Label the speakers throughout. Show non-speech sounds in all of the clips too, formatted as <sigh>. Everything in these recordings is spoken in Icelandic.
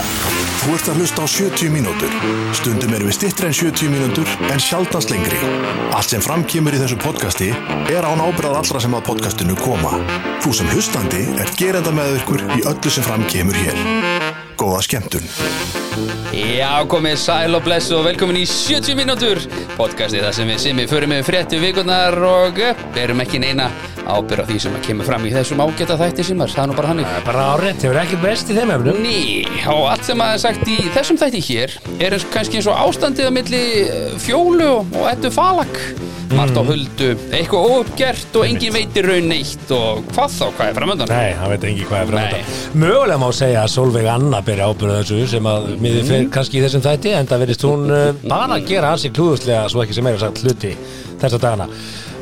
Speaker 1: Þú ert að hlusta á 70 mínútur. Stundum erum við stittri en 70 mínútur en sjaldast lengri. Allt sem framkýmur í þessu podcasti er án ábyrðað allra sem að podcastinu koma. Þú sem hlustandi er gerenda með ykkur í öllu sem framkýmur hér. Góða skemmtun.
Speaker 2: Já, komið sæl og blessu og velkomin í 70 mínútur podcastið þar sem við simmi förum með fréttu vikunar og eh, berum ekki neina ábyrð á því sem að kemur fram í þessum ágæta þætti simmar, það er nú bara hannig
Speaker 3: Bara árétt, hefur ekki breyst í þeim efnum
Speaker 2: Ný, og allt sem að er sagt í þessum þætti hér er eins, kannski eins og ástandið á milli eh, fjólu og, og ettu falak
Speaker 3: Mm.
Speaker 2: margt á huldu, eitthvað óuppgert og engin veitir raun neitt og hvað þá, hvað er framöndan?
Speaker 3: Nei, það veit engi hvað er framönda Mögulega má segja að Solveig Anna byrja ábyrða þessu sem að miði fer kannski í þessum þætti en það verðist hún uh, bara að gera hans í klúðuslega svo ekki sem meira sagt hluti þessa dagana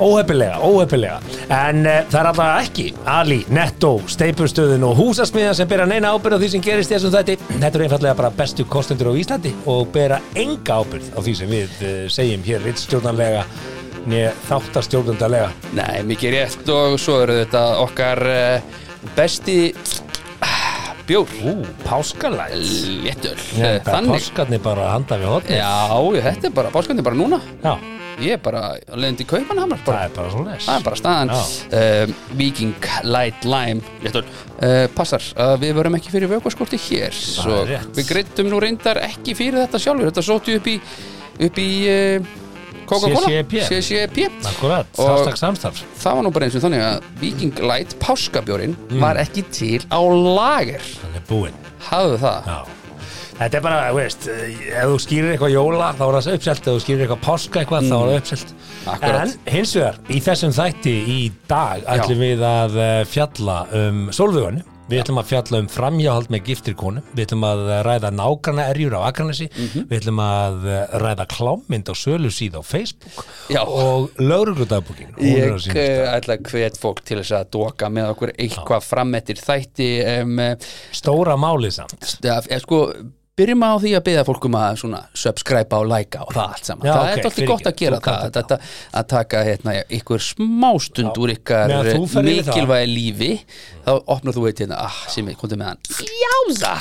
Speaker 3: Óhefilega, óhefilega En uh, það er alltaf ekki Ali, Netto, Steipustöðin og Húsasmiðan sem byrja neina ábyrða á því sem gerist í þessum þætti Þetta eru einfallega bara bestu kostendur á Íslandi og byrja enga ábyrð á því sem við uh, segjum hér rittstjórnarlega né þáttastjórnundarlega
Speaker 2: Nei, mikið rétt og svo eru þetta okkar eh, besti ah, bjór
Speaker 3: Ú, páskalæs
Speaker 2: léttöl
Speaker 3: Já,
Speaker 2: Eh, þannig
Speaker 3: Páskarnir bara handa við hotni
Speaker 2: Já, þetta er bara, báskarnir bara núna
Speaker 3: Já,
Speaker 2: Ég er bara leðandi í kaupanhamar
Speaker 3: það
Speaker 2: bara.
Speaker 3: er bara svona
Speaker 2: Það er bara staðan um, Viking Light Lime léttöl uh, Passar, uh, við verum ekki fyrir vökuaskorti hér Svo
Speaker 3: rétt.
Speaker 2: við greittum nú reyndar ekki fyrir þetta sjálfur Þetta sóttu upp í, upp í uh, Coca-Cola
Speaker 3: CCP.
Speaker 2: CCP
Speaker 3: Akkurat,
Speaker 2: Og-
Speaker 3: samstak samstarf
Speaker 2: Það var nú bara eins og þannig að Viking Light páskabjórin
Speaker 3: Mm.
Speaker 2: var ekki til á lager
Speaker 3: Hann er búinn
Speaker 2: Hafðu það
Speaker 3: Já Þetta er bara, þú veist, eh, ef þú skýrir eitthvað jóla þá er það uppselt, ef þú skýrir eitthvað páska eitthvað þá er það uppselt
Speaker 2: Mhm. Akkurat.
Speaker 3: En hins vegar, í þessum þætti í dag ætlum við að eh, fjalla um sólvögun Við ætlum að fjalla um framhjáhald með giftir konum, við ætlum að eh, ræða nágrana erjur á Akranesi,
Speaker 2: Mhm.
Speaker 3: við ætlum að eh, ræða klámynd á sölu síð á Facebook
Speaker 2: Já.
Speaker 3: og laurugludagbúkin.
Speaker 2: Ég eh, ætla að hvet fólk til þess að doka með okkur eitthvað fram eftir þætti um,
Speaker 3: Stóra málið samt.
Speaker 2: eða, sko, byrjum á því að byrja fólkum að svona subscribe á, like á og það allt saman
Speaker 3: Já,
Speaker 2: það
Speaker 3: ok,
Speaker 2: er alltaf gott að
Speaker 3: fyrirgefðu,
Speaker 2: gera
Speaker 3: þú
Speaker 2: það
Speaker 3: kannt
Speaker 2: þetta, að taka hérna, ykkur smástund úr ykkar
Speaker 3: Meðan þú ferð yfir það.
Speaker 2: mikilvægi lífi þá opnar þú eitt hérna ah, sem ég komði með hann jáza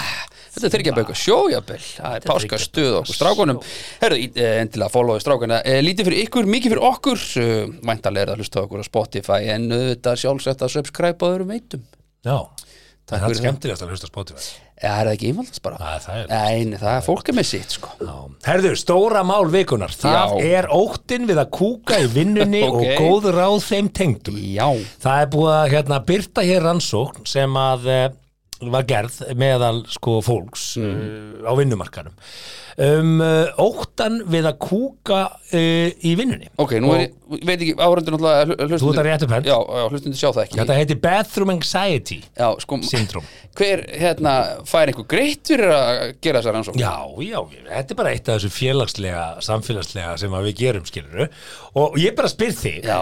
Speaker 2: Þetta er þryggjabauk og sjójaböl, það er páska stuð okkur strákunum. Herðu, í- eh, endilega followið strákuna. Eh, Lítið fyrir ykkur, mikið fyrir okkur, Eh, væntanlega er það að hlusta á okkur á Spotify, en auðvitað sjálfsagt að subscribe á öðrum veitum.
Speaker 3: Já,
Speaker 2: Takk
Speaker 3: en það
Speaker 2: fyrir
Speaker 3: er skemmtilegast að hlusta á Spotify.
Speaker 2: Eða er það ekki einfaldast bara?
Speaker 3: Nei, það er-
Speaker 2: Nei, nei, það er fólk er með sitt, sko.
Speaker 3: Já. Herðu, stóra mál vikunar, það
Speaker 2: Já.
Speaker 3: er óttin við að kúka
Speaker 2: <laughs>
Speaker 3: í vinnunni
Speaker 2: Ok.
Speaker 3: og góð ráð þeim tengdum.
Speaker 2: Já,
Speaker 3: Það er búið að hérna, byrta hér rannsókn sem að eh, var gerð meðal sko fólks
Speaker 2: Mm.
Speaker 3: uh, á vinnumarkanum um uh, óttan við að kúka uh, í vinnunni
Speaker 2: ok, nú er ég, veit ekki, áhverjandur náttúrulega hlustundur.
Speaker 3: Þú ert að rétta upp hönd.
Speaker 2: Já, já hlustundur sjá það ekki.
Speaker 3: þetta heitir Bathroom Anxiety
Speaker 2: já, sko,
Speaker 3: Syndrom.
Speaker 2: hver, hérna, fær einhver greitt fyrir að gera þessar rannsókn?
Speaker 3: Já, já, þetta er bara eitt af þessu félagslega, samfélagslega sem að við gerum, skilur og ég bara spyr þig
Speaker 2: Já.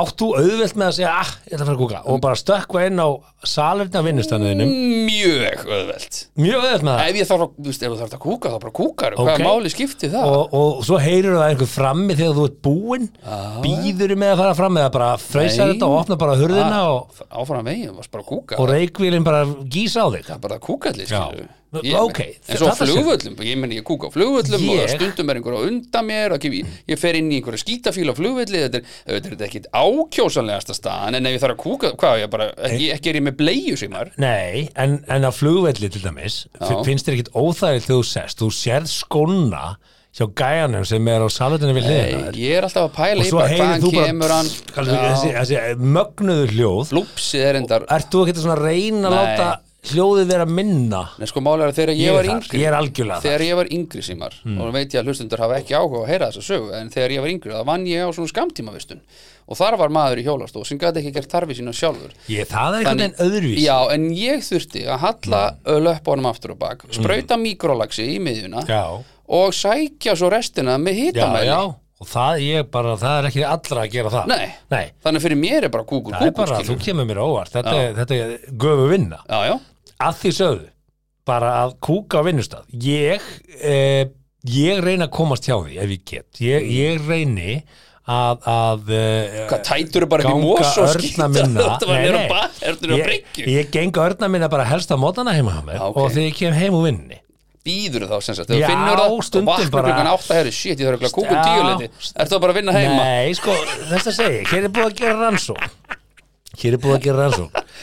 Speaker 3: átt þú auðvelt með að segja ah, ég ætla að fara að kúka og bara stökkva inn á salurna vinnustanniðinum
Speaker 2: Mjög auðvelt.
Speaker 3: mjög auðvelt með það
Speaker 2: Ef ég þarf að, þú veist, ef þú þarf að kúka, þá bara kúkar.
Speaker 3: Ok.
Speaker 2: Hvaða máli skipti það?
Speaker 3: og, og svo heyrur það einhver frammi þegar þú ert búinn býður með að fara fram eða bara freysar
Speaker 2: Nei. Ah.
Speaker 3: þetta og opna bara hurðina og,
Speaker 2: Áfram veginn, varst bara að kúka.
Speaker 3: og reykvílinn bara gísa á þig
Speaker 2: Það er bara að kúka allir,
Speaker 3: Já.
Speaker 2: skilju.
Speaker 3: Nú,
Speaker 2: Ég-
Speaker 3: ok,
Speaker 2: En svo á
Speaker 3: þetta sé-
Speaker 2: flugvöllum, ég menn ég kúka á flugvöllum og
Speaker 3: Ég-
Speaker 2: það stundum er einhver á undan mér og ég, ég fer inn í einhverja skítafíl á flugvölli þetta er, þetta er þetta ekkit ákjósanlegasta staðan en ef ég þarf að kúka, hvað, ég bara ekki, ekki er ég með bleiðu símar
Speaker 3: Nei, en, en á flugvelli til dæmis fi- finnst þér ekkit óþægilt þegar þú sest þú sérð skóna hjá gæjanum sem er á salutinu við hliðina á þér.
Speaker 2: ég er alltaf að pæla
Speaker 3: og
Speaker 2: í
Speaker 3: svo
Speaker 2: bara
Speaker 3: heyrir
Speaker 2: hvaðan
Speaker 3: þú
Speaker 2: kemur
Speaker 3: bara
Speaker 2: hann
Speaker 3: þessi, þessi mögnuðu hljóð
Speaker 2: lúpsið er endar
Speaker 3: Ert þú ekkit svona að reyna
Speaker 2: Nei.
Speaker 3: að láta hljóðið vera minna?
Speaker 2: Nei, sko málega þegar ég,
Speaker 3: Ég er
Speaker 2: var
Speaker 3: þar,
Speaker 2: yngri
Speaker 3: ég er algjörlega Hmm.
Speaker 2: Þegar ég var yngri símar og nú veit ég að hlustundur hafa ekki áhuga á að heyra þessa sögu en þegar ég var yngri þá vann ég á svona skamtímavistun og þar var maður í hjólastóð sem gæti ekki gert tarfi sína sjálfur
Speaker 3: Ég, það er einhvern veginn öðruvís
Speaker 2: Já, en ég þurfti að halla mm. löpunum aftur og bak, sprauta mm. mikrolaxi í miðjuna
Speaker 3: Hmm. Já.
Speaker 2: og sækja svo restina með
Speaker 3: já,
Speaker 2: hitamæli
Speaker 3: já, og það ég bara það er ekki allra að gera það
Speaker 2: Nei. Þannig fyrir mér er bara kúkur
Speaker 3: það er
Speaker 2: kúkur
Speaker 3: bara, þú
Speaker 2: skilur.
Speaker 3: kemur mér á óvart þetta, er- þetta er göfu vinna
Speaker 2: Já, já,
Speaker 3: að því sögðu, bara að kúka á vinnustad ég eh, ég reyna að komast hjá því ef ég get, ég, ég reyni að, að eh,
Speaker 2: Mm. hvað tætur er bara upp í
Speaker 3: ganga
Speaker 2: mós og
Speaker 3: örna
Speaker 2: skýta
Speaker 3: minna
Speaker 2: <laughs> Þetta var
Speaker 3: Nei,
Speaker 2: nýra
Speaker 3: nei.
Speaker 2: bara, erður að
Speaker 3: Ég-
Speaker 2: breykju
Speaker 3: ég geng örna minna bara helst á mótana heima hjá mér
Speaker 2: Já, ok.
Speaker 3: og þegar ég kem heim úr vinninni
Speaker 2: býður þá sem sagt, þegar
Speaker 3: Já,
Speaker 2: þú finnur það og
Speaker 3: stundum
Speaker 2: vaknar
Speaker 3: bara.
Speaker 2: klukkan átta herri, shit, ég þarf að kúkum
Speaker 3: Já.
Speaker 2: tíuleiti er það bara að vinna heima
Speaker 3: Nei, sko, þess að segja, hér er búið að gera rannsók Hér er búið að gera rannsók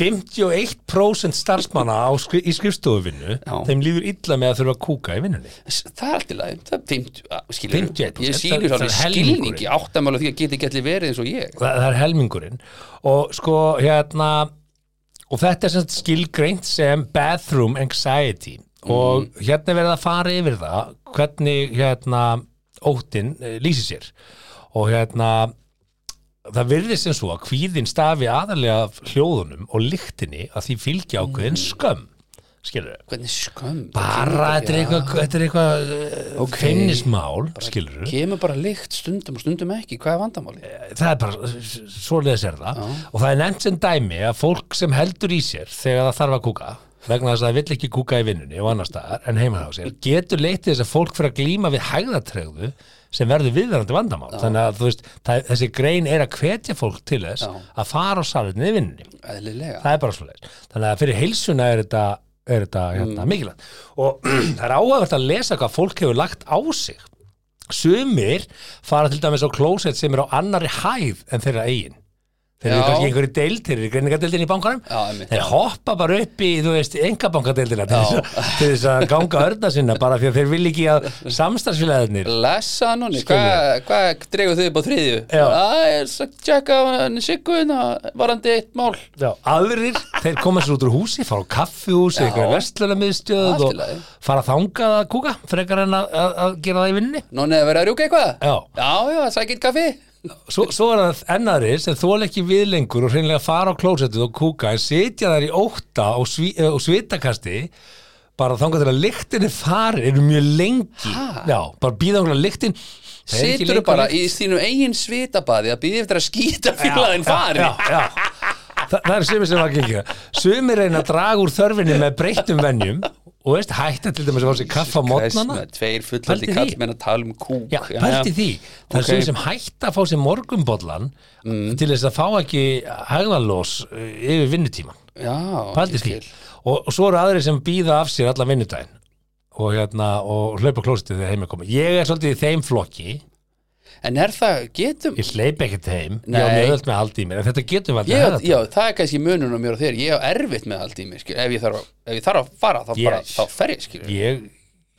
Speaker 3: 51% starfsmanna á skri í skrifstofuvinnu
Speaker 2: Já.
Speaker 3: þeim líður illa með að þurfa að kúka í vinnunni
Speaker 2: það er allt í lagi, það er fimmt- að, skilur
Speaker 3: 51%,
Speaker 2: ég skilur alveg
Speaker 3: það- það er helmingurinn.
Speaker 2: skilningi áttamála því að geti ekki allir verið eins og ég
Speaker 3: það, það er helmingurinn og sko hérna og þetta er sem sagt skilgreint sem bathroom anxiety og hérna er verið að fara yfir það hvernig hérna óttinn eh, lýsir sér og hérna það virðist sem svo að kvíðin stafi aðalega hljóðunum og lyktinni að því fylgja ákveðin skömm skilur við
Speaker 2: hvernig skömm
Speaker 3: Mm. bara þetta er eitthvað, þetta er eitthvað eh,
Speaker 2: Ok.
Speaker 3: okay. fennismál skilur við
Speaker 2: kemur bara lykt stundum og stundum ekki hvað er vandamáli?
Speaker 3: það er bara, svoleiðis er það og það er nefnt sem dæmi að fólk sem heldur í sér þegar það þarf að kúka vegna þess að það vill ekki kúka í vinnunni og annar staðar en heima á sér, getur leitið þess að fólk fyrir að glíma við hægðatregðu sem verður viðverandi vandamál þannig að þú veist, það, þessi grein er að hvetja fólk til þess
Speaker 2: Já.
Speaker 3: að fara á salinni í vinnunni
Speaker 2: eðlilega
Speaker 3: það er bara svoleiðis þannig að fyrir heilsuna er þetta, er þetta hérna, mikilvægt og <clears throat> það er áhægt að lesa hvað fólk hefur lagt á sig sumir fara til dæmis á klósett sem er á annari hæð en þeirra eigin þeir eru
Speaker 2: Já.
Speaker 3: kannski í einhverju deild, þeir eru í greiningadeildin í bankanum
Speaker 2: Já, einmitt.
Speaker 3: þeir hoppa bara upp í, þú veist, engabankadeildina til þess að- til þess að ganga örna sinna bara því að þeir vilja ekki að samstarfsfélagarnir
Speaker 2: Lessa núni, hvað
Speaker 3: Skilur.
Speaker 2: hva dregur þau upp á þriðju?
Speaker 3: Já.
Speaker 2: Æ, ég er að tjekka hann Sigguðina, varandi eitt mál
Speaker 3: Já, aðrir, þeir koma sér út úr húsi fara á kaffihús, eitthvað
Speaker 2: Allt
Speaker 3: vestlunamiðstöð
Speaker 2: í
Speaker 3: og
Speaker 2: lagi.
Speaker 3: fara þangað að kúka frekar en að, að, að gera það í vinninni
Speaker 2: Núni, er verið að rjúka eitthvað?
Speaker 3: Já.
Speaker 2: Já, já, sækitt kaffi
Speaker 3: svo, svo er það ennaðir sem þóla ekki við lengur og hreinlega fara á klósettið og kúka en sitja þær í ótta og, sví, eh, og svitakasti bara þangað til að lyktin er farin eru mjög lengi
Speaker 2: Ha?
Speaker 3: Já, bara býða okkur að lyktin það er ekki
Speaker 2: Situr
Speaker 3: lengur
Speaker 2: bara
Speaker 3: lykt.
Speaker 2: í þínu eigin svitabaði að býði eftir að skýta fílaðin farin
Speaker 3: já, já. Þa, það er sumir sem var ekki ekki sumir reyna að draga úr þörfinni með breyttum venjum og veist hætta til dæmis að fá sér kaffa mótnana
Speaker 2: Kristna, Tveir
Speaker 3: Pældi
Speaker 2: fullandi
Speaker 3: því.
Speaker 2: kall menn að tala um kúk
Speaker 3: Já, pælti því,
Speaker 2: Ok.
Speaker 3: það er
Speaker 2: Mm.
Speaker 3: sumir sem hætta að fá sér morgunbollan til þess að fá ekki hægðalós yfir vinnutíman,
Speaker 2: Já,
Speaker 3: pælti
Speaker 2: ég
Speaker 3: því
Speaker 2: skil.
Speaker 3: og, og svo eru aðrir sem býða af sér alla vinnudaginn og hérna og hlaupa klósitið þegar heim er komið ég er svolítið í þeim flokki,
Speaker 2: En er það, getum
Speaker 3: ég hleyp ekkert heim ég á
Speaker 2: Nei.
Speaker 3: mjög öll með allt í mér, en þetta getur valdið
Speaker 2: Ég,
Speaker 3: hægðatap.
Speaker 2: já, það er kannski munun á mér og þér Ég á erfitt með allt í mig, skil Ef ég þarf að, ef ég þarf að fara, þá, bara,
Speaker 3: Yes.
Speaker 2: þá fer ég, skil
Speaker 3: ég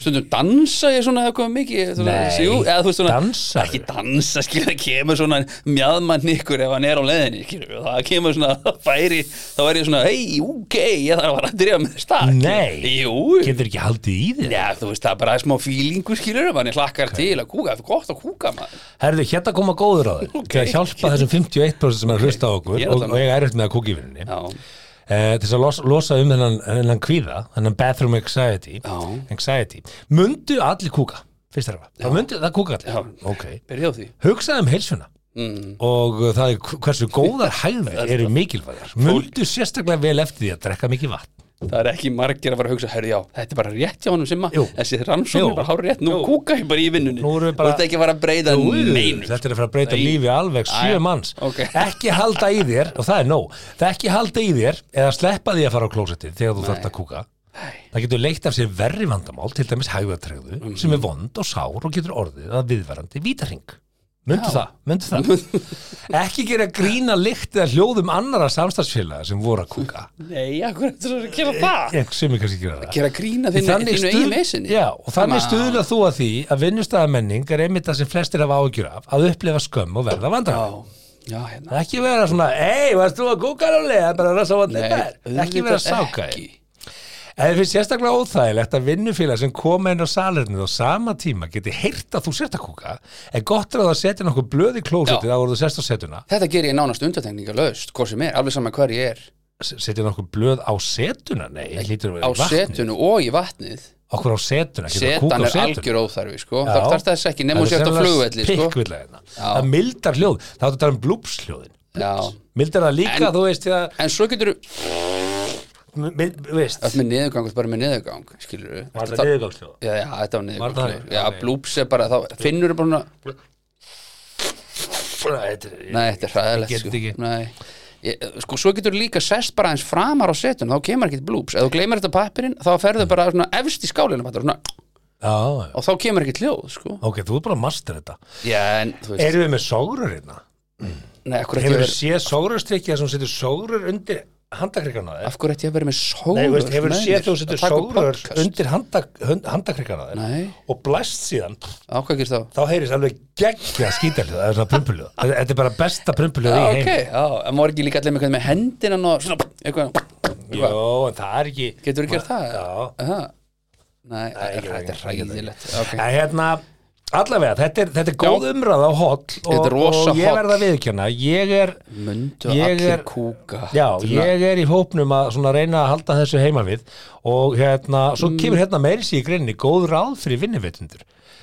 Speaker 2: Stundum dansa ég svona eða komið mikið svona,
Speaker 3: Nei,
Speaker 2: jú, eða, þú veist, svona,
Speaker 3: dansarðu?
Speaker 2: Ekki dansa, skil, það kemur svona mjadmann ykkur ef hann er á leiðinni, skil Það kemur svona <laughs> færi Þá er ég svona, hei, ok, ég þarf að fara að dyrja með stað skilur.
Speaker 3: Nei.
Speaker 2: Jú,
Speaker 3: getur ekki haldið í þér
Speaker 2: Já, þú veist, það er bara smá fílingu skilur mann ég hlakkar til að kúka, það er gott að kúka maður.
Speaker 3: Herðu, hérna koma góður á þér til að hjálpa þessum 51% sem er að hlusta á okkur
Speaker 2: Ég er
Speaker 3: og,
Speaker 2: allan-
Speaker 3: og ég er eftir með að kúka í vinninni
Speaker 2: Já,
Speaker 3: Eh, til þess að losa, losa um þennan, þennan kvíða þennan bathroom anxiety,
Speaker 2: Já.
Speaker 3: anxiety. mundu allir kúka fyrst þarfa, það mundu það kúka
Speaker 2: Já.
Speaker 3: allir okay.
Speaker 2: byrja á því
Speaker 3: hugsaðu um heilsuna
Speaker 2: mm.
Speaker 3: og það er hversu góðar hægðir eru mikilvægar mundu sérstaklega vel eftir því að drekka mikið vatn
Speaker 2: Það er ekki margir að fara að hugsa, herri já, þetta er bara rétt hjá honum simma,
Speaker 3: Jú.
Speaker 2: þessi rannsókn
Speaker 3: Jú.
Speaker 2: er bara hár rétt, nú
Speaker 3: Jú.
Speaker 2: kúka ég bara í vinnunni
Speaker 3: Nú erum við bara-
Speaker 2: Þú ert ekki að fara að breyta neinu
Speaker 3: þetta er að fara að breyta
Speaker 2: Nei.
Speaker 3: lífi alveg sjö
Speaker 2: Æ,
Speaker 3: manns
Speaker 2: ok. <laughs>
Speaker 3: ekki halda í þér, og það er nóg það er ekki halda í þér eða sleppa því að fara á klósettið þegar þú þarft að kúka það getur leitt af sér verri vandamál til dæmis hægðatregðu
Speaker 2: Mhm.
Speaker 3: sem er vond og sár og getur orðið að viðvarandi vítaring myndu
Speaker 2: Já.
Speaker 3: það, myndu
Speaker 2: <laughs>
Speaker 3: það ekki gera grína lykt eða hljóðum annara samstagsfélaga sem voru að kúka
Speaker 2: Nei, akkur er þetta að gera það
Speaker 3: ég sem ég kannski gera það
Speaker 2: Gera grína þinn
Speaker 3: Eh, Þannig
Speaker 2: þínu
Speaker 3: stuð-
Speaker 2: eigin vesinni
Speaker 3: Já, og þannig
Speaker 2: Come on.
Speaker 3: stuðla þú að því að vinnustæðamenning er einmitt það sem flestir hafa ágjur af að upplifa skömm og verða vandrar
Speaker 2: Já, já, hérna
Speaker 3: ekki vera svona, ei, varst þú að kúka rálega bara að rasa vandar
Speaker 2: Nei,
Speaker 3: ekki vera
Speaker 2: auðvitað
Speaker 3: sákaði
Speaker 2: ekki.
Speaker 3: En það finnst sérstaklega óþægilegt að vinnufélag sem koma inn á salernið á sama tíma geti heyrt að þú sért að kúka en gott er að það setja nokkuð blöð í klósetið
Speaker 2: Já.
Speaker 3: áður þú sérst á setuna
Speaker 2: Þetta ger ég nánast undatekninga löst, hvað sem er, alveg saman hver ég er
Speaker 3: S- setja nokkuð blöð á setuna nei, hlýtur
Speaker 2: Á
Speaker 3: að vera vatni
Speaker 2: setunu og í vatnið
Speaker 3: okkur á setuna, getur að
Speaker 2: Setan
Speaker 3: kúka á
Speaker 2: er
Speaker 3: setuna
Speaker 2: algjör óþarfi, sko Það þarf þess ekki, nema sér þetta flugvelli, sko
Speaker 3: sko.
Speaker 2: Já.
Speaker 3: það mildar hljóð, það áttu að tala um blúpsljóðin
Speaker 2: Já,
Speaker 3: mildar það líka,
Speaker 2: En-
Speaker 3: þú veist þegar,
Speaker 2: en svo getur
Speaker 3: m- mild, veist,
Speaker 2: Allt með niðurgang, þú ert bara með niðurgang, skilur
Speaker 3: var það niðurgangsljóð
Speaker 2: Já, já, þetta var
Speaker 3: Var
Speaker 2: niðurgang
Speaker 3: það?
Speaker 2: skilur. Já,
Speaker 3: Ok.
Speaker 2: blúps er bara, þá finnur bara svona-
Speaker 3: Þetta er-
Speaker 2: Nei, þetta er hræðilegt
Speaker 3: Ég get
Speaker 2: sko.
Speaker 3: ekki.
Speaker 2: Nei, Ég, sko, svo getur líka sest bara eins framar á setun þá kemur ekkert blúps, ef þú gleymir þetta pappirinn þá ferðu bara svona efst í skálinu fattar þú, svona,
Speaker 3: já, já.
Speaker 2: og þá kemur ekkert hljóð sko.
Speaker 3: ok, þú er bara að master þetta
Speaker 2: já, en þú veist,
Speaker 3: erum við með sógrur hérna?
Speaker 2: nei, af hverju ætti ég
Speaker 3: hefur
Speaker 2: að
Speaker 3: við
Speaker 2: vera-
Speaker 3: séð sógrurstrykki þar sem setur sógrur undir handakrikana þér?
Speaker 2: af hverju ætti ég að vera með
Speaker 3: Nei,
Speaker 2: sóður
Speaker 3: þú veist, hefur séð þú setur sógrur
Speaker 2: undir
Speaker 3: undir handak- hund- handakrikana þér
Speaker 2: nei,
Speaker 3: og blæst síðan
Speaker 2: á hvað gerst þá
Speaker 3: þá heyrist alveg geggja skítaljóð það er svona prumpuljóð, þetta þetta er bara besta prumpuljóð
Speaker 2: Já,
Speaker 3: í
Speaker 2: ok,
Speaker 3: heim
Speaker 2: já, en maður ekki líka allir með, eitthvað með hendinan og svona, eitthvað, eitthvað.
Speaker 3: Jó, en það er ekki
Speaker 2: Getur þú gert það?
Speaker 3: Já,
Speaker 2: Aha. Nei,
Speaker 3: Nei, ég-
Speaker 2: þetta er
Speaker 3: ég- ég-
Speaker 2: ræðilegt okay.
Speaker 3: En hérna, allavega, þetta er, þetta er góð umræða á hotl
Speaker 2: Þetta
Speaker 3: og,
Speaker 2: er rosa
Speaker 3: og ég
Speaker 2: holl.
Speaker 3: verð að viðkjanna, ég er,
Speaker 2: Mundu
Speaker 3: Ég
Speaker 2: allir
Speaker 3: er-
Speaker 2: kúka
Speaker 3: já,
Speaker 2: Svona-
Speaker 3: ég er í hópnum að svona reyna að halda þessu heima við og hérna,
Speaker 2: Mm.
Speaker 3: svo kemur hérna meiri sér í grinni góð ráð fyrir vinnuveitendur.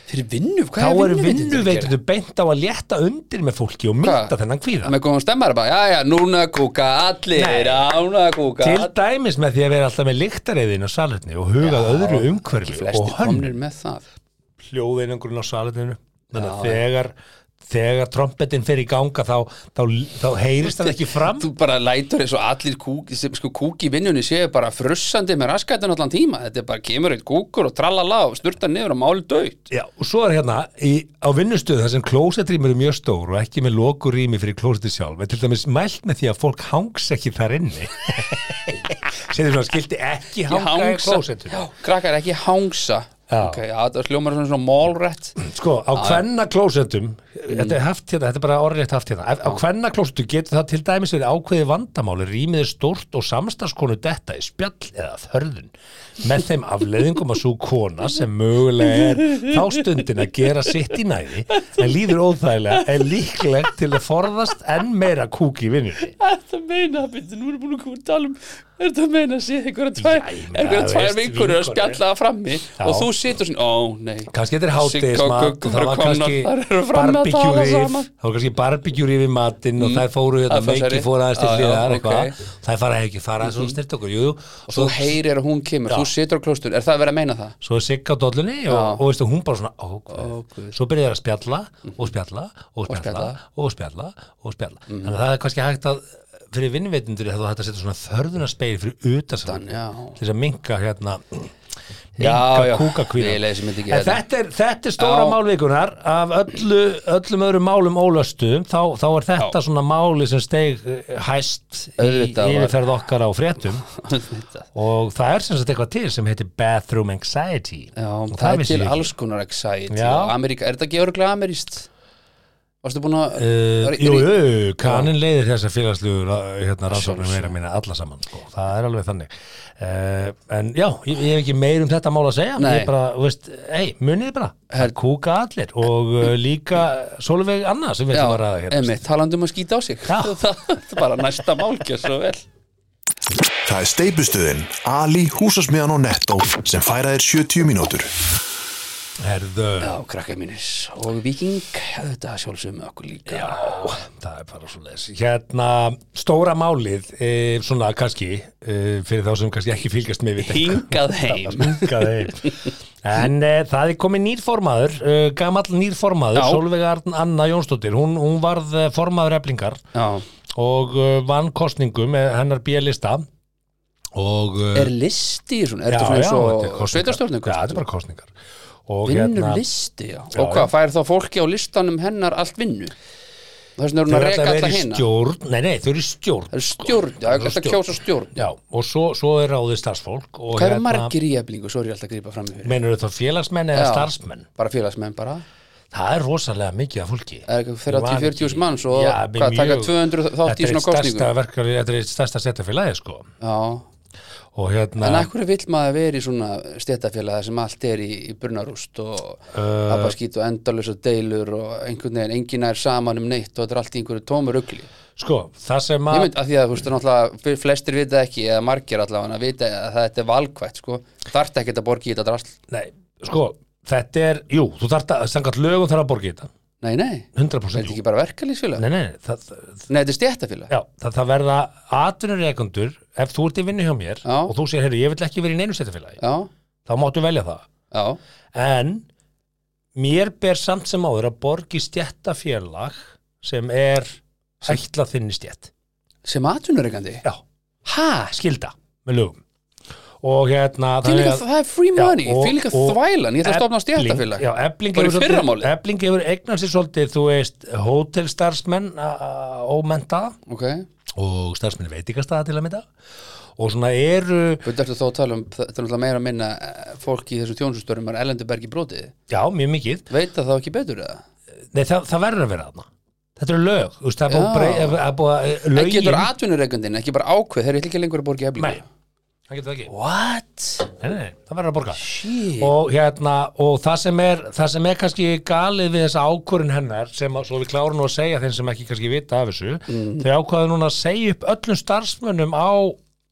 Speaker 2: Fyrir vinnu,
Speaker 3: Þá
Speaker 2: hvað er
Speaker 3: eru
Speaker 2: vinnuveitendur að gera?
Speaker 3: vinnuveitendur beint á að létta undir með fólki og mynda
Speaker 2: Hvað?
Speaker 3: þennan kvíða.
Speaker 2: Með góðum stemmar bara, já, já, núna kúka
Speaker 3: Nei.
Speaker 2: allir, ána kúka
Speaker 3: Til
Speaker 2: allir.
Speaker 3: dæmis með því að vera alltaf með lyktareiðin á salerni og hugað öðru umhverfi
Speaker 2: Flestir
Speaker 3: og hönnun.
Speaker 2: komnir með það
Speaker 3: hljóðeinangrun á salininu þannig að þegar þegar trompetin fer í ganga þá, þá, þá heyrist hann ekki fram
Speaker 2: Þú bara lætur eins og allir kúki sem, sko, kúki í vinnunni séu bara frussandi með raskætun allan tíma Þetta er bara kemur eitt kúkur og trallala og snurtar niður og máli döitt
Speaker 3: Já, og svo er hérna í, á vinnustöðu þar sem klósetrýmur er mjög stór og ekki með lokur rými fyrir klósetið sjálf en til dæmis mælt með því að fólk hangs ekki þar inni <laughs> setur svona skildi ekki hanga í klósetinu
Speaker 2: Já, krakkar ekki hangsa
Speaker 3: Já.
Speaker 2: Ok, já, það sljómar svona svona málrætt
Speaker 3: Sko, á hvenna klósetum þetta er haft hérna, þetta er bara orðrétt haft hérna á hvenna klósetu getur það til dæmis verið ákveði vandamáli, rýmið er stórt og samstarskonu detta í spjall eða þörðun með þeim afleðingum að svo kona sem mögulega er þá stundin að gera sitt í næði en líður óþægilega er líklegt til að forðast enn meira kúk í vinnunni
Speaker 2: <laughs> Þetta meina, byrju, nú erum búin að koma að tala um Er þetta meina að sé einhverja tvær
Speaker 3: Já, ég meina,
Speaker 2: Einhverja
Speaker 3: þú
Speaker 2: tvær
Speaker 3: veist,
Speaker 2: vinkur að
Speaker 3: vinkonur.
Speaker 2: spjalla það frammi Og þú situr svona, ó nei
Speaker 3: kannski þetta er
Speaker 2: Sigga og Gugga
Speaker 3: hátegismat og það
Speaker 2: eru
Speaker 3: var
Speaker 2: komnar,
Speaker 3: kannski
Speaker 2: þær eru fram að tala
Speaker 3: barbecue-rif
Speaker 2: saman.
Speaker 3: það var kannski barbecue-rif í matinn og þær fóru hérna
Speaker 2: Að þessari. Ah,
Speaker 3: meiki fóru aðeins til
Speaker 2: Já, já,
Speaker 3: hliðar
Speaker 2: ok. Mm.
Speaker 3: eitthvað þær fara ekki, fara aðeins og snirt okkur jú, jú.
Speaker 2: Og
Speaker 3: svo,
Speaker 2: þú heyrir að hún kemur, þú situr á klóstun Er það verið að <laughs> meina það?
Speaker 3: svo er Sigga á dollunni og, og veistu, hún bara svona ó,
Speaker 2: Ó,
Speaker 3: guð.
Speaker 2: guð. Mhm.
Speaker 3: svo byrjar að spjalla og spjalla og spjalla
Speaker 2: spjalla. Mhm.
Speaker 3: og spjalla og spjalla þannig að það er kannski hægt að fyrir vinnveitundur þá hægt að setja svona þörðunarspeil fyrir utansalun
Speaker 2: já.
Speaker 3: til þess að minka hérna
Speaker 2: Já, já,
Speaker 3: minka kúkakvíða
Speaker 2: ég lesi myndi ekki
Speaker 3: En
Speaker 2: þetta.
Speaker 3: þetta er, þetta er stóra
Speaker 2: Já.
Speaker 3: málvikunar af öllu, öllum öðrum málum ólöstum þá, þá er þetta svona máli sem steig eh, hæst í
Speaker 2: Auðvitað var-
Speaker 3: yfirferð okkar á fréttum
Speaker 2: Þetta.
Speaker 3: og það er sem sagt eitthvað til sem heitir Bathroom Anxiety
Speaker 2: Já,
Speaker 3: Og
Speaker 2: það er
Speaker 3: vissi
Speaker 2: til
Speaker 3: ég ekki.
Speaker 2: alls konar anxiety
Speaker 3: Já.
Speaker 2: og Amerika, er þetta ekki örglega ameríst? Varstu búin að
Speaker 3: Uh,
Speaker 2: er- er-
Speaker 3: jú, jú, kanin leiðir þessar félagslugur hérna rannsóknum
Speaker 2: Sjálfsögðu.
Speaker 3: meira minna alla saman sko. það er alveg þannig uh, en já, ég, ég hef ekki meir um þetta mál að segja
Speaker 2: Nei.
Speaker 3: ég bara, þú veist, hei, munið bara það kúka allir og uh, líka Solveig Anna sem við
Speaker 2: Já,
Speaker 3: ætlum að ræða hérna
Speaker 2: einmitt, talandi um að skýta á sig
Speaker 3: Já.
Speaker 2: það, <laughs> það er bara næsta málkjör svo vel
Speaker 1: Það er steipustöðin Ali, húsasmiðan og Netto sem færa þér 70 mínútur.
Speaker 3: herðu,
Speaker 2: Já, krakka mínis og viking þetta sjálfsögum með okkur líka Já,
Speaker 3: það er bara svo leis hérna, stóra málið e, svona kannski e, fyrir þá sem kannski ekki fylgjast með við
Speaker 2: <laughs> hingað heim
Speaker 3: Hingað heim. En uh, það er komið nýrformaður, uh, gamall nýrformaður,
Speaker 2: Já.
Speaker 3: Solveig Arn Anna Jónsdóttir, hún, hún varð uh, formaður eflingar
Speaker 2: Já,
Speaker 3: og uh, vann kostningum, eh, hennar B-lista og... Uh,
Speaker 2: er listi svona, er þetta svona
Speaker 3: þetta er
Speaker 2: eins og
Speaker 3: kosningar.
Speaker 2: sveitarstjórnum
Speaker 3: Já, þetta er bara kostningar. Og
Speaker 2: vinnur
Speaker 3: hérna,
Speaker 2: listi, já.
Speaker 3: Já,
Speaker 2: og hvað, fær þá fólki á listanum hennar allt vinnu þess vegna er
Speaker 3: þau
Speaker 2: hún að
Speaker 3: eru alltaf
Speaker 2: reka alla
Speaker 3: verið í
Speaker 2: hérna
Speaker 3: stjórn, nei, nei, þau eru í stjórn.
Speaker 2: Það er stjórn, já,
Speaker 3: eru
Speaker 2: þetta
Speaker 3: stjórn.
Speaker 2: kjósa stjórn
Speaker 3: Já, og svo, svo er ráðið starfsfólk og
Speaker 2: Hvað
Speaker 3: hérna-
Speaker 2: eru margir í eflingu, svo er ég alltaf að grípa fram í fyrir
Speaker 3: Menur þetta félagsmenn eða
Speaker 2: Já.
Speaker 3: starfsmenn?
Speaker 2: bara félagsmenn bara
Speaker 3: Það er rosalega mikið af fólki
Speaker 2: Það er eitthvað fyrir
Speaker 3: Ég
Speaker 2: 80-40
Speaker 3: man ekki.
Speaker 2: manns og
Speaker 3: Já,
Speaker 2: hvað,
Speaker 3: mjög-
Speaker 2: taka 200 þátt í svona
Speaker 3: Þetta er eitt stærsta
Speaker 2: kosningum?
Speaker 3: verkefni- Þetta er eitt stærsta stjættafélagi sko
Speaker 2: já,
Speaker 3: og hérna
Speaker 2: en af hverju vill maður verið í svona stéttafélag þar sem allt er í, í brunarúst og
Speaker 3: Uh,
Speaker 2: abaskýt og endalösa deilur og einhvern veginn, enginn er saman um neitt og þetta er allt í einhverju tómur ugli ég
Speaker 3: sko, það sem að
Speaker 2: mynd að því að þú veist, það er náttúrulega flestir vita ekki, eða margir allavega vita að þetta er valkvætt, sko þarft ekki að borga í þetta drasl
Speaker 3: nei, sko, þetta er, jú, þú þarft að samkvæmt lögum þarf að borga í þetta
Speaker 2: nei, nei,
Speaker 3: 100%
Speaker 2: þetta
Speaker 3: jú.
Speaker 2: ekki bara verkalýsfélag
Speaker 3: Nei, nei, nei, það, það,
Speaker 2: nei, þetta er stéttafélag
Speaker 3: já, það, það verða atvinnureikundur ef þú ert í vinnu hjá mér
Speaker 2: Já.
Speaker 3: og þú segir, heyrðu, ég vil ekki verið í neinu stjættafélagi
Speaker 2: já,
Speaker 3: þá máttu velja það
Speaker 2: já,
Speaker 3: en mér ber samt sem áður að borga í stjættafélag sem er ætla þinni stjætt
Speaker 2: sem atvinnureikandi
Speaker 3: já,
Speaker 2: hæ,
Speaker 3: skilda með lögum og hérna
Speaker 2: það
Speaker 3: þannig að-
Speaker 2: er free
Speaker 3: Já,
Speaker 2: money,
Speaker 3: og-
Speaker 2: því líka
Speaker 3: og
Speaker 2: þvælan ég ætla að stopna á
Speaker 3: Efling-
Speaker 2: stjættafélag
Speaker 3: já, Efling
Speaker 2: Bara í
Speaker 3: hefur-
Speaker 2: fyrramálið.
Speaker 3: Efling hefur eignan sér svolítið þú veist, hótelstarfsmenn ómenta
Speaker 2: ok,
Speaker 3: og starfsmenn veitingastaða til að mynda og svona eru
Speaker 2: veit eftir þá að tala um það er náttúrulega meira að minna eh, fólk í þessum tjónsustörum er ellendubergi brótið
Speaker 3: já, mjög mikið,
Speaker 2: veit það þá ekki betur eða?
Speaker 3: Nei, það, það verður að vera þarna þetta eru lög, þú veist, það er
Speaker 2: Já.
Speaker 3: búið að brei- að- að búið að
Speaker 2: en
Speaker 3: lögin
Speaker 2: getur atvinnureikandinn ekki bara ákveð þeir eru ekki lengur að borga í eflingu
Speaker 3: Nei, það getur það ekki
Speaker 2: what?
Speaker 3: Nei, nei, nei, það verður að borga
Speaker 2: shit
Speaker 3: og hérna, og það sem er það sem er kannski galið við þessa ákvörun hennar sem að, svo við klárum nú að segja þeim sem ekki kannski vita af þessu
Speaker 2: Mhm.
Speaker 3: þau ákvaðu núna að segja upp öllum starfsmönnum á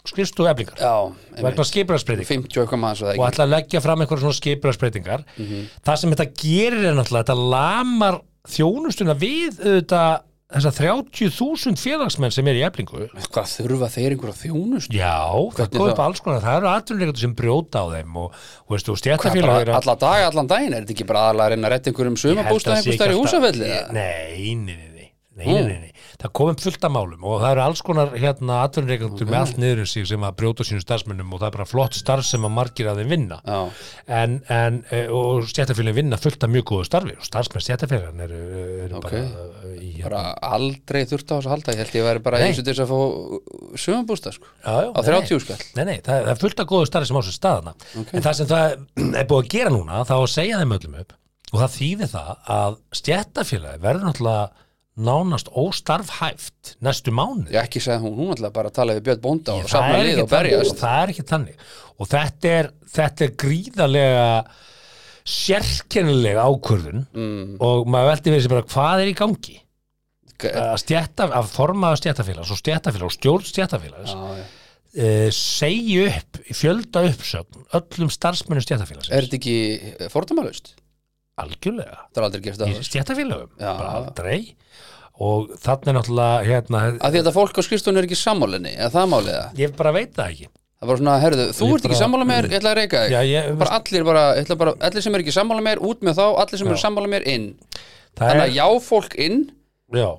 Speaker 3: skrifstofu eflingar
Speaker 2: já, einmitt.
Speaker 3: vegna skipularsbreyting
Speaker 2: 50 og eitthvað maður svo það
Speaker 3: og
Speaker 2: ekki
Speaker 3: ætla að leggja fram einhverja svona skipularsbreytingar
Speaker 2: Mhm.
Speaker 3: það sem þetta gerir er náttúrulega þetta lamar þjónustuna við auðvitað þessa 30.000 félagsmenn sem er í eflingu
Speaker 2: hvað þurfa þeir einhverja þjónust
Speaker 3: Já, það
Speaker 2: Hvernig
Speaker 3: kom
Speaker 2: þá?
Speaker 3: upp alls konar, það eru atvinnuleikandur sem brjóta á þeim og, og veist, og
Speaker 2: Hvað,
Speaker 3: stjættafélag
Speaker 2: bara alla dag, allan daginn, er þetta ekki bara aðalega að reyna að retta einhverjum sumabústað einhvers þar í húsafelli? eða?
Speaker 3: Nei, nei, nei, nei, nei, nei, nei, nei. það kom upp fullt af málum og það eru alls konar hérna atvinnuleikandur með allt niður um sig sem að brjóta á sínum starfsmönnum og það er bara flott starf sem að margir að þeim vinna
Speaker 2: Já,
Speaker 3: en, en eh, og stjættafélagin vinna fullt af mjög góðu starfi og starfsmenn stjættafélagin eru, eru
Speaker 2: Ok.
Speaker 3: bara eh, í
Speaker 2: bara aldrei þurft á þess að halda, ég held ég væri bara
Speaker 3: Nei.
Speaker 2: eins og til þess að fá sumabústað, sko,
Speaker 3: já, já,
Speaker 2: á 30 skall.
Speaker 3: Nei, nei, það, það er fullt af góðu starfi sem á þessu staðana en það sem það er búið að gera núna þá að segja þeim öllum upp og það þýðir það að stjættafélagi verður náttúrulega nánast óstarfhæft næstu mánu
Speaker 2: Ég ekki sagði hún, hún ætlaði bara að tala við Björn Bónda og
Speaker 3: það
Speaker 2: safna
Speaker 3: er
Speaker 2: lið
Speaker 3: ekki
Speaker 2: og
Speaker 3: þannig og
Speaker 2: berjast.
Speaker 3: það er ekki þannig og þetta er, þetta er gríðarlega sérkennilega ákvörðun
Speaker 2: Mm.
Speaker 3: og maður veldi við sér bara hvað er í gangi
Speaker 2: G-
Speaker 3: að, stjætta, að formaða stjættafélags og stjættafélags og stjórn stjættafélags
Speaker 2: Já, já.
Speaker 3: uh, segja upp, fjölda uppsögn öllum starfsmönnum stjættafélags
Speaker 2: Er þetta ekki fórtumalust?
Speaker 3: algjörlega,
Speaker 2: Það er aldrei gerst
Speaker 3: í
Speaker 2: að
Speaker 3: stjættafélagum
Speaker 2: Já.
Speaker 3: bara aldrei og þannig er náttúrulega hérna,
Speaker 2: Að því að þetta fólk á skrifstofun er ekki sammálinni, eða það máliða.
Speaker 3: ég bara veit það ekki
Speaker 2: Það var svona, herðu, þú
Speaker 3: Ég
Speaker 2: ert ekki
Speaker 3: bara-
Speaker 2: sammála með, ég ætla að reyka þig.
Speaker 3: Já, ég, um
Speaker 2: bara allir bara, ég ætla bara, allir sem er ekki sammála mér út með þá, allir sem
Speaker 3: Já.
Speaker 2: eru sammála mér inn
Speaker 3: það
Speaker 2: þannig
Speaker 3: er,
Speaker 2: að já fólk inn
Speaker 3: já,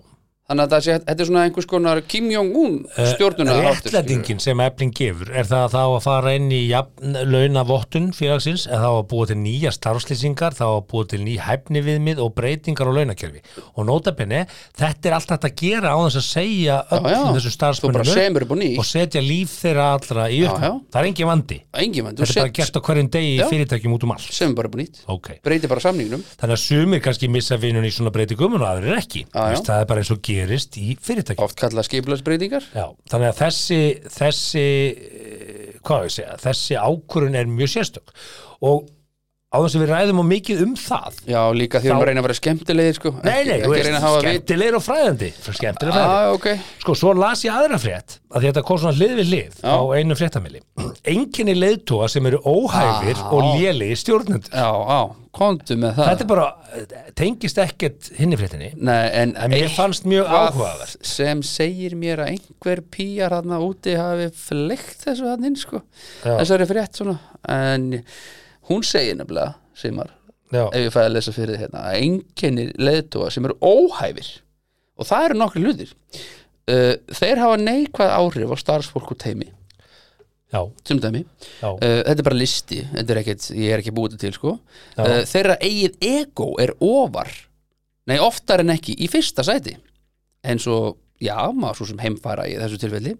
Speaker 2: þannig að það sé, þetta er svona einhvers konar Kim Jong-un stjórnuna
Speaker 3: Eh, réttlætingin sem efling gefur er það að það á að fara inn í jafn, launavottun félagsins eða það á að búa til nýja starfslýsingar það á að búa til ný hæfni viðmið og breytingar á launakerfi og nótabenni þetta er allt hægt að gera á þess að segja öllum
Speaker 2: þú
Speaker 3: þessu
Speaker 2: bara
Speaker 3: starfsmönnum upp
Speaker 2: semur upp og ný
Speaker 3: og setja líf þeirra allra í
Speaker 2: Já,
Speaker 3: upp
Speaker 2: já.
Speaker 3: það er engin vandi
Speaker 2: engin menn, þú
Speaker 3: þetta er bara
Speaker 2: set,
Speaker 3: gert á hverjum degi í
Speaker 2: Já.
Speaker 3: fyrirtækjum út um allt
Speaker 2: semur bara upp og nýtt
Speaker 3: okay.
Speaker 2: breytir bara samningnum
Speaker 3: þannig að sumir kannski missa vinnun í svona breytingum og aðrir ekki
Speaker 2: já.
Speaker 3: Veist, það er bara eins og gerist í fyrirtækjum
Speaker 2: oft kallað skipulagsbreytingar
Speaker 3: já. þannig að þessi þessi, eh, hvað á ég að segja þessi ákvörun er mjög sérstök og á þess að við ræðum og mikið um það
Speaker 2: já, líka því
Speaker 3: Þá-
Speaker 2: að reyna að vera skemmtilegir sko.
Speaker 3: Nei, nei,
Speaker 2: ekki,
Speaker 3: þú
Speaker 2: ekki
Speaker 3: veist,
Speaker 2: reyna að hafa vit
Speaker 3: skemmtilegir og fræðandi Skemmtilegir og fræðandi
Speaker 2: ah, okay.
Speaker 3: Sko, svo las ég aðra frétt að því þetta kom svona hlið við hlið á einu fréttamili. Enginni leiðtóa sem eru óhæfir
Speaker 2: Á.
Speaker 3: og léli stjórnendur.
Speaker 2: já, á, komdu með það
Speaker 3: Þetta er bara, tengist ekkert hinni fréttinni.
Speaker 2: Nei, en,
Speaker 3: En mér fannst mjög
Speaker 2: eitthvað
Speaker 3: áhugavert.
Speaker 2: sem segir mér að einhver pýjar þarna úti hafi fleikt þessu þarna inn sko.
Speaker 3: Já.
Speaker 2: þessari frétt svona en hún segir nefnilega Simar,
Speaker 3: Já,
Speaker 2: ef ég fæði að lesa fyrir þig hérna að einkennir leðtóa sem eru óhæfir og það eru nokkri hlutir uh, þeir hafa neikvæð áhrif á starfsfólk og teimi
Speaker 3: já,
Speaker 2: sem dæmi, uh,
Speaker 3: já,
Speaker 2: þetta er bara listi þetta er ekkit, ég er ekki búið þetta til sko
Speaker 3: Já.
Speaker 2: uh, þeirra eigið ego er ofar nei oftar en ekki í fyrsta sæti eins og já, maður svo sem heimfara í þessu tilfelli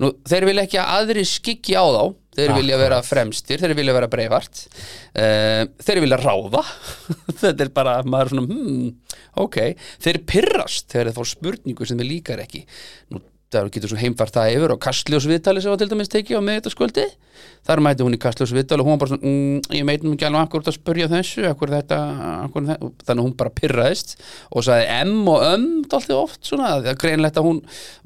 Speaker 2: Nú, þeir vilja ekki að aðri skikki á þá þeir vilja vera fremstir, þeir vilja vera breifart uh, þeir vilja ráða <laughs> þetta er bara, maður er svona hmm, ok, þeir pirrast þegar þeir fá spurningu sem þeir líkar ekki nú, það getur svo heimfært það yfir og kastljósviðtali sem var til dæmis tekið á miðvitaðskvöldi þar mæti hún í kastljósviðtali og hún var bara svona mmm, ég meitum ekki alveg akkur út að spurja þessu akkur þetta, akkur þetta og þannig að hún bara pirraðist og sagði M og M alltaf oft svona, það er greinlegt að hún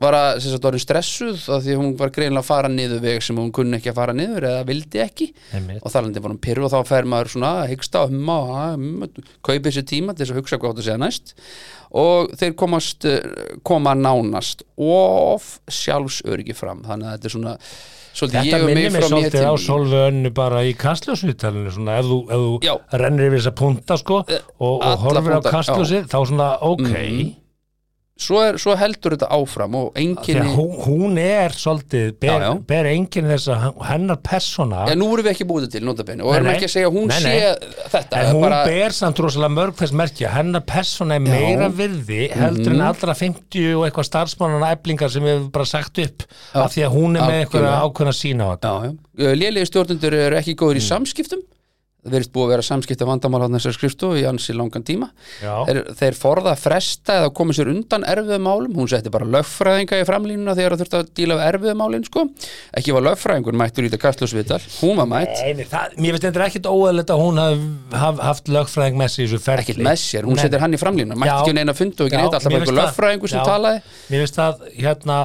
Speaker 2: var að, sem sagt, orðin stressuð af því að hún var greinlega að fara niður veg sem hún kunni ekki að fara niður eða vildi ekki
Speaker 3: einmitt.
Speaker 2: og þarlandi var hún pyrru og þá fer maður svona að hyggsta og humma og að, mm, kaupi sér tíma til þess að hugsa hvað átt að segja næst og þeir komast, eh, koma nánast of sjálfsöryggi fram þannig að þetta er svona svolítið
Speaker 3: Þetta
Speaker 2: ég og mig
Speaker 3: minnir mig
Speaker 2: frá mér
Speaker 3: svolítið á
Speaker 2: til
Speaker 3: Solvi Önnu bara í kastljósvitalinu svona ef þú, ef
Speaker 2: Já. Eh,
Speaker 3: þú rennir yfir þessa punta sko og, og
Speaker 2: alla Mhm,
Speaker 3: horfir á
Speaker 2: punkta, já.
Speaker 3: kastljósið þá svona ok
Speaker 2: svo, er, svo heldur þetta áfram og
Speaker 3: Þegar
Speaker 2: enginni
Speaker 3: hún, hún er svolítið, ber,
Speaker 2: Já, já.
Speaker 3: ber enginn þess að hennar persóna
Speaker 2: Já, nú erum við ekki búið þetta til notabenni og erum
Speaker 3: Nei, nei.
Speaker 2: ekki að segja að hún
Speaker 3: Nei,
Speaker 2: sé
Speaker 3: nei.
Speaker 2: þetta
Speaker 3: en hún
Speaker 2: bara,
Speaker 3: ber samt rosalega mörg þess merkja hennar persóna er meira virði heldur
Speaker 2: Mhm.
Speaker 3: en allra 50 og eitthvað starfsmannana eflingar sem við bara sagt upp af því að hún er með einhverja
Speaker 2: Algjörlega.
Speaker 3: ákveðna sína á þetta
Speaker 2: já, já. Lélegi stjórnundur eru ekki góður í
Speaker 3: Mm.
Speaker 2: samskiptum það verðist búið að vera samskipta vandamál á þessar skriftu í ansi langan tíma
Speaker 3: Já.
Speaker 2: þeir, þeir forða að fresta eða komið sér undan erfiðum málum hún setti bara lögfræðinga í framlínuna þegar það þurfti að díla við erfiðum málin sko. ekki var lögfræðingur mættur í þetta kastljósvital hún var mætt,
Speaker 3: Nei, nei, það, mér finnst þetta ekkit óæðilegt að hún haf, haf, haft lögfræðing með sér í þessu ferli
Speaker 2: ekkert með sér, hún setir hann í framlínuna mætti
Speaker 3: Já.
Speaker 2: ekki neina fundu og ekki
Speaker 3: Já,
Speaker 2: neitt alltaf
Speaker 3: mér
Speaker 2: bara einhver
Speaker 3: finnst það-
Speaker 2: lögfræðingur sem
Speaker 3: já.
Speaker 2: talaði
Speaker 3: Mér finnst það, hérna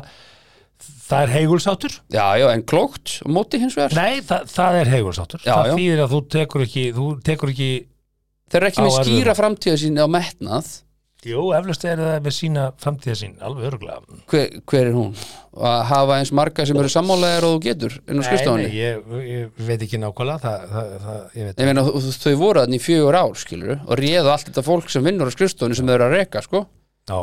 Speaker 3: það er heigulsátur
Speaker 2: já, já, en klókt á móti hins vegar
Speaker 3: Nei, það, það er heigulsátur
Speaker 2: Já,
Speaker 3: Það
Speaker 2: já.
Speaker 3: þýðir að þú tekur ekki, þú tekur ekki
Speaker 2: þeir eru ekki
Speaker 3: Á
Speaker 2: með
Speaker 3: erfiðum.
Speaker 2: skýra framtíða sín á metnað
Speaker 3: Jú, eflaust er það með sína framtíða sín alveg örgulega
Speaker 2: hver, hver er hún? Að hafa eins marga sem eru sammálaðar og þú getur inn á skrifstofunni
Speaker 3: ég, ég veit ekki nákvæmlega það, það, það, ég veit
Speaker 2: Ég meina, þú- þú- þau voru þannig í fjögur ár, skilur og réðu allt þetta fólk sem vinnur á skrifstofunni sem þau eru að reka, sko
Speaker 3: Já,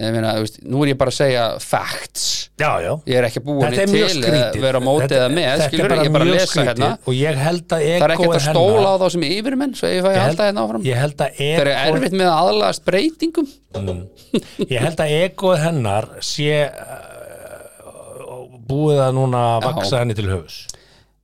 Speaker 2: Ég meina, þú veist, nú er ég bara að segja facts
Speaker 3: já, já.
Speaker 2: Ég er ekki búin
Speaker 3: Þetta er
Speaker 2: til
Speaker 3: mjög
Speaker 2: að
Speaker 3: skrítið
Speaker 2: vera á móti eða með,
Speaker 3: Þetta
Speaker 2: skilur, ég er bara að
Speaker 3: mjög
Speaker 2: lesa
Speaker 3: skrítið
Speaker 2: hérna
Speaker 3: Og ég held að
Speaker 2: Það er ekkert
Speaker 3: ekoð
Speaker 2: að stóla á þá sem yfirmenn svo ég fæ
Speaker 3: Ég held-
Speaker 2: alltaf hérna áfram
Speaker 3: Ég held að
Speaker 2: Það er
Speaker 3: ekkoð
Speaker 2: erfitt með að aðlagast breytingum
Speaker 3: Ég held að egoð hennar sé uh, búið að núna vaksa henni til höfus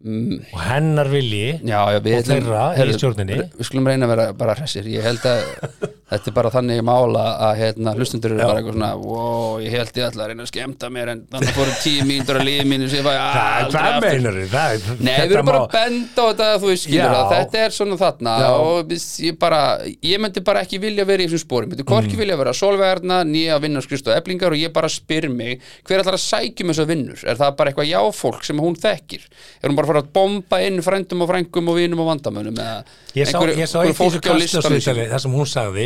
Speaker 3: og hennar vilji
Speaker 2: Mm. Já, já, við
Speaker 3: Og þeirra í
Speaker 2: heyrðu,
Speaker 3: stjórninni.
Speaker 2: Við skulum reyna að vera bara hressir Ég held
Speaker 3: <laughs>
Speaker 2: að þetta er bara þannig mála að hérna, hlustundur eru bara eitthvað svona wow, ég held ég ætla að reyna að skemmta mér en þannig fóru tíu mínútur að liði mínu sem ég fæ
Speaker 3: Það-
Speaker 2: aldrei
Speaker 3: Hvað
Speaker 2: aftur.
Speaker 3: meinar þið? Það-
Speaker 2: Nei,
Speaker 3: þetta
Speaker 2: við erum bara
Speaker 3: má-
Speaker 2: að benda á þetta þú veist, skilur
Speaker 3: Já.
Speaker 2: það, þetta er svona þarna
Speaker 3: Já.
Speaker 2: og viss- ég bara, ég myndi bara ekki vilja vera í þessum spórum, myndi korki
Speaker 3: Mhm.
Speaker 2: vilja vera solverðna, nýja vinna skristu og eblingar og ég bara spyr mig, hver ætlar að sækjum þessar vinnur, er það bara eitthvað jáfólk sem hún þekkir, er hún bara að fara að bomba inn frændum og frængum og vinum og vandamönnum eða
Speaker 3: Ég sá, ég sá eitt í þessu
Speaker 2: fólki á listanum
Speaker 3: kastljósviðtali þar sem hún sagði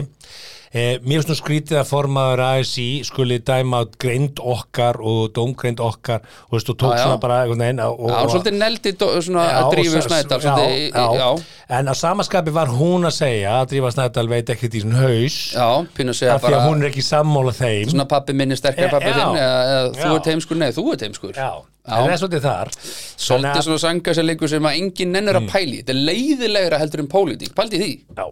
Speaker 3: eh, Mér finnst nú skrítið að formaður ASI skuli dæma át greind okkar og dómgreind okkar og, veist, og tók
Speaker 2: Já, já.
Speaker 3: svona bara einhvern veginn og,
Speaker 2: Já, hún svolítið neldi dó- svona
Speaker 3: Já,
Speaker 2: að
Speaker 3: og
Speaker 2: drífu
Speaker 3: sa-
Speaker 2: snædal
Speaker 3: já,
Speaker 2: svolítið, í- í-
Speaker 3: já. En á samaskapi var hún að segja að Drífa Snædal veit ekkert í svona haus
Speaker 2: já, já, pínu að segja
Speaker 3: af því að
Speaker 2: bara
Speaker 3: hún er ekki sammála þeim
Speaker 2: svona pappi minni sterkar
Speaker 3: Já,
Speaker 2: pappi þinn
Speaker 3: já.
Speaker 2: eða, eða þú
Speaker 3: Já.
Speaker 2: ert heimskur, nei þú ert heimskur
Speaker 3: Já, en það er svolítið þar Þannig
Speaker 2: Svolítið
Speaker 3: að-
Speaker 2: svona sangasalegur sem að enginn nennir að pæli Þetta er leiðilegra heldur en pólitík Pældi því?
Speaker 3: Já,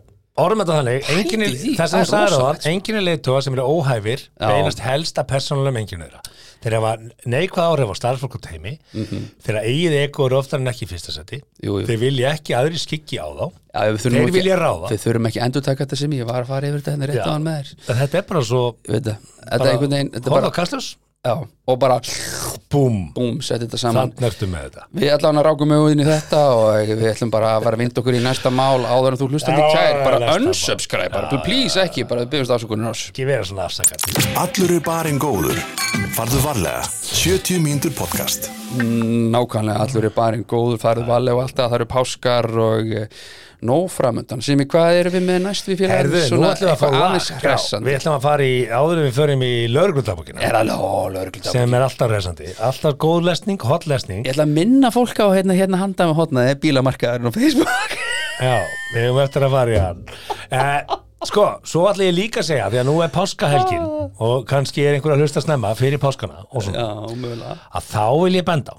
Speaker 3: orðum þetta þannig
Speaker 2: Pældi
Speaker 3: enginn er-
Speaker 2: því,
Speaker 3: Það
Speaker 2: það
Speaker 3: sem hún
Speaker 2: er
Speaker 3: sagði á
Speaker 2: rosalegt,
Speaker 3: það, enginn er leiðtóa sem eru óhæfir
Speaker 2: Já.
Speaker 3: beinast helst að persónulegum enginn þeirra Þeir hafa neikvað áhrif á starffólk og teimi Þeirra eigið ego eru oftar en ekki í fyrsta seti
Speaker 2: Mhm. Jú, jú.
Speaker 3: Þeir vilja ekki aðri skikki á þá
Speaker 2: Já, við þurfum
Speaker 3: Þeir
Speaker 2: ekki-
Speaker 3: vilja ráða.
Speaker 2: Við þurfum ekki að endurtaka þetta sem ég var að fara yfir þetta henni rétt á hann með þér
Speaker 3: En Þetta er bara svo
Speaker 2: Ég veit það. Þetta er
Speaker 3: bara,
Speaker 2: einhvern veginn þetta er
Speaker 3: Horfa
Speaker 2: bara,
Speaker 3: á kastljós,
Speaker 2: já, Og bara,
Speaker 3: búm
Speaker 2: búm, setja þetta saman
Speaker 3: Þannig ertu með þetta
Speaker 2: Við allan að rákum auðin í þetta og við ætlum bara að fara að vinda okkur í næsta mál áður en þú hlustandi
Speaker 3: Já,
Speaker 2: kær, bara
Speaker 3: næsta mál.
Speaker 2: unsubscribe bara, please ekki, bara við byggjumst afsökunin ás
Speaker 3: Ekki vera svona afsakandi
Speaker 1: Allur er barinn góður. Farðu varlega. 70 mínútur podcast.
Speaker 2: Nákvæmlega, allur er barinn góður, farið valið og allt það, það eru páskar og eh, nóg framöndan. Simi, hvað erum við með næst við félagar?
Speaker 3: Herðu, nú ætlum við að fá
Speaker 2: eitthvað aðeins
Speaker 3: lag. Já,
Speaker 2: hressandi.
Speaker 3: Við ætlum að fara í, áður en við förum í lögreglundabókina
Speaker 2: Er alveg ólörgulegt
Speaker 3: sem er alltaf resandi, alltaf góð lesning, hot lesning
Speaker 2: Ég ætla að minna fólk á hérna, hérna handað með
Speaker 3: eh,
Speaker 2: hotnaði bílamarkaðurinn á Facebook.
Speaker 3: Já, við höfum eftir að fara í hann eh, Sko, svo ætla ég líka að segja því að nú er páskahelgin og kannski er einhver að hlusta snemma fyrir páskana og svona,
Speaker 2: <laughs> Ah. Já, Mm. mögulega.
Speaker 3: að þá vil ég benda á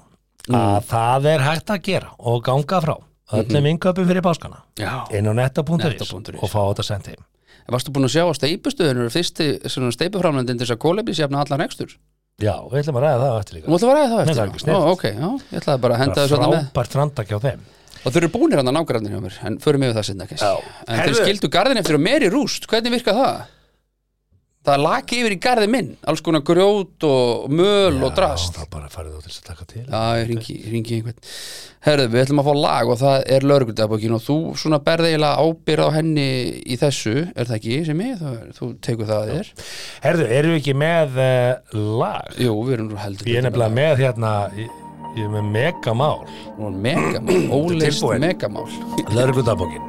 Speaker 3: að það er hægt að gera og ganga frá öllum innköpum fyrir páskana
Speaker 2: Mhm. Já.
Speaker 3: inn á netta.is
Speaker 2: Netta.is.
Speaker 3: og fá þetta sent heim
Speaker 2: En Varstu búin að sjá að steipustöðun eru fyrsti steipuframlendin til þess að kólefis jafna allan rekstur?
Speaker 3: Já, við ætlum að ræða það á eftir líka
Speaker 2: Þú ætla að ræða það
Speaker 3: Nei, það
Speaker 2: eftir?
Speaker 3: er ekki
Speaker 2: Ó,
Speaker 3: snilt.
Speaker 2: ok, já, ég ætlaði bara að henda þessu þarna með.
Speaker 3: frábært randak hjá þeim
Speaker 2: Og þau eru búinir hann að nágrannir hjá mér, en förum yfir það sinna, kannski.
Speaker 3: Já.
Speaker 2: En þeir
Speaker 3: Herðu.
Speaker 2: skildu garðin eftir og meiri rúst, hvernig virka það? Það er laki yfir í garðin minn, alls konar grjót og möl og drast.
Speaker 3: Já, þá bara farið þú til þess að taka til
Speaker 2: Já, ég ringi, ég ringi einhvern. Herðu, við ætlum að fá lag og það er lögreglutabókin og þú svona berði eiginlega ábyrð á henni í þessu, er það ekki, sem ég? Þú, þú tekur það að þér.
Speaker 3: Herðu, eru við ekki með uh, lag?
Speaker 2: Jú, við erum nú heldur.
Speaker 3: Ég er nefnilega með hérna ég, ég er með megamál
Speaker 2: Nú er megamál, óleist
Speaker 3: tilbúin.
Speaker 2: megamál.
Speaker 3: Lörglundabókin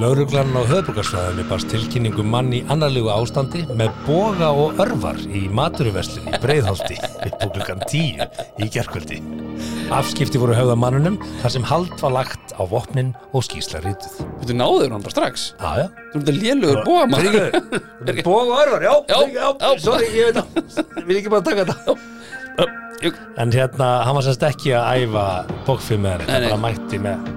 Speaker 3: Lörglann á höfbrukarsvæðinu barst tilkynningu um mann í annarlegu ástandi með boga og örvar í maturuveslinni í Breiðholti upp á klukkan 10 í gerkvöldi. Afskipti voru höfða mannunum þar sem hald var lagt á vopnin og skýrsla rítið.
Speaker 2: Þú náður hann bara strax
Speaker 3: Já, já.
Speaker 2: Þú ert að lélugur búa maður
Speaker 3: Fyrirgefðu. Bóg og örvar, já,
Speaker 2: Já,
Speaker 3: já,
Speaker 2: já.
Speaker 3: sorry, ég veit það. Ég vil ekki bara taka þetta.
Speaker 2: Jú,
Speaker 3: En hérna, hann var semst ekki að æfa bókfilm með þetta,
Speaker 2: Nei, nei.
Speaker 3: bara mætti með.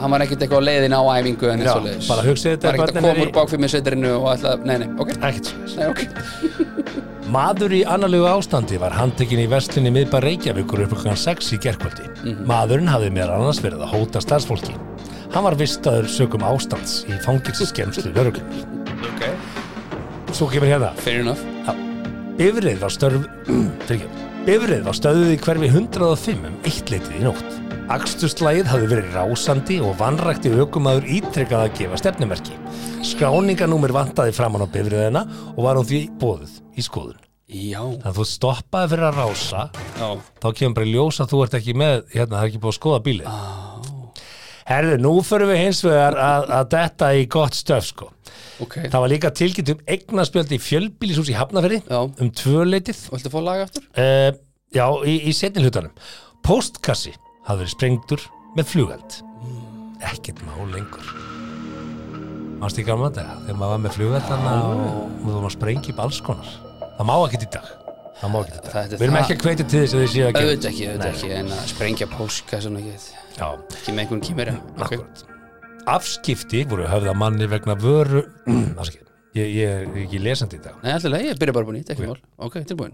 Speaker 2: Hann var ekkert eitthvað á leiðin á æfingu en eins
Speaker 3: Já,
Speaker 2: og leiðis
Speaker 3: bara hugsið þetta,
Speaker 2: Var ekkert
Speaker 3: hvernig
Speaker 2: að koma
Speaker 3: er í-
Speaker 2: úr bakfimmis sveitirinu og alltaf Nei, nei, ok,
Speaker 3: Ekkert svo
Speaker 2: nei, ok
Speaker 3: Maður í annarlegu ástandi var handtekinn í veslinni miðbæ Reykjavíkur upp okkur 6 í gerkvöldi.
Speaker 2: Mhm.
Speaker 3: Maðurinn hafði meðal annars verið að hóta starfsfólki. Hann var vistaður sögum ástands í fangilsiskemslu lögreglum.
Speaker 2: Ok,
Speaker 3: Svo kemur hérna.
Speaker 2: fair enough
Speaker 3: Já. Bifrið var störf... <clears throat> Fyrirgefðu. Bifrið var stöðuð í hverfi 105 um eitt leitið í nótt. Akstuslægið hafði verið rásandi og vanrækti aukumaður ítrekkað að gefa stefnumerki. Skráninganúmer vantaði framann á bifriðina og var hún því bóðuð í skoðun.
Speaker 2: Já,
Speaker 3: Þannig að þú stoppaði fyrir að rása,
Speaker 2: já
Speaker 3: þá kemur bara í ljós að þú ert ekki með, hérna, það er ekki búið að skoða bílið. Herðu, nú förum við hins vegar að, að detta í gott stöf, sko.
Speaker 2: Ok,
Speaker 3: Það var líka tilkynnt um eignaspjöld í fjölbílisús í Hafnafyrði
Speaker 2: Já.
Speaker 3: um tvöleitið
Speaker 2: viltu fá laga aftur?
Speaker 3: uh, já, í, í setni hlutanum Póstkassi hafði verið sprengdur með flugeld
Speaker 2: Mm.
Speaker 3: ekkert mál lengur Mást í gamla þetta þegar maður var með flugeld þannig að þú maður sprengi upp alls konar það má ekkert í dag það má ekkert í dag
Speaker 2: Það- þetta er
Speaker 3: við erum
Speaker 2: það-
Speaker 3: ekki að hvetja til þess að þið séu að gera
Speaker 2: Auðvitað ekki, auðvitað ekki En að sprengja póska svona ekki
Speaker 3: já,
Speaker 2: Ekki með einhvern kýmur Ok,
Speaker 3: akkurat afskipti voru höfða manni vegna vöru
Speaker 2: Mm.
Speaker 3: <clears throat> afskipti, ég, ég er ekki lesandi í dag
Speaker 2: nei, alltaf leið, ég byrja bara búin í, ekki mál Ok, tilbúin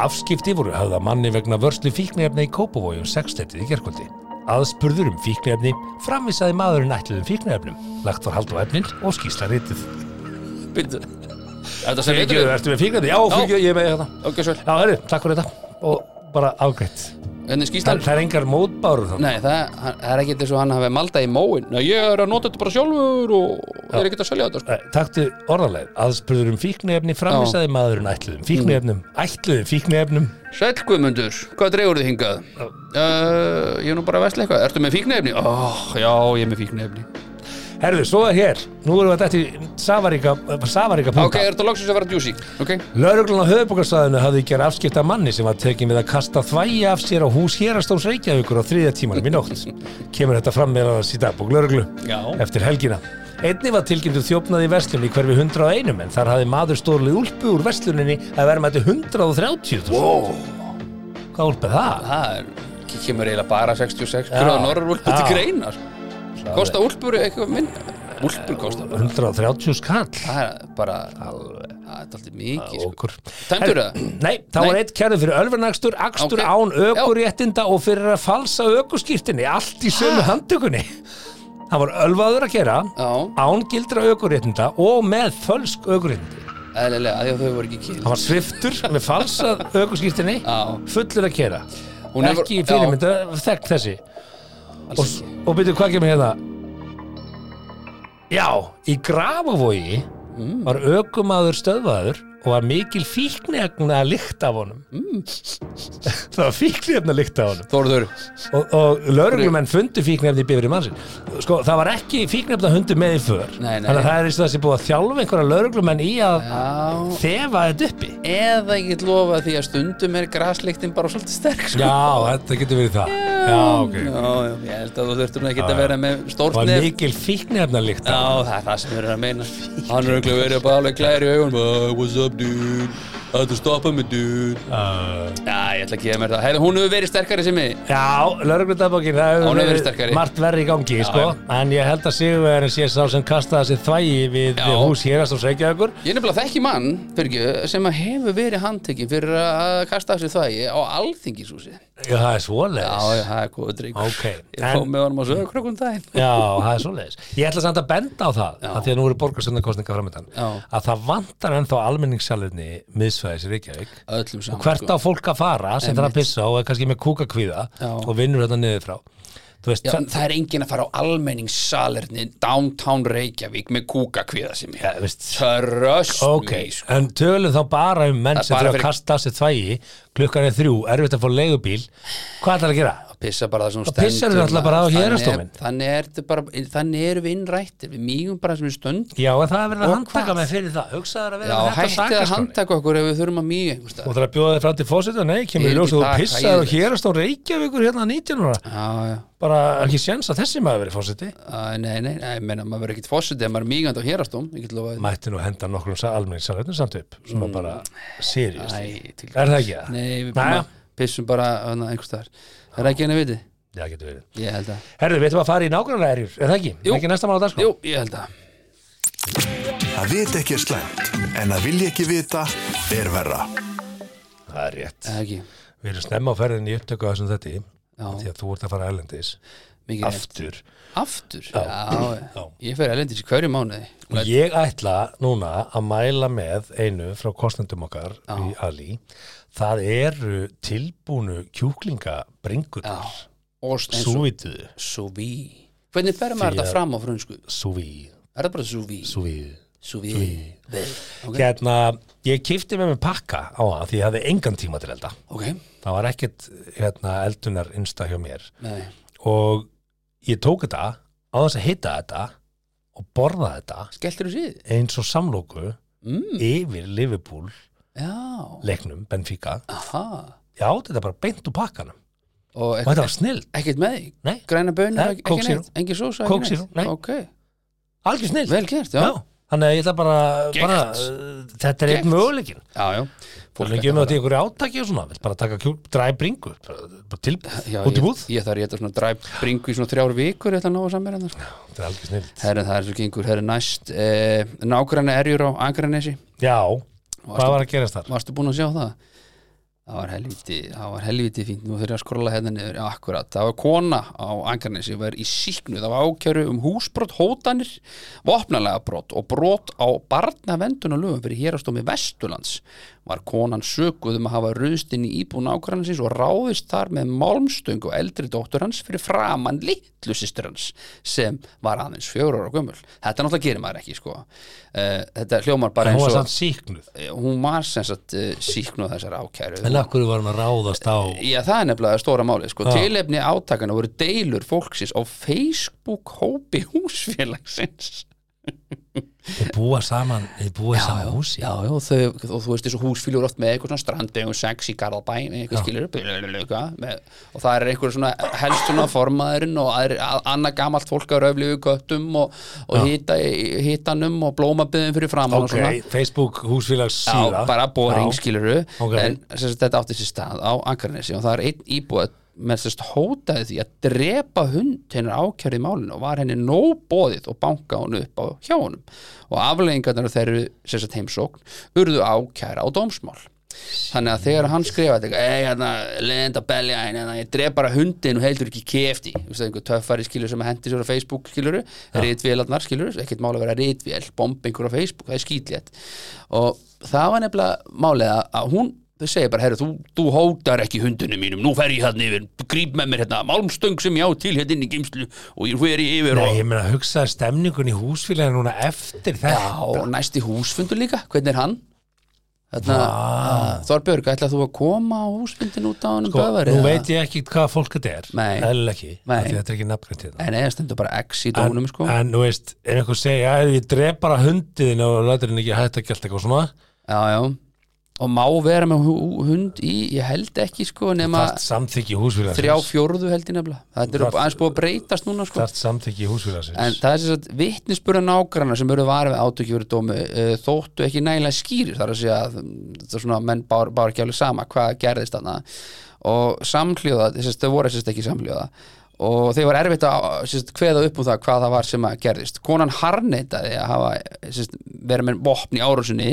Speaker 3: Afskipti voru höfða manni vegna vörslu fíknefni í Kópavogi um sextetið í gerkvöldi. Aðspurður um fíknefni framvisaði maðurinn ætluðum fíknefnum, lagt var hald á efnin og skýsla rítið.
Speaker 2: Byrju Þetta sem
Speaker 3: Fyrirgjöðu,
Speaker 2: veitur
Speaker 3: ertu með fíknefni? Já, fyrirgjöðu, ég er með þetta.
Speaker 2: Ok, svol
Speaker 3: Já, herru, takk fyrir þetta. Og bara afgreitt.
Speaker 2: Þannig
Speaker 3: Það,
Speaker 2: skýslan
Speaker 3: það er engar mótbárur þannig.
Speaker 2: Nei, það, hann- það er ekki eins og hann hafi malda í móin Nei, ég er að nota þetta bara sjálfur og ég er ekkert að selja þetta sko.
Speaker 3: Takktu orðarlega, Eh, aðspurður um fíknefni framvisaði maðurinn ætluðum fíknefnum, ætluðum fíknefnum.
Speaker 2: Sæll Guðmundur, hvað dreigur þið hingað? Uh, ég er nú bara að vesla eitthvað Ertu með fíknefni? Oh, já, ég er með fíknefni
Speaker 3: Herðu, svo er hér, nú erum við þetta í Savaríka, Savaríka
Speaker 2: Ok, er þetta loksins að vera djúsi? Ok,
Speaker 3: Lörglan á höfubokarslæðinu hafði gerð afskipta manni sem var tekin við að kasta þvægi af sér á hús hérastóms Reykjavíkur á þriðja tímanum í nótt. Kemur þetta fram með að síta bók lörglu
Speaker 2: Já.
Speaker 3: eftir helgina. Einni var tilkynntu þjófnaði í verslunni í hverfi 101 en þar hafði maður stórlið úlpu úr versluninni að vera með þetta 130. Wow. Hvað úlpa er það?
Speaker 2: það er, kemur eiginlega bara 66 gráða norður úlpur til
Speaker 3: Já.
Speaker 2: greinar Kosta úlpur eitthvað minn? Úlpur kosta bara
Speaker 3: 130 skall.
Speaker 2: Það er bara, það er alltaf mikið sko.
Speaker 3: Okkur.
Speaker 2: Tæmdur það?
Speaker 3: Nei, þá
Speaker 2: Nei.
Speaker 3: var eitt kærður fyrir ölvernakstur, akstur
Speaker 2: Ok.
Speaker 3: án ökuréttinda og fyrir að falsa ökuskýrtinni, allt í sömu handtökunni. Það var ölvaður að gera,
Speaker 2: Já,
Speaker 3: án gildra ökuréttinda og með fölsk ökuréttindi.
Speaker 2: eðlilega, af því að þau voru ekki kýl
Speaker 3: Það var sviftur með falsað ökuskýrtinni,
Speaker 2: Já.
Speaker 3: fullur að gera.
Speaker 2: Hún hefur-
Speaker 3: ekki fyrirmynda, þekk þessi. Og, s- og byrju, hvað kemur hérna? Já, í Grafavogi
Speaker 2: Mm.
Speaker 3: var ökumaður stöðvaður og var mikil fíknefna lykt af honum.
Speaker 2: Mm.
Speaker 3: <laughs> það var fíknefna lykt af honum.
Speaker 2: Þórður,
Speaker 3: Og, og lauruglumenn fundu fíknefni í bifri mannsinn. Sko, það var ekki fíknefna hundu með í för.
Speaker 2: Nei, nei.
Speaker 3: Þannig að það er eins og þessi búið að þjálfa einhverja lauruglumenn í að
Speaker 2: já
Speaker 3: þefa þetta uppi.
Speaker 2: Eða ég get lofa því að stundum er grasleiktin bara svolítið sterk sko.
Speaker 3: Já, þetta getur verið það. Já, ok.
Speaker 2: já, já, ég held að þú þurftur nú ekki að vera með
Speaker 3: Það
Speaker 2: stórt
Speaker 3: var
Speaker 2: nef
Speaker 3: mikil fíknefna lykt af
Speaker 2: Já, það er það sem við erum að meina Hann er auðvitað verið bara alveg glæri í augunum "Hey, What's up, dude? Þetta stoppa mig, dude
Speaker 3: honum.
Speaker 2: Já, ég ætla að gefa mér það Hefði hún hefur verið sterkari sem mig
Speaker 3: Já, laurugludagbókin, það
Speaker 2: Hún
Speaker 3: hefur
Speaker 2: hefur verið
Speaker 3: verið
Speaker 2: sterkari.
Speaker 3: margt verri í gangi, sko. En ég held að Sigurverðin sé sá sem kastaði sér þvægi við,
Speaker 2: Já.
Speaker 3: við hús hérast og segja okkur.
Speaker 2: Ég er nefnilega þekki mann, Byrgju, sem að hefur verið handtekinn fyrir að kasta af sér þvægi á alþingishúsi Já,
Speaker 3: Já, það er svoleiðis.
Speaker 2: já, það er góða drikk
Speaker 3: Ok,
Speaker 2: Ég fóð
Speaker 3: en-
Speaker 2: með honum á sögurkrökkum daginn
Speaker 3: Já, það er svoleiðis. Ég ætla samt að benda á það,
Speaker 2: Já.
Speaker 3: að því að nú eru borgarstöndarkostninga framöndan,
Speaker 2: Já.
Speaker 3: að það vantar ennþá almenningssalinni miðsvæðis í Reykjavík.
Speaker 2: Öllum saman
Speaker 3: Hvert á fólk að fara sem þarf að pissa og er kannski með kúkakvíða
Speaker 2: Já.
Speaker 3: og vinnur þetta niður frá. Þú veist,
Speaker 2: Já,
Speaker 3: það-
Speaker 2: en það er enginn að fara á almenningssalerni downtown Reykjavík með kúkakviða sem ég
Speaker 3: þú veist,
Speaker 2: Tröst
Speaker 3: Ok,
Speaker 2: me, sko.
Speaker 3: en tölum þá bara um menn
Speaker 2: Það er
Speaker 3: sem
Speaker 2: bara
Speaker 3: þurfa að
Speaker 2: fyrir-
Speaker 3: kasta af sér þvægi klukkan er þrjú, erfitt að fá leigubíl hvað ætlar að gera?
Speaker 2: pissa bara það sem þú
Speaker 3: Það pissar
Speaker 2: stendur,
Speaker 3: þú náttúrulega bara á
Speaker 2: maður. Þannig er-
Speaker 3: héraðsdóminn.
Speaker 2: Þannig er þetta bara, þannig erum við innrættir Við mýgum bara það sem við stönd
Speaker 3: Já, en það er verið að
Speaker 2: Og
Speaker 3: handtaka
Speaker 2: hvað?
Speaker 3: mig fyrir það Hugsaður að
Speaker 2: Já,
Speaker 3: vera með þetta
Speaker 2: hættið að
Speaker 3: sakarskráni.
Speaker 2: handtaka okkur ef við þurfum að mýga einhvers
Speaker 3: Og
Speaker 2: staðar.
Speaker 3: það er að bjóða þig fram til fósita Nei, kemur
Speaker 2: Ég
Speaker 3: í ljós
Speaker 2: veit ekki
Speaker 3: að þú
Speaker 2: það,
Speaker 3: pissaður og
Speaker 2: hræðilegt.
Speaker 3: hérast á Reykjavíkur hérna 19 ára
Speaker 2: Já, já,
Speaker 3: Bara ekki séns að þessi maður verið fósiti
Speaker 2: Æ, nei, nei, nei, ég meina, maður verður ekkit fósiti ef maður er mýgandi á hérastóm, ég get lofa
Speaker 3: Mætti nú henda nokkrum almenningssalöfnum samt upp Svona bara seriðist
Speaker 2: Mm. Æ, til-
Speaker 3: Er það ekki það?
Speaker 2: Nei, við
Speaker 3: Næja.
Speaker 2: bara pissum bara hana, einhvers staðar. Það er ekki henni viti,
Speaker 3: Já, getur verið
Speaker 2: ég held að
Speaker 3: Herðu, við ætlum að fara í nákvæmlega erjur Er það ekki?
Speaker 2: Jú.
Speaker 3: Ekki næsta mál að dagskráni?
Speaker 2: Jú, ég held að
Speaker 1: Að vita ekki er slæmt, en að vilja ekki vita er verra.
Speaker 3: Það er rétt
Speaker 2: Eða ekki,
Speaker 3: Við erum snemma á ferðinni í upptöku að þessum þetta
Speaker 2: Já.
Speaker 3: Því að þú ert að fara erlendis
Speaker 2: mikið rétt.
Speaker 3: Aftur
Speaker 2: Aftur? Já,
Speaker 3: Já.
Speaker 2: já. Ég fer erlendis í hverju mánuði
Speaker 3: Og ég ætla núna að mæla með einu frá kostendum okkar í Ali. Það eru tilbúnu kjúklingabringunar,
Speaker 2: Og s- eins og
Speaker 3: súvituðu,
Speaker 2: Súví Hvernig ber maður
Speaker 3: Því að-
Speaker 2: þetta fram á frönsku?
Speaker 3: súví,
Speaker 2: Er það bara súví?
Speaker 3: súvíðu.
Speaker 2: Súví Vel, Ok,
Speaker 3: Hérna, ég kipti með mig pakka á það því ég hafði engan tíma til elda.
Speaker 2: ok,
Speaker 3: Það var ekkit hérna, eldunar innsta hjá mér.
Speaker 2: nei
Speaker 3: Og ég tók þetta á þess að hitta þetta og borða þetta
Speaker 2: Skelltir þú síð?
Speaker 3: eins og samlóku yfir Liverpool
Speaker 2: Mm, Já,
Speaker 3: leiknum Benfica.
Speaker 2: aha
Speaker 3: Já, þetta er bara beint úr pakkanum.
Speaker 2: Og
Speaker 3: Og þetta
Speaker 2: ekk-
Speaker 3: var snill,
Speaker 2: ekkert með þig?
Speaker 3: Nei.
Speaker 2: Græna bönir,
Speaker 3: Nei,
Speaker 2: ekki
Speaker 3: Coke
Speaker 2: ekki
Speaker 3: Zero.
Speaker 2: neitt? Engin sósa,
Speaker 3: Coke
Speaker 2: ekki
Speaker 3: Zero, nei.
Speaker 2: neitt? Ok,
Speaker 3: algjör snill
Speaker 2: vel gert, já
Speaker 3: Þannig að ég ætla bara,
Speaker 2: Gert.
Speaker 3: bara uh, þetta er
Speaker 2: Gert.
Speaker 3: einn möguleikin
Speaker 2: Já, já
Speaker 3: Fólk
Speaker 2: ætti
Speaker 3: ekki um
Speaker 2: að
Speaker 3: þetta í einhverju átaki og svona vill bara taka kjúl, dræ bringu bara, bara til,
Speaker 2: Já,
Speaker 3: út í
Speaker 2: ég-
Speaker 3: búð
Speaker 2: Ég þarf að geta svona dræp bringu í svona þrjár vikur Þetta náðu samverðan þar
Speaker 3: Þetta er algjör snill
Speaker 2: Herra, það er svo gengur, herra næst eh, Nágræna erjur á Angranesi
Speaker 3: Já, hvað var að gerast þar?
Speaker 2: Varstu búin að sjá það? Það var helviti, það var helviti fínt Nú þurfið að skrolla hérna niður, já, akkurat Það var kona á Angranesi, var í síknu Það var ákjöru um húsbrot, hótanir Vopnalega brot og brot á Barnavendun og lögum fyrir hérastómi Vesturlands Var konan sökuð um að hafa ruðst inn í íbúin ákrannsins og ráðist þar með málmstöng og eldri dóttur hans fyrir framann litlu systur hans sem var aðeins fjör ára gömul Þetta náttúrulega gerir maður ekki, sko uh, Þetta hljómar bara
Speaker 3: Hún
Speaker 2: eins
Speaker 3: var
Speaker 2: og
Speaker 3: samt síknuð
Speaker 2: hún var sem sagt eh, síknuð þessar ákæru
Speaker 3: En af hverju var hún að ráðast á
Speaker 2: Já, það er nefnilega stóra máli sko. Tilefni átakana voru deilur fólksins á Facebook hópi húsfélagsins
Speaker 3: Þið búa saman, þið búa í sama húsi
Speaker 2: Já, já, þau, og þú veist þessu húsfíl eru oft með eitthvað svona strandegum sex í Garðabæ eitthvað skilur, blablabla, með, og það er eitthvað svona helst svona formaðurinn og aðri- að- annað gamalt fólk að röfli við göttum og, og hita, hitanum og blómabyðum fyrir framan og
Speaker 3: Ok,
Speaker 2: svona
Speaker 3: Facebook húsfélags síða
Speaker 2: Já, bara boring,
Speaker 3: Já.
Speaker 2: skiluru
Speaker 3: Ok.
Speaker 2: en sem sagt, þetta átti sér stað á Akarnesi og það er einn íbúð með sérst hótaði því að drepa hund hennar ákjörði í málinu og var henni nóg bóðið og banka hún upp á hjá honum og afleggingarnar af þeirri sérst heimsókn urðu ákjæra á dómsmál þannig að þegar hann skrifaði eitthvað, ei hérna, lend að belja henni hérna, ég dref bara hundin og heldur ekki kefti þú veist, einhver töffari skilur sem hendi sér á Facebook skiluru, rítvélarnar skiluru ekkert mála að vera rítvél, bomb einhver á Facebook það er skýtlétt og það var nefnilega málið að- að hún þau segir bara, herru, þú, þú hótar ekki hundinu mínum nú fer ég hann yfir, gríp með mér hérna málmstöng sem ég á til hérna inn í gimslu og ég fer ég yfir
Speaker 3: Nei,
Speaker 2: og
Speaker 3: ég meina að hugsa stemningun í húsfélaginu núna eftir þetta
Speaker 2: Já, og næsti húsfundur líka, hvernig er hann? Þarna, að- Þorbjörg, ætlaði þú að koma á húsfundin út á hann um
Speaker 3: Sko,
Speaker 2: böfari?
Speaker 3: Nú veit ég ekki hvað fólk þetta er
Speaker 2: Nei.
Speaker 3: Eðlilega ekki,
Speaker 2: Nei.
Speaker 3: af því þetta er ekki nafngrænt hérna
Speaker 2: En eða stendur bara X í
Speaker 3: en,
Speaker 2: dónum, sko
Speaker 3: en þú veist, er einhver að segja að ég dref bara hundiðin og lætur henni ekki hætt að gælt eitthvað svona
Speaker 2: Já, já Og má vera með hú- hund í, ég held ekki, sko Nema
Speaker 3: þart samþykki húsfélagsins
Speaker 2: þrjá fjórðu held ég nefnilega Þetta er
Speaker 3: Þarft-
Speaker 2: aðeins búið að breytast núna, sko
Speaker 3: þart samþykki húsfélagsins
Speaker 2: En það er sem sagt vitnisbúra nágranna sem eru varfið átökju fyrir dómi uh, þóttu ekki nægilega skýrir þar að segja að mm, þetta er svona að menn bár, bár ekki alveg sama hvað gerðist þarna og samhljóða, þess að þau voru þess að ekki samhljóða og þeir var erfitt að sérst, kveða upp um það hvað það var sem að gerðist konan harneitaði að hafa sérst, verið með vopn í árásinni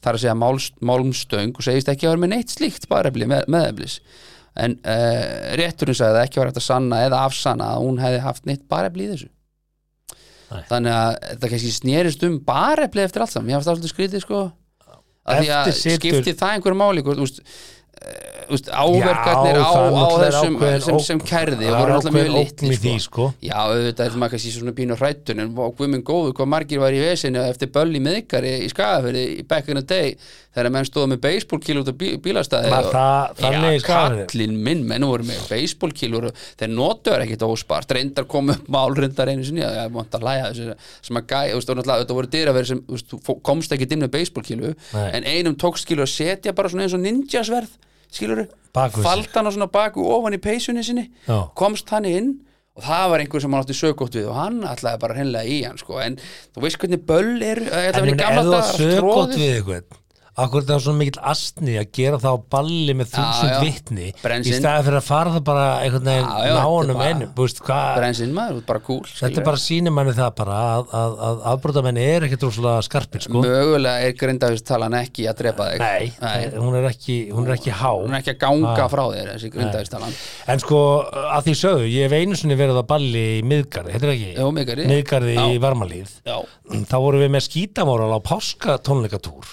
Speaker 2: þar að segja málst, málmstöng og segist ekki að vera með neitt slíkt barefli með, meðeflis en uh, rétturinn sagði að ekki var hægt að sanna eða afsanna að hún hefði haft neitt barefli í þessu þannig að þetta kannski snerist um barefli eftir allt saman, ég hafði það svolítið skrítið sko að því að
Speaker 3: Eftir situr-
Speaker 2: skipti það einhverju máli hvort, þú veist, úst, áverkarnir á,
Speaker 3: það er
Speaker 2: á
Speaker 3: náttúrulega
Speaker 2: þessum
Speaker 3: ákveðin
Speaker 2: sem,
Speaker 3: ógn-
Speaker 2: sem kærði
Speaker 3: það er
Speaker 2: voru alltaf mjög
Speaker 3: ákveðin ógn
Speaker 2: litli
Speaker 3: í því, sko.
Speaker 2: Já, auðvitað er maður kannski svona pínu hrættun en og guðminn góðu hvað margir var í vesinu eftir bölli meðikari í skafafyrði í back in the day þegar menn stóðu með baseballkíl út á bí, bílastæði
Speaker 3: Var
Speaker 2: og-
Speaker 3: það þannig í
Speaker 2: Já,
Speaker 3: Skagafirði?
Speaker 2: kallinn minn, menn voru með baseballkíl og þeir notuður ekkit óspart reyndar kom upp mál reyndar einu sinni að ég vant að læja þessu sem að gæja, þú veist, og náttúrulega þetta voru dyraveri sem þú veist, þú fó- komst ekki inn með baseballkílu
Speaker 3: Nei.
Speaker 2: en einum tókst skilur að setja bara svona eins og ninjasverð skilur,
Speaker 3: Bak við sig.
Speaker 2: faldan á svona baku ofan í peysunni sinni,
Speaker 3: Já.
Speaker 2: komst hann inn og það var einhver sem hann átti sögótt við og hann ætlaði bara hreinlega í hann sko en þú veist hvernig böll eru ég ætla að
Speaker 3: En
Speaker 2: vera í
Speaker 3: minn,
Speaker 2: gamla
Speaker 3: ef þú
Speaker 2: daga,
Speaker 3: að sögótt
Speaker 2: troðið.
Speaker 3: við eitthvað Akkur það er svona mikill astni að gera það á balli með þúsund
Speaker 2: já.
Speaker 3: vitni
Speaker 2: Brennst
Speaker 3: í
Speaker 2: inn.
Speaker 3: staði fyrir að fara það bara einhvern veginn
Speaker 2: Já, já, þetta er
Speaker 3: náunum
Speaker 2: bara-
Speaker 3: einum búist, hvað,
Speaker 2: Brensinn maður, þú ert bara cool
Speaker 3: Þetta
Speaker 2: skilurðu.
Speaker 3: bara sýnir manni það bara að, að, að afbrotamenn er ekkert rosalega skarpir sko
Speaker 2: mögulega er grindavistala ekki að drepa þig
Speaker 3: Nei, hún er ekki, hún er ekki há
Speaker 2: hún er ekki að ganga frá þér þessi grindavistalan
Speaker 3: En sko, að því sögðu, ég hef einu sinni verið að balli í miðgarði, heitir það ekki?
Speaker 2: Jú, Miðgarði.
Speaker 3: Miðgarði í
Speaker 2: Já.
Speaker 3: Varmalíð
Speaker 2: já,
Speaker 3: Þá vorum við með skítamóral á páskatónleikatúr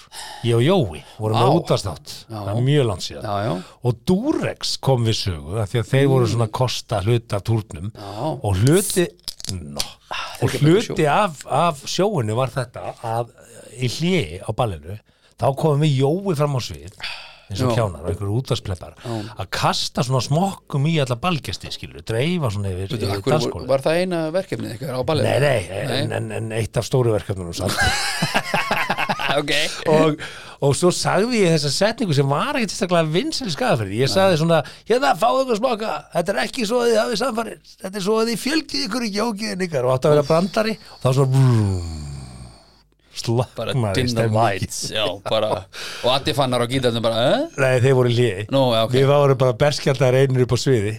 Speaker 3: Ég og Jói vorum
Speaker 2: Vá.
Speaker 3: með útastátt Það er mjög langt síðan
Speaker 2: já, já, Mm.
Speaker 3: og Durex kom við sögu af því að þeir voru svona að kosta hluta af túrnum
Speaker 2: Já. Ah,
Speaker 3: og hluti no, og
Speaker 2: ekki bara
Speaker 3: hluti af, af sjóinu var þetta að eh, í hljé á ballinu þá komum við Jói fram á svið eins og
Speaker 2: Já.
Speaker 3: kjánar og einhverju útvarspleppar að kasta svona smokkum í alla ballgesti skilur, dreifa svona yfir,
Speaker 2: Veitu, af
Speaker 3: yfir
Speaker 2: hverju
Speaker 3: danskóli
Speaker 2: var það eina verkefnið ykkar á ballið
Speaker 3: sko. Nei, nei, en, en, en eitt af stóru verkefnunum samt
Speaker 2: Ah,
Speaker 3: <laughs>
Speaker 2: ok,
Speaker 3: og, og svo sagði ég þessa setningu sem var ekkert sérstaklega vinsel í skafafyrði ég sagði svona, hérna fáðu ykkur smaka þetta er ekki svo að þið hafið samfærir þetta er svo að þið fjölgið ykkur í jókiðin ykkar og átti að vera brandari og þá svona vrúm,
Speaker 2: bara
Speaker 3: slaknaði
Speaker 2: dim the
Speaker 3: stemningin.
Speaker 2: lights já, bara, og Addi fannar á gítarnum bara, eh?
Speaker 3: Nei, þeir voru hliði
Speaker 2: Nú, já, ok.
Speaker 3: Við varum bara berskjaldar einir upp á sviði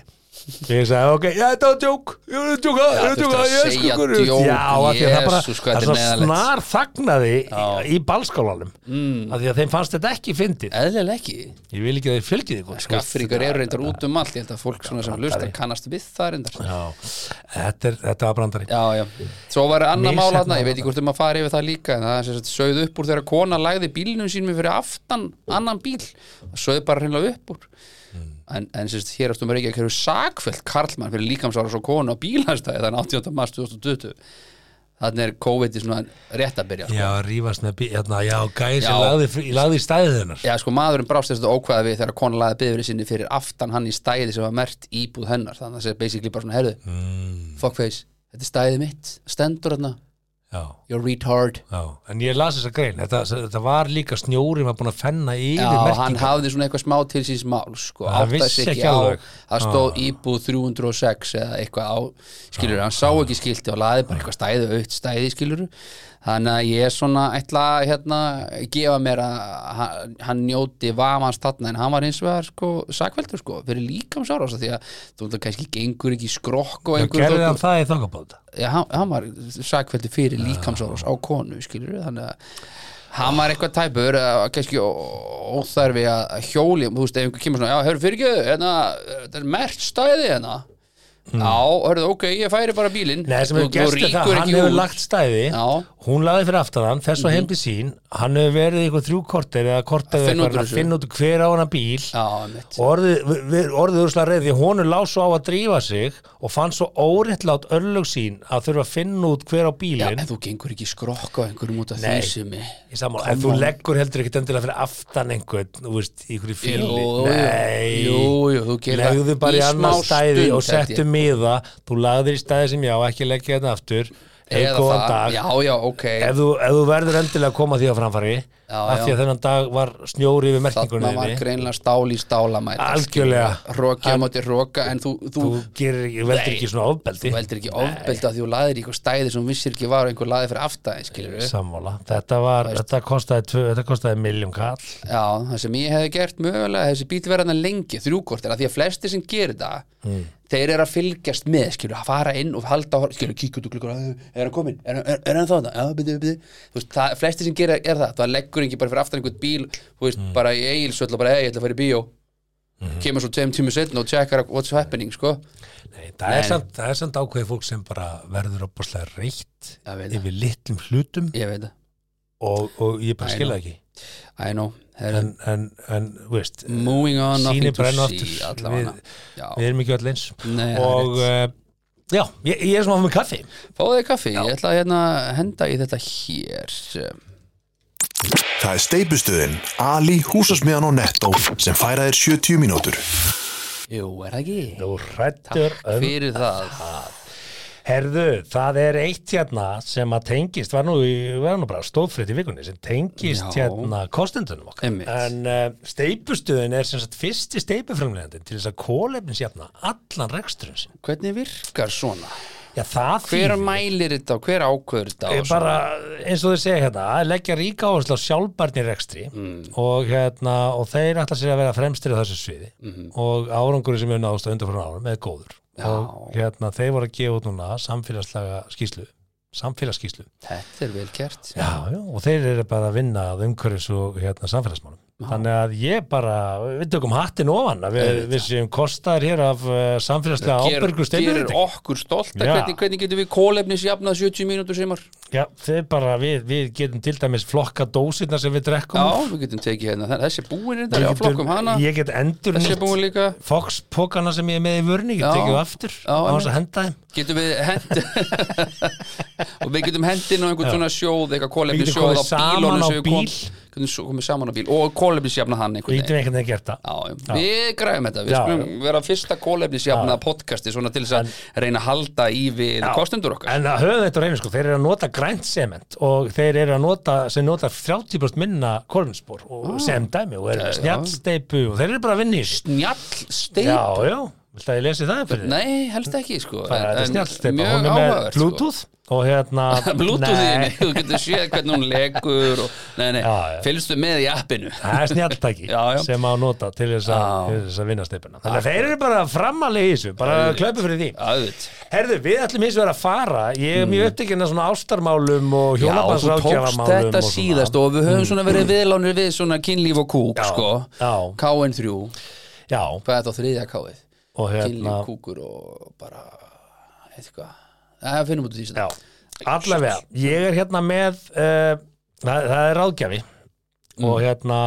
Speaker 3: Ég sagði, ok, já, þetta var djók Ég var að djóka, ég var
Speaker 2: þurfti
Speaker 3: að djóka
Speaker 2: að
Speaker 3: Ég elsku
Speaker 2: segja
Speaker 3: ykkur.
Speaker 2: djók,
Speaker 3: Já, af því að það bara
Speaker 2: Jesús, hvað þetta
Speaker 3: Það
Speaker 2: er
Speaker 3: svona
Speaker 2: neðarlegt.
Speaker 3: snar þagnaði í- í ballskálanum
Speaker 2: Mm.
Speaker 3: Af því að þeim fannst þetta ekki fyndið
Speaker 2: eðlilega ekki
Speaker 3: Ég vil ekki að þeir fjölgið ykkur sko.
Speaker 2: gaffringar eru reyndar út um allt ég held að fólk svona sem hlustar kannast við það reyndar
Speaker 3: Já, þetta, er, þetta var brandari
Speaker 2: Já, já, svo var annar mál
Speaker 3: Misheppnað
Speaker 2: aðna, ég veit ekki hvort um að fara yfir það líka en það er sem sagt sögð upp úr þegar kona lagði bílnum sínum fyrir aftan annan bíl og sögð bara hreinlega upp úr en, en sem sagt hér ástum að reykja hverju sakfelt Karlmann fyrir líkamsára svo konu á bílastæði þann 18. mars 2020 þannig er COVID í svona rétt að byrja sko.
Speaker 3: Já, rífast með bí, hérna, já, gæði
Speaker 2: Já.
Speaker 3: sem lagði, fr- lagði í stæðið hennar
Speaker 2: Já, sko, maðurinn brást þessu ókvæða við þegar kona laði bifri sinni fyrir aftan hann í stæði sem var mert íbúð hennar þannig að það sé basically bara svona herðu
Speaker 3: Mm.
Speaker 2: fuckface, þetta er stæðið mitt stendur þarna,
Speaker 3: Já,
Speaker 2: you're retard
Speaker 3: já, en ég las þessa grein Þetta, þetta var líka snjóri var búin að fenna yfir
Speaker 2: Já, hann
Speaker 3: merkingar.
Speaker 2: hafði svona eitthvað smá til síns mál sko,
Speaker 3: Hann
Speaker 2: áttaði
Speaker 3: vissi
Speaker 2: sig
Speaker 3: ekki
Speaker 2: ekki á
Speaker 3: alveg. Ah.
Speaker 2: það stóð íbúð 306 eða eitthvað á, skilur, hann
Speaker 3: Ah.
Speaker 2: sá ekki skilti og laði bara eitthvað stæði, aukt stæði skilur, þannig að ég svona ætla að hérna, gefa mér að hann- hann njóti vamans þarna en hann var eins vegar sko sakveldur sko, fyrir líkamsára því að þú veist að kannski gengur ekki í skrokk og
Speaker 3: Já,
Speaker 2: einhverjum
Speaker 3: gerði
Speaker 2: þóttum-
Speaker 3: hann það í þangabóta
Speaker 2: Já, hann, hann var sakveldi fyrir líkamsárás á konu, skilur þannig að hann var eitthvað tæpur að kannski ó- óþarfi að hjóli, þú veist, ef einhver kemur svona já, hörðu fyrirgjöðu, hérna, þetta er mert stæði hérna já, hörðu, ok, ég færi bara bílinn
Speaker 3: Hmm. Nei, sem hefur
Speaker 2: Þú- þú
Speaker 3: gert er það,
Speaker 2: rýkur
Speaker 3: hann
Speaker 2: ekki
Speaker 3: hefur
Speaker 2: út.
Speaker 3: lagt stæði
Speaker 2: Já. Mhm.
Speaker 3: hún lagði fyrir aftan hann, þess og heim til sín hann hefur verið í eitthvað þrjú korter eða korter
Speaker 2: Að
Speaker 3: eða
Speaker 2: finna út
Speaker 3: eitthvað,
Speaker 2: úr
Speaker 3: að
Speaker 2: þessu.
Speaker 3: finna út hver á hana bíl
Speaker 2: já, mitt,
Speaker 3: og orðið, við- við- orðið úrslega reyð því hún er lág svo á að drífa sig og fann svo óréttlát örlög sín að þurfa að finna út hver á
Speaker 2: já,
Speaker 3: bílinn
Speaker 2: en þú gengur ekki í skrokk á einhverjum út af því
Speaker 3: Nei.
Speaker 2: sem er-
Speaker 3: Ég sammála, en þú leggur heldur ekkit endilega fyrir aftan einhvern, þú veist, í hverju fíli
Speaker 2: Jú, jú.
Speaker 3: Nei,
Speaker 2: Jú, jú, þú gerir það
Speaker 3: legðu bara
Speaker 2: í
Speaker 3: í annað
Speaker 2: smá
Speaker 3: stæði
Speaker 2: stund,
Speaker 3: og
Speaker 2: held ég.
Speaker 3: settu miða þú lagðir í stæði sem já, ekki leggja þetta aftur eða
Speaker 2: eða
Speaker 3: góðan
Speaker 2: það,
Speaker 3: dag
Speaker 2: já, já, ok
Speaker 3: ef þú, ef þú verður endilega að koma því á framfæri
Speaker 2: Já,
Speaker 3: af því
Speaker 2: já.
Speaker 3: að þennan dag var snjóri yfir
Speaker 2: þarna var
Speaker 3: merkingunni
Speaker 2: greinlega stál í stála mæta
Speaker 3: Algjörlega.
Speaker 2: roki á móti roka, en þú, þú
Speaker 3: þú gerir, ekki- veldur
Speaker 2: Nei.
Speaker 3: ekki svona ofbeldi
Speaker 2: þú heldur ekki ofbelda því þú laðir í eitthvað stæði sem þú vissir ekki var og einhver laði fyrir aftæði skilur við
Speaker 3: sammála, þetta var, þetta kostaði tvö, þetta kostaði miljón kall
Speaker 2: Já, það sem ég hefði gert mögulega þessi bíl verðan lengi, þrjúkortir að því að flesti sem gerir það þeir eru að fylgjast með, skilur, að fara inn og halda, á- skilur, kíkja út og glukkur er hann kominn, er, er, er hann þá það, já, byrju, byrju þú veist, það, flesti sem gerir er það það leggur ekki bara fyrir aftan einhvern bíl þú veist, bara í eigilsöll og bara, hei, ég ætla að fara í bíó kemur svo tveim tími setna og tjekkar what's happening, sko
Speaker 3: Nei, það, Er samt, það er samt ákveðið fólk sem bara verður opaslega reitt
Speaker 2: Já, veit það.
Speaker 3: yfir litlum hlutum
Speaker 2: ég veit það
Speaker 3: og, og ég bara
Speaker 2: Æ,
Speaker 3: skilja ekki
Speaker 2: I know,
Speaker 3: en, en, en þú veist
Speaker 2: Moving on,
Speaker 3: síni
Speaker 2: nothing to
Speaker 3: brenna
Speaker 2: see,
Speaker 3: aftur
Speaker 2: allavega.
Speaker 3: við,
Speaker 2: Já.
Speaker 3: við erum ekki öll eins
Speaker 2: Nei, það er
Speaker 3: og uh, já, ég, ég er svona með kaffi
Speaker 2: Fáðu þig kaffi, ég ætla að hérna, henda í þetta hér
Speaker 1: Það er steipustuðin Ali, húsasmiðan og Netto sem færa þér 70 mínútur.
Speaker 2: Jú, er það ekki?
Speaker 3: þú rættur um
Speaker 2: Fyrir það
Speaker 3: herðu, það er eitt hérna sem að tengist, var nú, í- var nú bara stóðfrétt í vikunni, sem tengist
Speaker 2: Já.
Speaker 3: hérna kostendunum okkar
Speaker 2: Einmitt.
Speaker 3: en uh, steipustuðin er sem sagt fyrsti steipuframlegandi til þess að kólefnins hérna allan reksturinn sinn
Speaker 2: Hvernig virkar svona?
Speaker 3: já, það
Speaker 2: Hver
Speaker 3: þýðir-
Speaker 2: mælir þetta og hver ákveður þetta?
Speaker 3: Ég
Speaker 2: og svona?
Speaker 3: bara, eins og þau segja hérna, að leggja ríka áherslu á sjálfbarni rekstri
Speaker 2: Mm.
Speaker 3: og, hérna, og þeir ætla sér að vera fremstir á þessu sviði
Speaker 2: Mhm.
Speaker 3: og árangur sem hefur náðst á undanfórum árum er góður og hérna, þeir voru að gefa út núna samfélagslega skýslu samfélagsskýslu
Speaker 2: Þetta er vel gert
Speaker 3: já, já, og þeir eru bara að vinna að umhverfis og hérna, samfélagsmálum þannig að ég bara, við tökum hattin ofan að við, við séum kostaðir hér af uh, samfélagslega
Speaker 2: Ger-
Speaker 3: ábyrgu
Speaker 2: Gerir
Speaker 3: steinurinding
Speaker 2: okkur stolt
Speaker 3: Já.
Speaker 2: hvernig, hvernig getum við kólefnisjafnað 70 mínútur simar?
Speaker 3: já, þeir bara, við, við getum til dæmis flokka dósirna sem við drekkum
Speaker 2: Já, við getum tekið hérna þennan- Þessi búin er þetta,
Speaker 3: Ég
Speaker 2: já,
Speaker 3: get-
Speaker 2: flokkum hana
Speaker 3: ég get endur
Speaker 2: Þessi er búin líka
Speaker 3: fokspokana sem ég er með í vörni ég
Speaker 2: Já.
Speaker 3: get tekið þau aftur
Speaker 2: Já,
Speaker 3: á þess
Speaker 2: einmitt.
Speaker 3: að henda þeim
Speaker 2: Getum við hend <laughs> Og við getum hendin á einhvern svona sjóð Eitthvað
Speaker 3: Við
Speaker 2: kólefni
Speaker 3: getum
Speaker 2: sjóð á
Speaker 3: komið saman
Speaker 2: bílunum
Speaker 3: á
Speaker 2: sem við kom-
Speaker 3: bíl.
Speaker 2: Getum svo- komið saman á bíl Og kólefnisjafna hann
Speaker 3: við
Speaker 2: einhvern
Speaker 3: getum einhvern veginn gert það
Speaker 2: Já, já. við græðum þetta, við
Speaker 3: Já,
Speaker 2: skulum vera fyrsta kólefnisjafnaða podcasti svona til þess að reyna að halda í við kostendur okkar
Speaker 3: en að höfum þetta á reyni sko, þeir eru að nota grænt sement og þeir eru að nota sem nota 30% minna kolminspor og
Speaker 2: Ah.
Speaker 3: sem dæmi og eru með snjallsteipu og þeir eru bara að vinna í st-
Speaker 2: Njall steip
Speaker 3: já, já, vilt að ég lesi það fyrir þig?
Speaker 2: Nei, helst ekki sko
Speaker 3: bara þetta
Speaker 2: En-
Speaker 3: er
Speaker 2: en
Speaker 3: snjallsteipa,
Speaker 2: mjög
Speaker 3: hún er með
Speaker 2: áhugavert, sko.
Speaker 3: bluetooth og hérna
Speaker 2: <laughs> Bluetooth í henni,
Speaker 3: Nei,
Speaker 2: þú getur séð hvernig hún legur og, Nei, nei,
Speaker 3: Já, já.
Speaker 2: fylgstu með í appinu
Speaker 3: það er
Speaker 2: <laughs>
Speaker 3: snjalltæki
Speaker 2: Já, já.
Speaker 3: sem á að nota til þess
Speaker 2: Já.
Speaker 3: að, til þess að vinna steipuna þannig að þeir eru bara framalega í þessu bara klöpu fyrir því
Speaker 2: Æðvitt
Speaker 3: Herðu, við ætlum hins vegar að fara Ég er mjög upptekinn af svona ástarmálum og
Speaker 2: Mm. Já, þú tókst
Speaker 3: hjónabandsrákjafamálum
Speaker 2: þetta síðast og við höfum svona verið viðlánir við svona kynlíf og kúk,
Speaker 3: Já,
Speaker 2: sko
Speaker 3: já.
Speaker 2: KN3,
Speaker 3: Já,
Speaker 2: hvað er þetta á þriðja káið?
Speaker 3: og hérna
Speaker 2: Kynlíf, kúkur og bara eitthvað, það finnum út úr því sem
Speaker 3: Já, allavega Ég er hérna með uh, það, það er ráðgjafi
Speaker 2: Mm.
Speaker 3: og hérna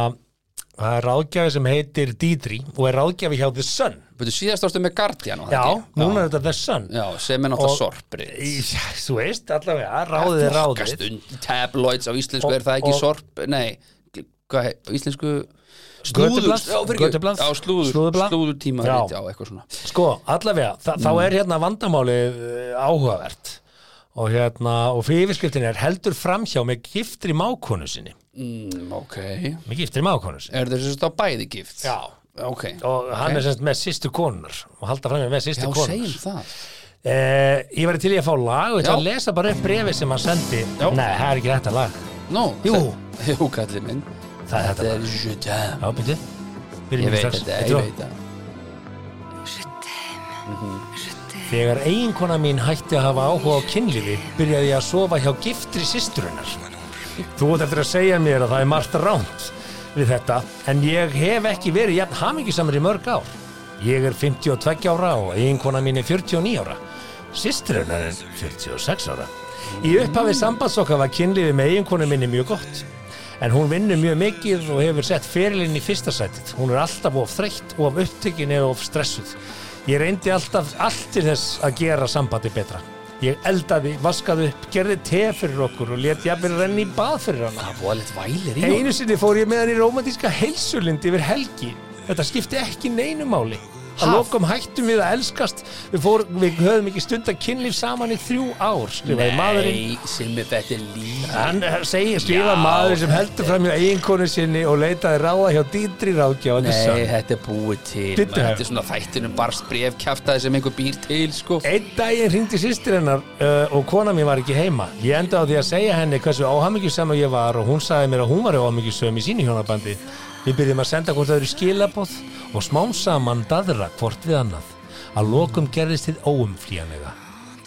Speaker 3: það er ráðgjafi sem heitir Dítri og er ráðgjafi hjá The Sun
Speaker 2: Bætu, síðast ástu með Guardian og
Speaker 3: Já,
Speaker 2: þetta
Speaker 3: núna er þetta The Sun
Speaker 2: Já, sem er náttúrulega
Speaker 3: Og-
Speaker 2: sorprið
Speaker 3: Í- <laughs> Þú veist, allavega, ráðið er ráðið
Speaker 2: Flokkastund, tabloids á íslensku
Speaker 3: Og-
Speaker 2: er það ekki
Speaker 3: og-
Speaker 2: sorp, nei hvað hei, á íslensku
Speaker 3: Götublað?
Speaker 2: já, fyrir
Speaker 3: Götublað?
Speaker 2: já, slúður,
Speaker 3: Slúðurblað?
Speaker 2: slúður tíma já.
Speaker 3: Já.
Speaker 2: eitthvað svona
Speaker 3: Sko, allavega, þa
Speaker 2: Mm.
Speaker 3: þá er hérna vandamálið eh, áhugavert og hérna, og fyrir yfirskriftin er heldur framhjá með giftri mákonu sinni
Speaker 2: mm, ok,
Speaker 3: með giftri mákonu sinni
Speaker 2: er þessi þetta á bæði gift
Speaker 3: Já.
Speaker 2: ok,
Speaker 3: og hann er semst með sýstu konunar og halda framhjá með
Speaker 2: já,
Speaker 3: sýstu
Speaker 2: segjum
Speaker 3: konunar
Speaker 2: það
Speaker 3: eh, Ég var til í að fá lag og ég
Speaker 2: Já.
Speaker 3: ætla að lesa bara upp brefi sem hann sendi
Speaker 2: Já.
Speaker 3: Nei, það er ekki þetta lag
Speaker 2: Nú,
Speaker 3: Jú.
Speaker 2: það- jú, kallið minn
Speaker 3: Það er þetta
Speaker 2: þetta
Speaker 3: lag
Speaker 2: er je t'aime
Speaker 3: Já, byrju
Speaker 2: ég
Speaker 3: Byrjum
Speaker 2: veit
Speaker 3: strax.
Speaker 2: þetta,
Speaker 3: Þetta
Speaker 2: ég
Speaker 3: var-
Speaker 2: veit það
Speaker 3: Þegar eiginkona mín hætti að hafa áhuga á kynlífi byrjaði ég að sofa hjá giftri sýsturinnar. Þú ert eftir að segja mér að það er margt ránt við þetta en ég hef ekki verið jafn hamingisamur í mörg ár. Ég er 52 ára og eiginkona mín er 49 ára. Sýsturinnar er 46 ára. Í upphafi sambandsokkar var kynlífi með eiginkonu minni mjög gott. En hún vinnur mjög mikið og hefur sett ferilinn í fyrsta sætið. Hún er alltaf of þreytt og of upptökin eða of stressuð. Ég reyndi alltaf allt til þess að gera sambandi betra. Ég eldaði, vaskaði upp, gerði te fyrir okkur og let jafnvel renni í bað fyrir hana.
Speaker 2: það var litt vælir í honum.
Speaker 3: Einu sinni fór ég með hann í romantíska heilsulind yfir helgi. Þetta skipti ekki neinu máli. Að
Speaker 2: Ha?
Speaker 3: lokum hættum við að elskast. Við, fór, við höfum ekki stund að kynlíf saman í þrjú ár, skrifaði maðurinn.
Speaker 2: nei, sem er þetta er líka
Speaker 3: Hann segir skrifa
Speaker 2: Já,
Speaker 3: maður sem heldur fram hjá eiginkonu sinni og leitaði ráða hjá dýndri ráðgjáðan
Speaker 2: Nei, þetta er búið til
Speaker 3: Bíddu, hérna.
Speaker 2: maður.
Speaker 3: hef-
Speaker 2: Þetta er svona þættinum barst brefkjaftaði sem einhver býr til sko.
Speaker 3: Einn daginn hringdi sýstir hennar uh, og kona mín var ekki heima. Ég enda á því að segja henni hversu áhamingjusam ég var og hún sagði mér að hún var áhamingjusam í sínu hjónabandi. Við byrjum að senda hvort öðru skilabóð og smám saman daðra hvort við annað. Að lokum gerðist þið óumflýjanlega.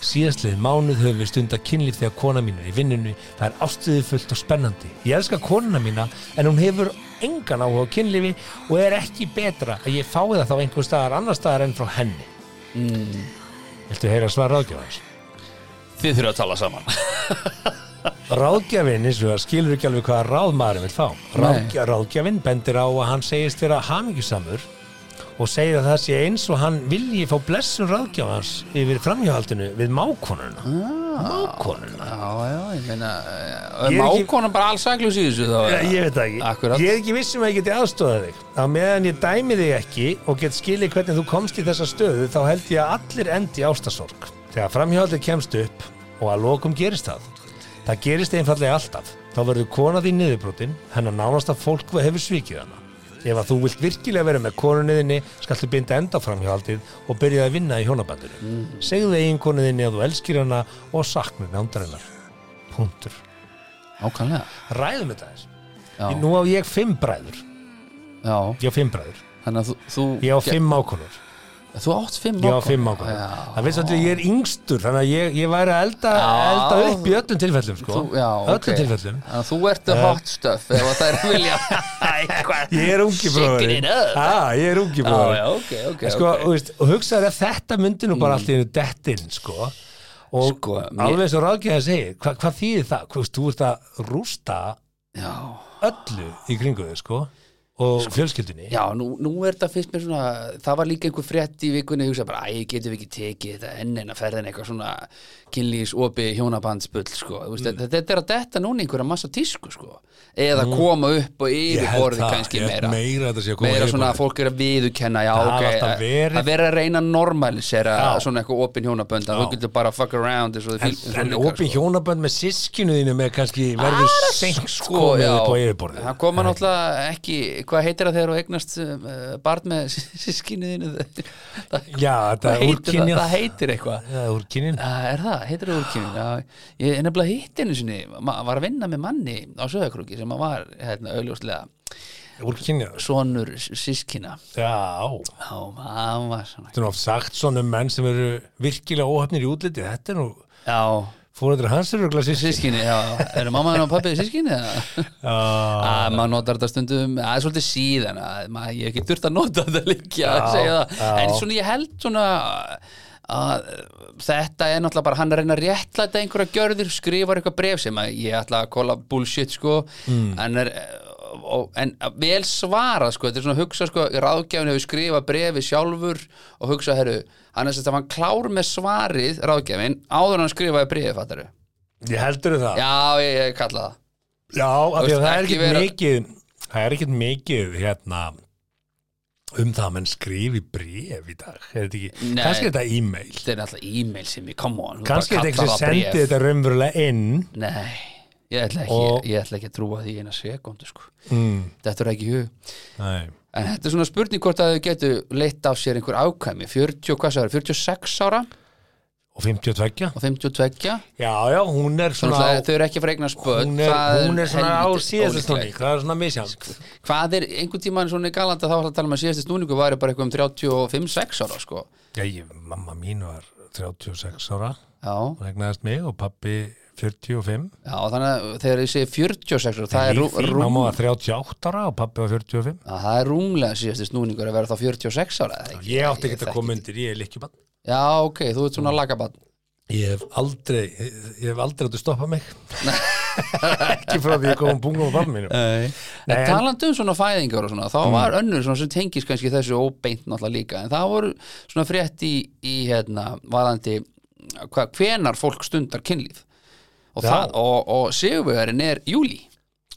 Speaker 3: Síðastlið mánuð höfum við stunda kynlíf þegar kona mín er í vinnunni. Það er ástuðufullt og spennandi. Ég elska konuna mína en hún hefur engan áhuga á kynlífi og er ekki betra að ég fái það þá einhver staðar annar staðar en frá henni. Viltu heyra svar ráðgjöfans? <laughs>
Speaker 2: Þið þurfa að tala saman
Speaker 3: ráðgjafinn eins og það skilur ekki alveg hvaða ráð maður vil fá Ráðgja, ráðgjafinn bendir á að hann segist vera hamingjusamur og segir að það sé eins og hann vilji fá blessun ráðgjafans yfir framhjáhaldinu við mákonuna mákonuna
Speaker 2: Já, já, ég meina
Speaker 3: Ég
Speaker 2: Er
Speaker 3: er ekki-
Speaker 2: mákonan bara alls aglus í þessu þá?
Speaker 3: Ég, ég veit það ekki
Speaker 2: Akkurat.
Speaker 3: Ég er ekki viss um að ég geti aðstóðað þig Á meðan ég dæmi þig ekki og get skilið hvernig þú komst í þessa stöðu þá held ég að allir endi í ástasorg Þegar framhjóðallir kemst upp og að lokum gerist það Það gerist einfallega alltaf Þá verður konað í niðurbrotin hennar nánasta fólk hefur svikið hana Ef að þú vilt virkilega vera með konunniðinni skaltu binda enda framhjóðaldið og byrja að vinna í hjónabandinu Segðu eiginkonunniðinni að þú elskir hana og saknir nándarinnar Puntur
Speaker 2: Ákvæmlega
Speaker 3: Ræðum þetta þess
Speaker 2: Já,
Speaker 3: Nú á ég fimm bræður
Speaker 2: já
Speaker 3: Ég á fimm bræður
Speaker 2: Þannig að þú, þú
Speaker 3: Ég á fimm mákonur
Speaker 2: Þú átt fimm
Speaker 3: Ég á
Speaker 2: mágkonur.
Speaker 3: fimm mákonur
Speaker 2: Já.
Speaker 3: Það veist að ég er yngstur Þannig að ég, ég væri að elda,
Speaker 2: Já.
Speaker 3: elda upp í öllum tilfellum sko.
Speaker 2: Þú- Já,
Speaker 3: Öllum
Speaker 2: ok.
Speaker 3: tilfellum Eh.
Speaker 2: Þannig að þú ert the hot stuff ef að það er vilja Eitthvað
Speaker 3: <laughs> Ég er ungi
Speaker 2: Shaking
Speaker 3: bróðurinn
Speaker 2: it up.
Speaker 3: ah, Ég er ungi
Speaker 2: Já, já,
Speaker 3: bróðurinn
Speaker 2: ok, ok,
Speaker 3: sko,
Speaker 2: ok. Mm.
Speaker 3: og, veist, og hugsaði að þetta myndi nú bara allt í einu dettin sko. Og
Speaker 2: Sko, mér-
Speaker 3: alveg svo ráðgjöða segir hva, Hvað þýðir það? Hvað, veist, þú ert að rústa
Speaker 2: Já,
Speaker 3: öllu í kringu þau sko, Og fjölskyldunni
Speaker 2: já nú, nú er þetta fyrst mér svona það var líka einhver frétt í vikunni ég hugsa bara, æ, getum við ekki tekið þetta enn en að ferðin eitthvað svona kynlýs, opi, hjónabandsbull sko. Þú
Speaker 3: Mm.
Speaker 2: veist, þetta, þetta er að detta núna einhverja massa tísku sko. eða koma upp og
Speaker 3: Mm. Ég
Speaker 2: yfir
Speaker 3: held
Speaker 2: borðið
Speaker 3: það,
Speaker 2: kannski
Speaker 3: ég held
Speaker 2: meira
Speaker 3: meira að þetta sé að koma
Speaker 2: meira
Speaker 3: yfir
Speaker 2: svona
Speaker 3: borðið.
Speaker 2: að fólk er að viðukenna já,
Speaker 3: Það
Speaker 2: ok,
Speaker 3: hafa alltaf
Speaker 2: að
Speaker 3: verið.
Speaker 2: að vera að reyna að normalisera
Speaker 3: Já.
Speaker 2: svona eitthvað opin hjónabönd að þú getur bara fuck around eins og þið
Speaker 3: En,
Speaker 2: fíl- eins og
Speaker 3: en
Speaker 2: líkar,
Speaker 3: opið
Speaker 2: sko.
Speaker 3: hjónabönd með sískinu þínu með kannski verður sengt sko með upp á yfirborðið
Speaker 2: það koma náttúrulega ekki hvað heitir það þegar þú eignast uh, barn með <laughs> sískinniðinu
Speaker 3: Já, þetta er úrkynjað.
Speaker 2: það heitir eitthvað
Speaker 3: Það er úr kynin
Speaker 2: Það er það, heitir það úrkynning Já, Ég er nefnilega hitt einu sinni ma- var að vinna með manni á Söðakrúki sem að var, hérna, augljóslega
Speaker 3: Úrkynja
Speaker 2: sonur sískina
Speaker 3: Já,
Speaker 2: Já, hann var svona
Speaker 3: þetta er nú oft sagt svona um menn sem eru virkilega óhafnir í útliti Þetta er nú,
Speaker 2: Já,
Speaker 3: fóröldur hans eru örugglega
Speaker 2: <laughs>
Speaker 3: sískin
Speaker 2: sískinni, já, eru mamma hennar og pappið sískinni eða?
Speaker 3: Já,
Speaker 2: að maður notar þetta stundum að það er svolítið síðan að maður ég hef ekki durt að nota þetta líka að
Speaker 3: Já,
Speaker 2: segja það
Speaker 3: já.
Speaker 2: en svona ég held svona að þetta er náttúrulega bara hann að reyna að réttlæta einhverja gjörðir skrifar eitthvað bref sem að ég ætla að kolla bullshit sko
Speaker 3: Mm.
Speaker 2: en, er, og, en að vel svara sko þetta er svona að hugsa sko ráðgjafin hefur skrifað brefi sjálfur og hugsa herru hann er sérst að hann klár með svarið ráðgjafin áður en hann skrifaði brefi fattaru
Speaker 3: ég heldur það Já,
Speaker 2: já ég, ég kalla það
Speaker 3: Já af því
Speaker 2: veist,
Speaker 3: að það er
Speaker 2: ekki
Speaker 3: ekkit
Speaker 2: vera-
Speaker 3: mikið Það er ekkit mikið hérna um það að menn skrifi bréf í dag er þetta ekki,
Speaker 2: Nei.
Speaker 3: kannski er þetta e-mail
Speaker 2: þetta er alltaf e-mail sem ég, come on þú
Speaker 3: kannski er
Speaker 2: bara
Speaker 3: þetta eitthvað
Speaker 2: kallar
Speaker 3: sem
Speaker 2: það
Speaker 3: sendi
Speaker 2: bréf.
Speaker 3: þetta raunverulega inn
Speaker 2: Nei, ég ætla ekki,
Speaker 3: Og-
Speaker 2: ég ætla ekki að trúa því í eina sekundu sko.
Speaker 3: mm,
Speaker 2: Þetta er ekki í hug
Speaker 3: nei.
Speaker 2: En þetta er svona spurning hvort að þau getu leitt af sér einhver ákæmi 40, hvað sagði, 46 ára
Speaker 3: og 52
Speaker 2: og 52
Speaker 3: Já, já, hún er
Speaker 2: Svona,
Speaker 3: svona
Speaker 2: þau eru ekki að fregna spöld
Speaker 3: hún er, hún er svona á síðast snúning það er svona misjant
Speaker 2: Hvað er einhvern tímann svona í galanda þá var það að tala um að síðast snúningu væri bara eitthvað um 35-6 ára sko.
Speaker 3: Já, ég, mamma mín var 36 ára
Speaker 2: Já,
Speaker 3: hún egnaðist mig og pappi 45
Speaker 2: já, þannig að þegar ég segi 46 ára það er, rú,
Speaker 3: Líf-
Speaker 2: rú,
Speaker 3: mamma var 38 ára og pappi var 45
Speaker 2: Já, það er rúmlega síðast snúningur að vera þá 46 ára eða ekki?
Speaker 3: Ég átti ekki að
Speaker 2: þekki-
Speaker 3: koma undir, ég er líkjumann
Speaker 2: Já, ok, þú ert svona lagabann
Speaker 3: Ég hef aldrei, ég hef aldrei áttu stoppað mig <laughs> ekki frá því ég kom um bungum á pappi mínu
Speaker 2: Nei, en
Speaker 3: Nei, en- Mm.
Speaker 2: talandi um svona fæðingar og svona þá var önnur svona sem tengist kannski þessu óbeint náttúrulega líka, en það voru svona frétt í, í hérna, varandi hva, hvenar fólk stundar kynlíf og,
Speaker 3: Já.
Speaker 2: það, og, og sigurvegarinn er júli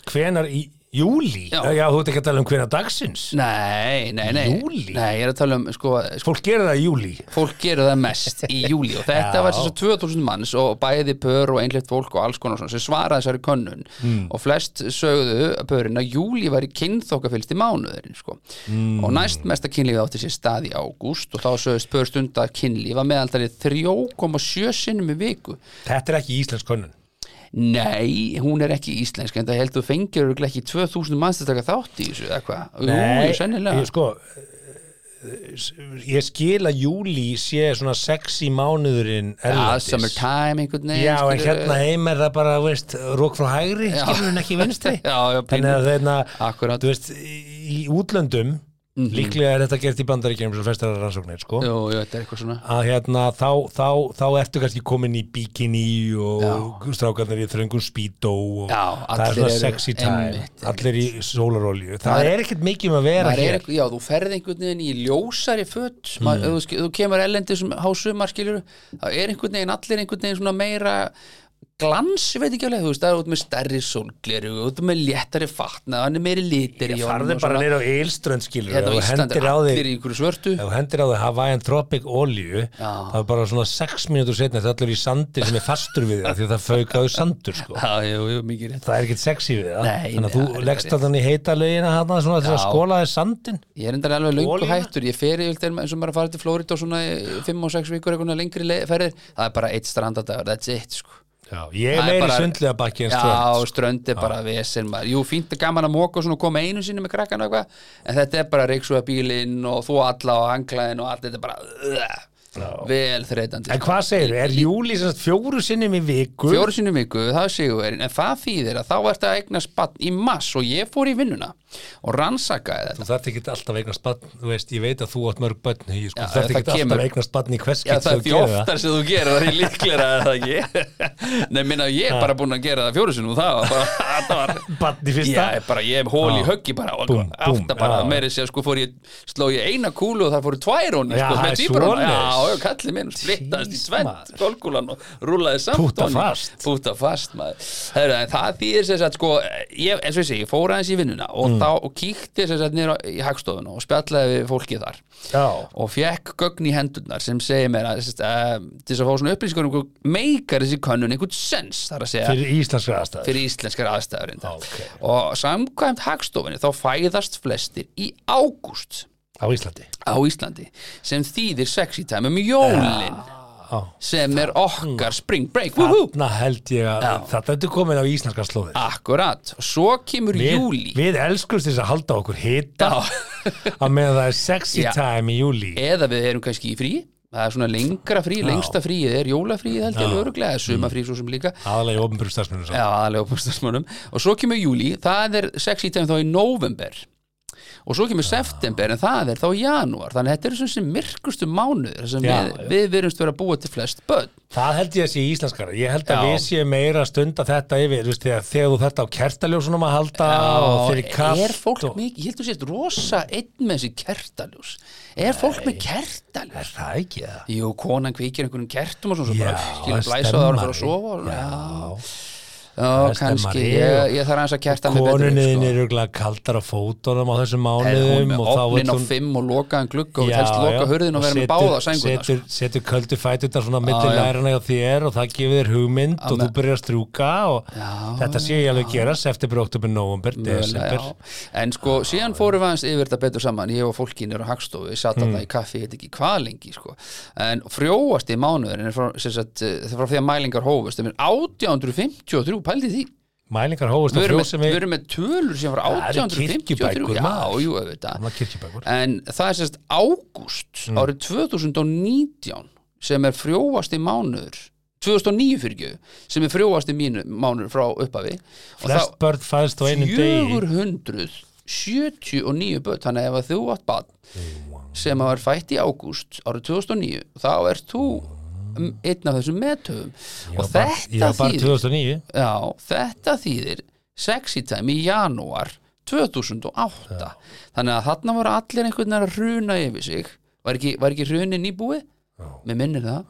Speaker 3: Hvenar í júli?
Speaker 2: Já.
Speaker 3: Já, þú ert ekki að tala um hvenar dagsins
Speaker 2: Nei, nei, nei
Speaker 3: Júlí?
Speaker 2: Nei, ég er að tala um, sko, sko
Speaker 3: Fólk gerir það í júli
Speaker 2: fólk gerir það mest
Speaker 3: <laughs>
Speaker 2: í júli og þetta
Speaker 3: Já.
Speaker 2: var þess að 2000 manns og bæði pör og einhleitt fólk og alls konar svona sem svaraði þessari könnun
Speaker 3: Hmm.
Speaker 2: og flest sögðu pörin að júli var í kynþokkafylsti mánuðurinn sko.
Speaker 3: Hmm.
Speaker 2: og næst mesta kynlífi átti sér stað í ágúst og þá sögðust pör stundar kynlífa meðaldalið 3,7 sinnum í viku
Speaker 3: Þetta er ekki íslensk könnun
Speaker 2: Nei, hún er ekki íslensk en það heldur þú fengir örugglega ekki 2000 manns að taka þátt í þessu eða hvað Jú, sennilega
Speaker 3: ég, sko, eh, ég skil að júli sé svona sexy mánuðurinn
Speaker 2: Ja,
Speaker 3: erlendis
Speaker 2: summertime einhvern veginn
Speaker 3: Já, en
Speaker 2: skilurðu.
Speaker 3: hérna heim er það bara, þú veist, rók frá
Speaker 2: <laughs>
Speaker 3: hægri, skilur hún ekki vinstri hérna,
Speaker 2: Já, já, pínu.
Speaker 3: Þannig að þeirna,
Speaker 2: Akkúrat.
Speaker 3: þú veist, í í útlöndum
Speaker 2: Mhm.
Speaker 3: líklega er þetta gert í bandaríkjum sem festara rannsóknir sko
Speaker 2: Jú, jú, þetta er eitthvað svona
Speaker 3: að hérna þá, þá, þá ertu kannski komin í bikini og strákarnir í þröngum speedo og
Speaker 2: Já,
Speaker 3: það er
Speaker 2: allir
Speaker 3: svona
Speaker 2: eru-
Speaker 3: sexy time
Speaker 2: einmitt,
Speaker 3: allir í sólarolju, það
Speaker 2: Maður-
Speaker 3: er ekkert mikið um að vera
Speaker 2: Maður er,
Speaker 3: hér Mm.
Speaker 2: eitthvað- já, þú ferð einhvern veginn í ljósari föt maður, ef þú, sk- þú kemur ellendi sem hásumar skilur þá er einhvern veginn allir einhvern veginn svona meira glans, ég veit ekki alveg, þú veist, það er út með stærri sólgleru, út með léttari fatna hann er meiri lítir í
Speaker 3: farði
Speaker 2: honum og svona.
Speaker 3: bara neyra á eilströnd skilur
Speaker 2: hérna á
Speaker 3: og
Speaker 2: Íslandi,
Speaker 3: hendir á þig
Speaker 2: allir í einhverju svörtu
Speaker 3: ef þú hendir á þig Hawaiian Tropic olju
Speaker 2: Já.
Speaker 3: það er bara svona 6 mínútur setna þetta allir í sandi sem er fastur við það því að það faukaðu sandur sko
Speaker 2: Já, jú, jú, mikið rétt
Speaker 3: það er ekkert sexy við það
Speaker 2: Nei,
Speaker 3: þannig að
Speaker 2: nei,
Speaker 3: þú
Speaker 2: það er
Speaker 3: leggst
Speaker 2: rétt.
Speaker 3: alltaf í heita laugina hana svona til að
Speaker 2: Já.
Speaker 3: skóla þér sandin
Speaker 2: Ég er endar alveg löngu
Speaker 3: Olíuna?
Speaker 2: hættur, ég fer yfir til eins og maður að fara til Flórit og svona 5 og 6 vikur eitthvað lengri le- ferðir, það er bara eitt strandadagur, that's it sko.
Speaker 3: Já, ég
Speaker 2: Það
Speaker 3: er meiri
Speaker 2: bara-
Speaker 3: sundlega bakki en
Speaker 2: Já,
Speaker 3: strönd
Speaker 2: strönd er bara vesen maður Jú, fínt er gaman að móka og svona og koma einu sinni með krakkan og eitthvað En þetta er bara reiksuða bílinn og þú alla og hanglaðin og allt þetta er bara uh, vel þreytandi
Speaker 3: En hvað segir er júli sem sagt fjóru sinnum í viku
Speaker 2: Fjóru sinni viku, það séu verið En það þýðir að þá ertu að eigna spatt í mass og ég fór í vinnuna og rannsakaði þetta
Speaker 3: Þú þarf ekki alltaf að eignast barn, þú veist, ég veit að þú átt mörg barn, Hugi, sko,
Speaker 2: Já,
Speaker 3: þú
Speaker 2: það
Speaker 3: þarf ekki alltaf
Speaker 2: kemur.
Speaker 3: að eignast barn í
Speaker 2: Já,
Speaker 3: hverskitt
Speaker 2: það er því oftar sem þú gerir það, því líklega er það ekki <laughs> Nei, minna, ég er bara búin að gera það fjóru sinni og það var bara, <laughs> það var
Speaker 3: Barn í fyrsta
Speaker 2: Já, bara ég hef hól í
Speaker 3: Já.
Speaker 2: höggi bara og
Speaker 3: Búm, búm,
Speaker 2: átta bara,
Speaker 3: já.
Speaker 2: meiri sér sko fór ég sló ég eina kúlu og það fóru tvær honi
Speaker 3: Já,
Speaker 2: sko,
Speaker 3: það
Speaker 2: með
Speaker 3: er
Speaker 2: tvíburana.
Speaker 3: svoleiðis.
Speaker 2: Já, já, kallið minn splittast í
Speaker 3: Jeez,
Speaker 2: tvent,
Speaker 3: maður.
Speaker 2: golkúlan og rúlaði samt
Speaker 3: Púta
Speaker 2: honi.
Speaker 3: fast.
Speaker 2: Púta fast, maður Heru, Það þýðir sér að sko ég, eins og ég sé, ég fór aðeins í vinnuna og,
Speaker 3: Mm.
Speaker 2: þá, og kíkti sér að nýra í hagstofuna og spjallaði við fólkið þar
Speaker 3: Já,
Speaker 2: og fekk gögn í hendurnar sem segir mér að sérst, uh, til þess að fá svona upplýsingar um hvað meikar þessi könnun einhvern sens þar að segja
Speaker 3: fyrir íslenska aðstæður
Speaker 2: fyrir íslenskar aðstæður reyndar.
Speaker 3: Ok.
Speaker 2: og samkvæmt hagstofinni þá fæðast flestir í ágúst
Speaker 3: á Íslandi
Speaker 2: á Íslandi sem þýðir sexy time um jólin
Speaker 3: Já.
Speaker 2: sem er okkar spring break Woohoo!
Speaker 3: Þarna held ég að þetta ertu komin á íslenska slóðir
Speaker 2: akkurat, og svo kemur júli
Speaker 3: Við elskumst þess að halda okkur hita
Speaker 2: Já. <laughs>
Speaker 3: að meðan það er sexy
Speaker 2: Já.
Speaker 3: time í júli
Speaker 2: eða við erum kannski í frí það er svona lengra frí, lengsta fríið er jólafríið held ég alveg öruglega, sumafrí svo sem líka
Speaker 3: aðalega í ofnbjörn starfsmunum
Speaker 2: Já, aðalega opastasmönum og svo kemur júli, það er sexy time þá í november og svo kemur september en það er þá í janúar þannig að þetta eru svona sem myrkustu mánuður sem
Speaker 3: Já,
Speaker 2: við,
Speaker 3: já.
Speaker 2: við verumst vera að búa til flest börn
Speaker 3: það held ég að sé íslenskara ég held að
Speaker 2: Já.
Speaker 3: við séum meira að stunda þetta yfir þú veist, þegar, þegar þú þetta á kertaljósunum að halda og fyrir kall
Speaker 2: er fólk mikið, ég held að sést rosa einn með þessi kertaljós er fólk með kertaljós?
Speaker 3: er það ekki það?
Speaker 2: Jú, konan kveikir einhverjum kertum og svona svo
Speaker 3: Já,
Speaker 2: bara, skilur
Speaker 3: það er
Speaker 2: blæsa það og fara
Speaker 3: stemmari.
Speaker 2: að sofa og,
Speaker 3: Já,
Speaker 2: já,
Speaker 3: það er
Speaker 2: kannski,
Speaker 3: stemmari
Speaker 2: ég,
Speaker 3: og-
Speaker 2: ég þarf aðeins að kerta mig betur upp,
Speaker 3: konunin
Speaker 2: sko.
Speaker 3: er örugglega kaldar á fótunum á þessum
Speaker 2: Er hún
Speaker 3: mánuðum
Speaker 2: með
Speaker 3: og þá vill
Speaker 2: opnin á
Speaker 3: hún-
Speaker 2: fimm og lokaðan glugga og
Speaker 3: Já,
Speaker 2: helst loka
Speaker 3: já.
Speaker 2: hurðin og vera með
Speaker 3: setur-
Speaker 2: báða sko. sængunar
Speaker 3: setur, setur köldu fætundar svona
Speaker 2: Já,
Speaker 3: millir
Speaker 2: já.
Speaker 3: lærana hjá þér og það gefur þér hugmynd og þú
Speaker 2: með-
Speaker 3: byrjar að strjúka og þetta sé ég alveg gerast eftir byrja oktober, november,
Speaker 2: Mögulega,
Speaker 3: desember
Speaker 2: já. En sko, síðan fórum við aðeins yfir þetta betur saman ég og fólkin eru á hagstofu, við satt
Speaker 3: Mm.
Speaker 2: þarna í kaffi ég veit ekki hvað lengi, sko en frjóast í mánuðurinn er frá, sem sagt, eh, frá því að mælingar hófust, þeim er 1853 pældi því,
Speaker 3: mælingar hófust
Speaker 2: við
Speaker 3: og
Speaker 2: erum, með,
Speaker 3: frjósemi
Speaker 2: við erum með tölur sem frá
Speaker 3: Það eru
Speaker 2: 1853
Speaker 3: kirkjubækur,
Speaker 2: já,
Speaker 3: maður.
Speaker 2: jú, auðvitað
Speaker 3: Gamlar kirkjubækur.
Speaker 2: en það er sérst ágúst
Speaker 3: Mm.
Speaker 2: árið 2019 sem er frjóast í mánuður 2009 fyrir ekki sem er frjóast í mínu mánuður frá upphafi Og þá-
Speaker 3: flest börn fæðst á einum degi
Speaker 2: 479 börn þannig að ef að þú átt barn sem að var fætt í ágúst árið 2009 þá ert þú
Speaker 3: Mm.
Speaker 2: um, einn af þessum meðtöfum og
Speaker 3: ég
Speaker 2: þetta
Speaker 3: var bara
Speaker 2: þýðir
Speaker 3: 2009
Speaker 2: já, þetta þýðir sexy time í janúar 2008 þannig að þarna voru allir einhvern veginn að runa yfir sig var ekki, var ekki runin í búið mér minnir það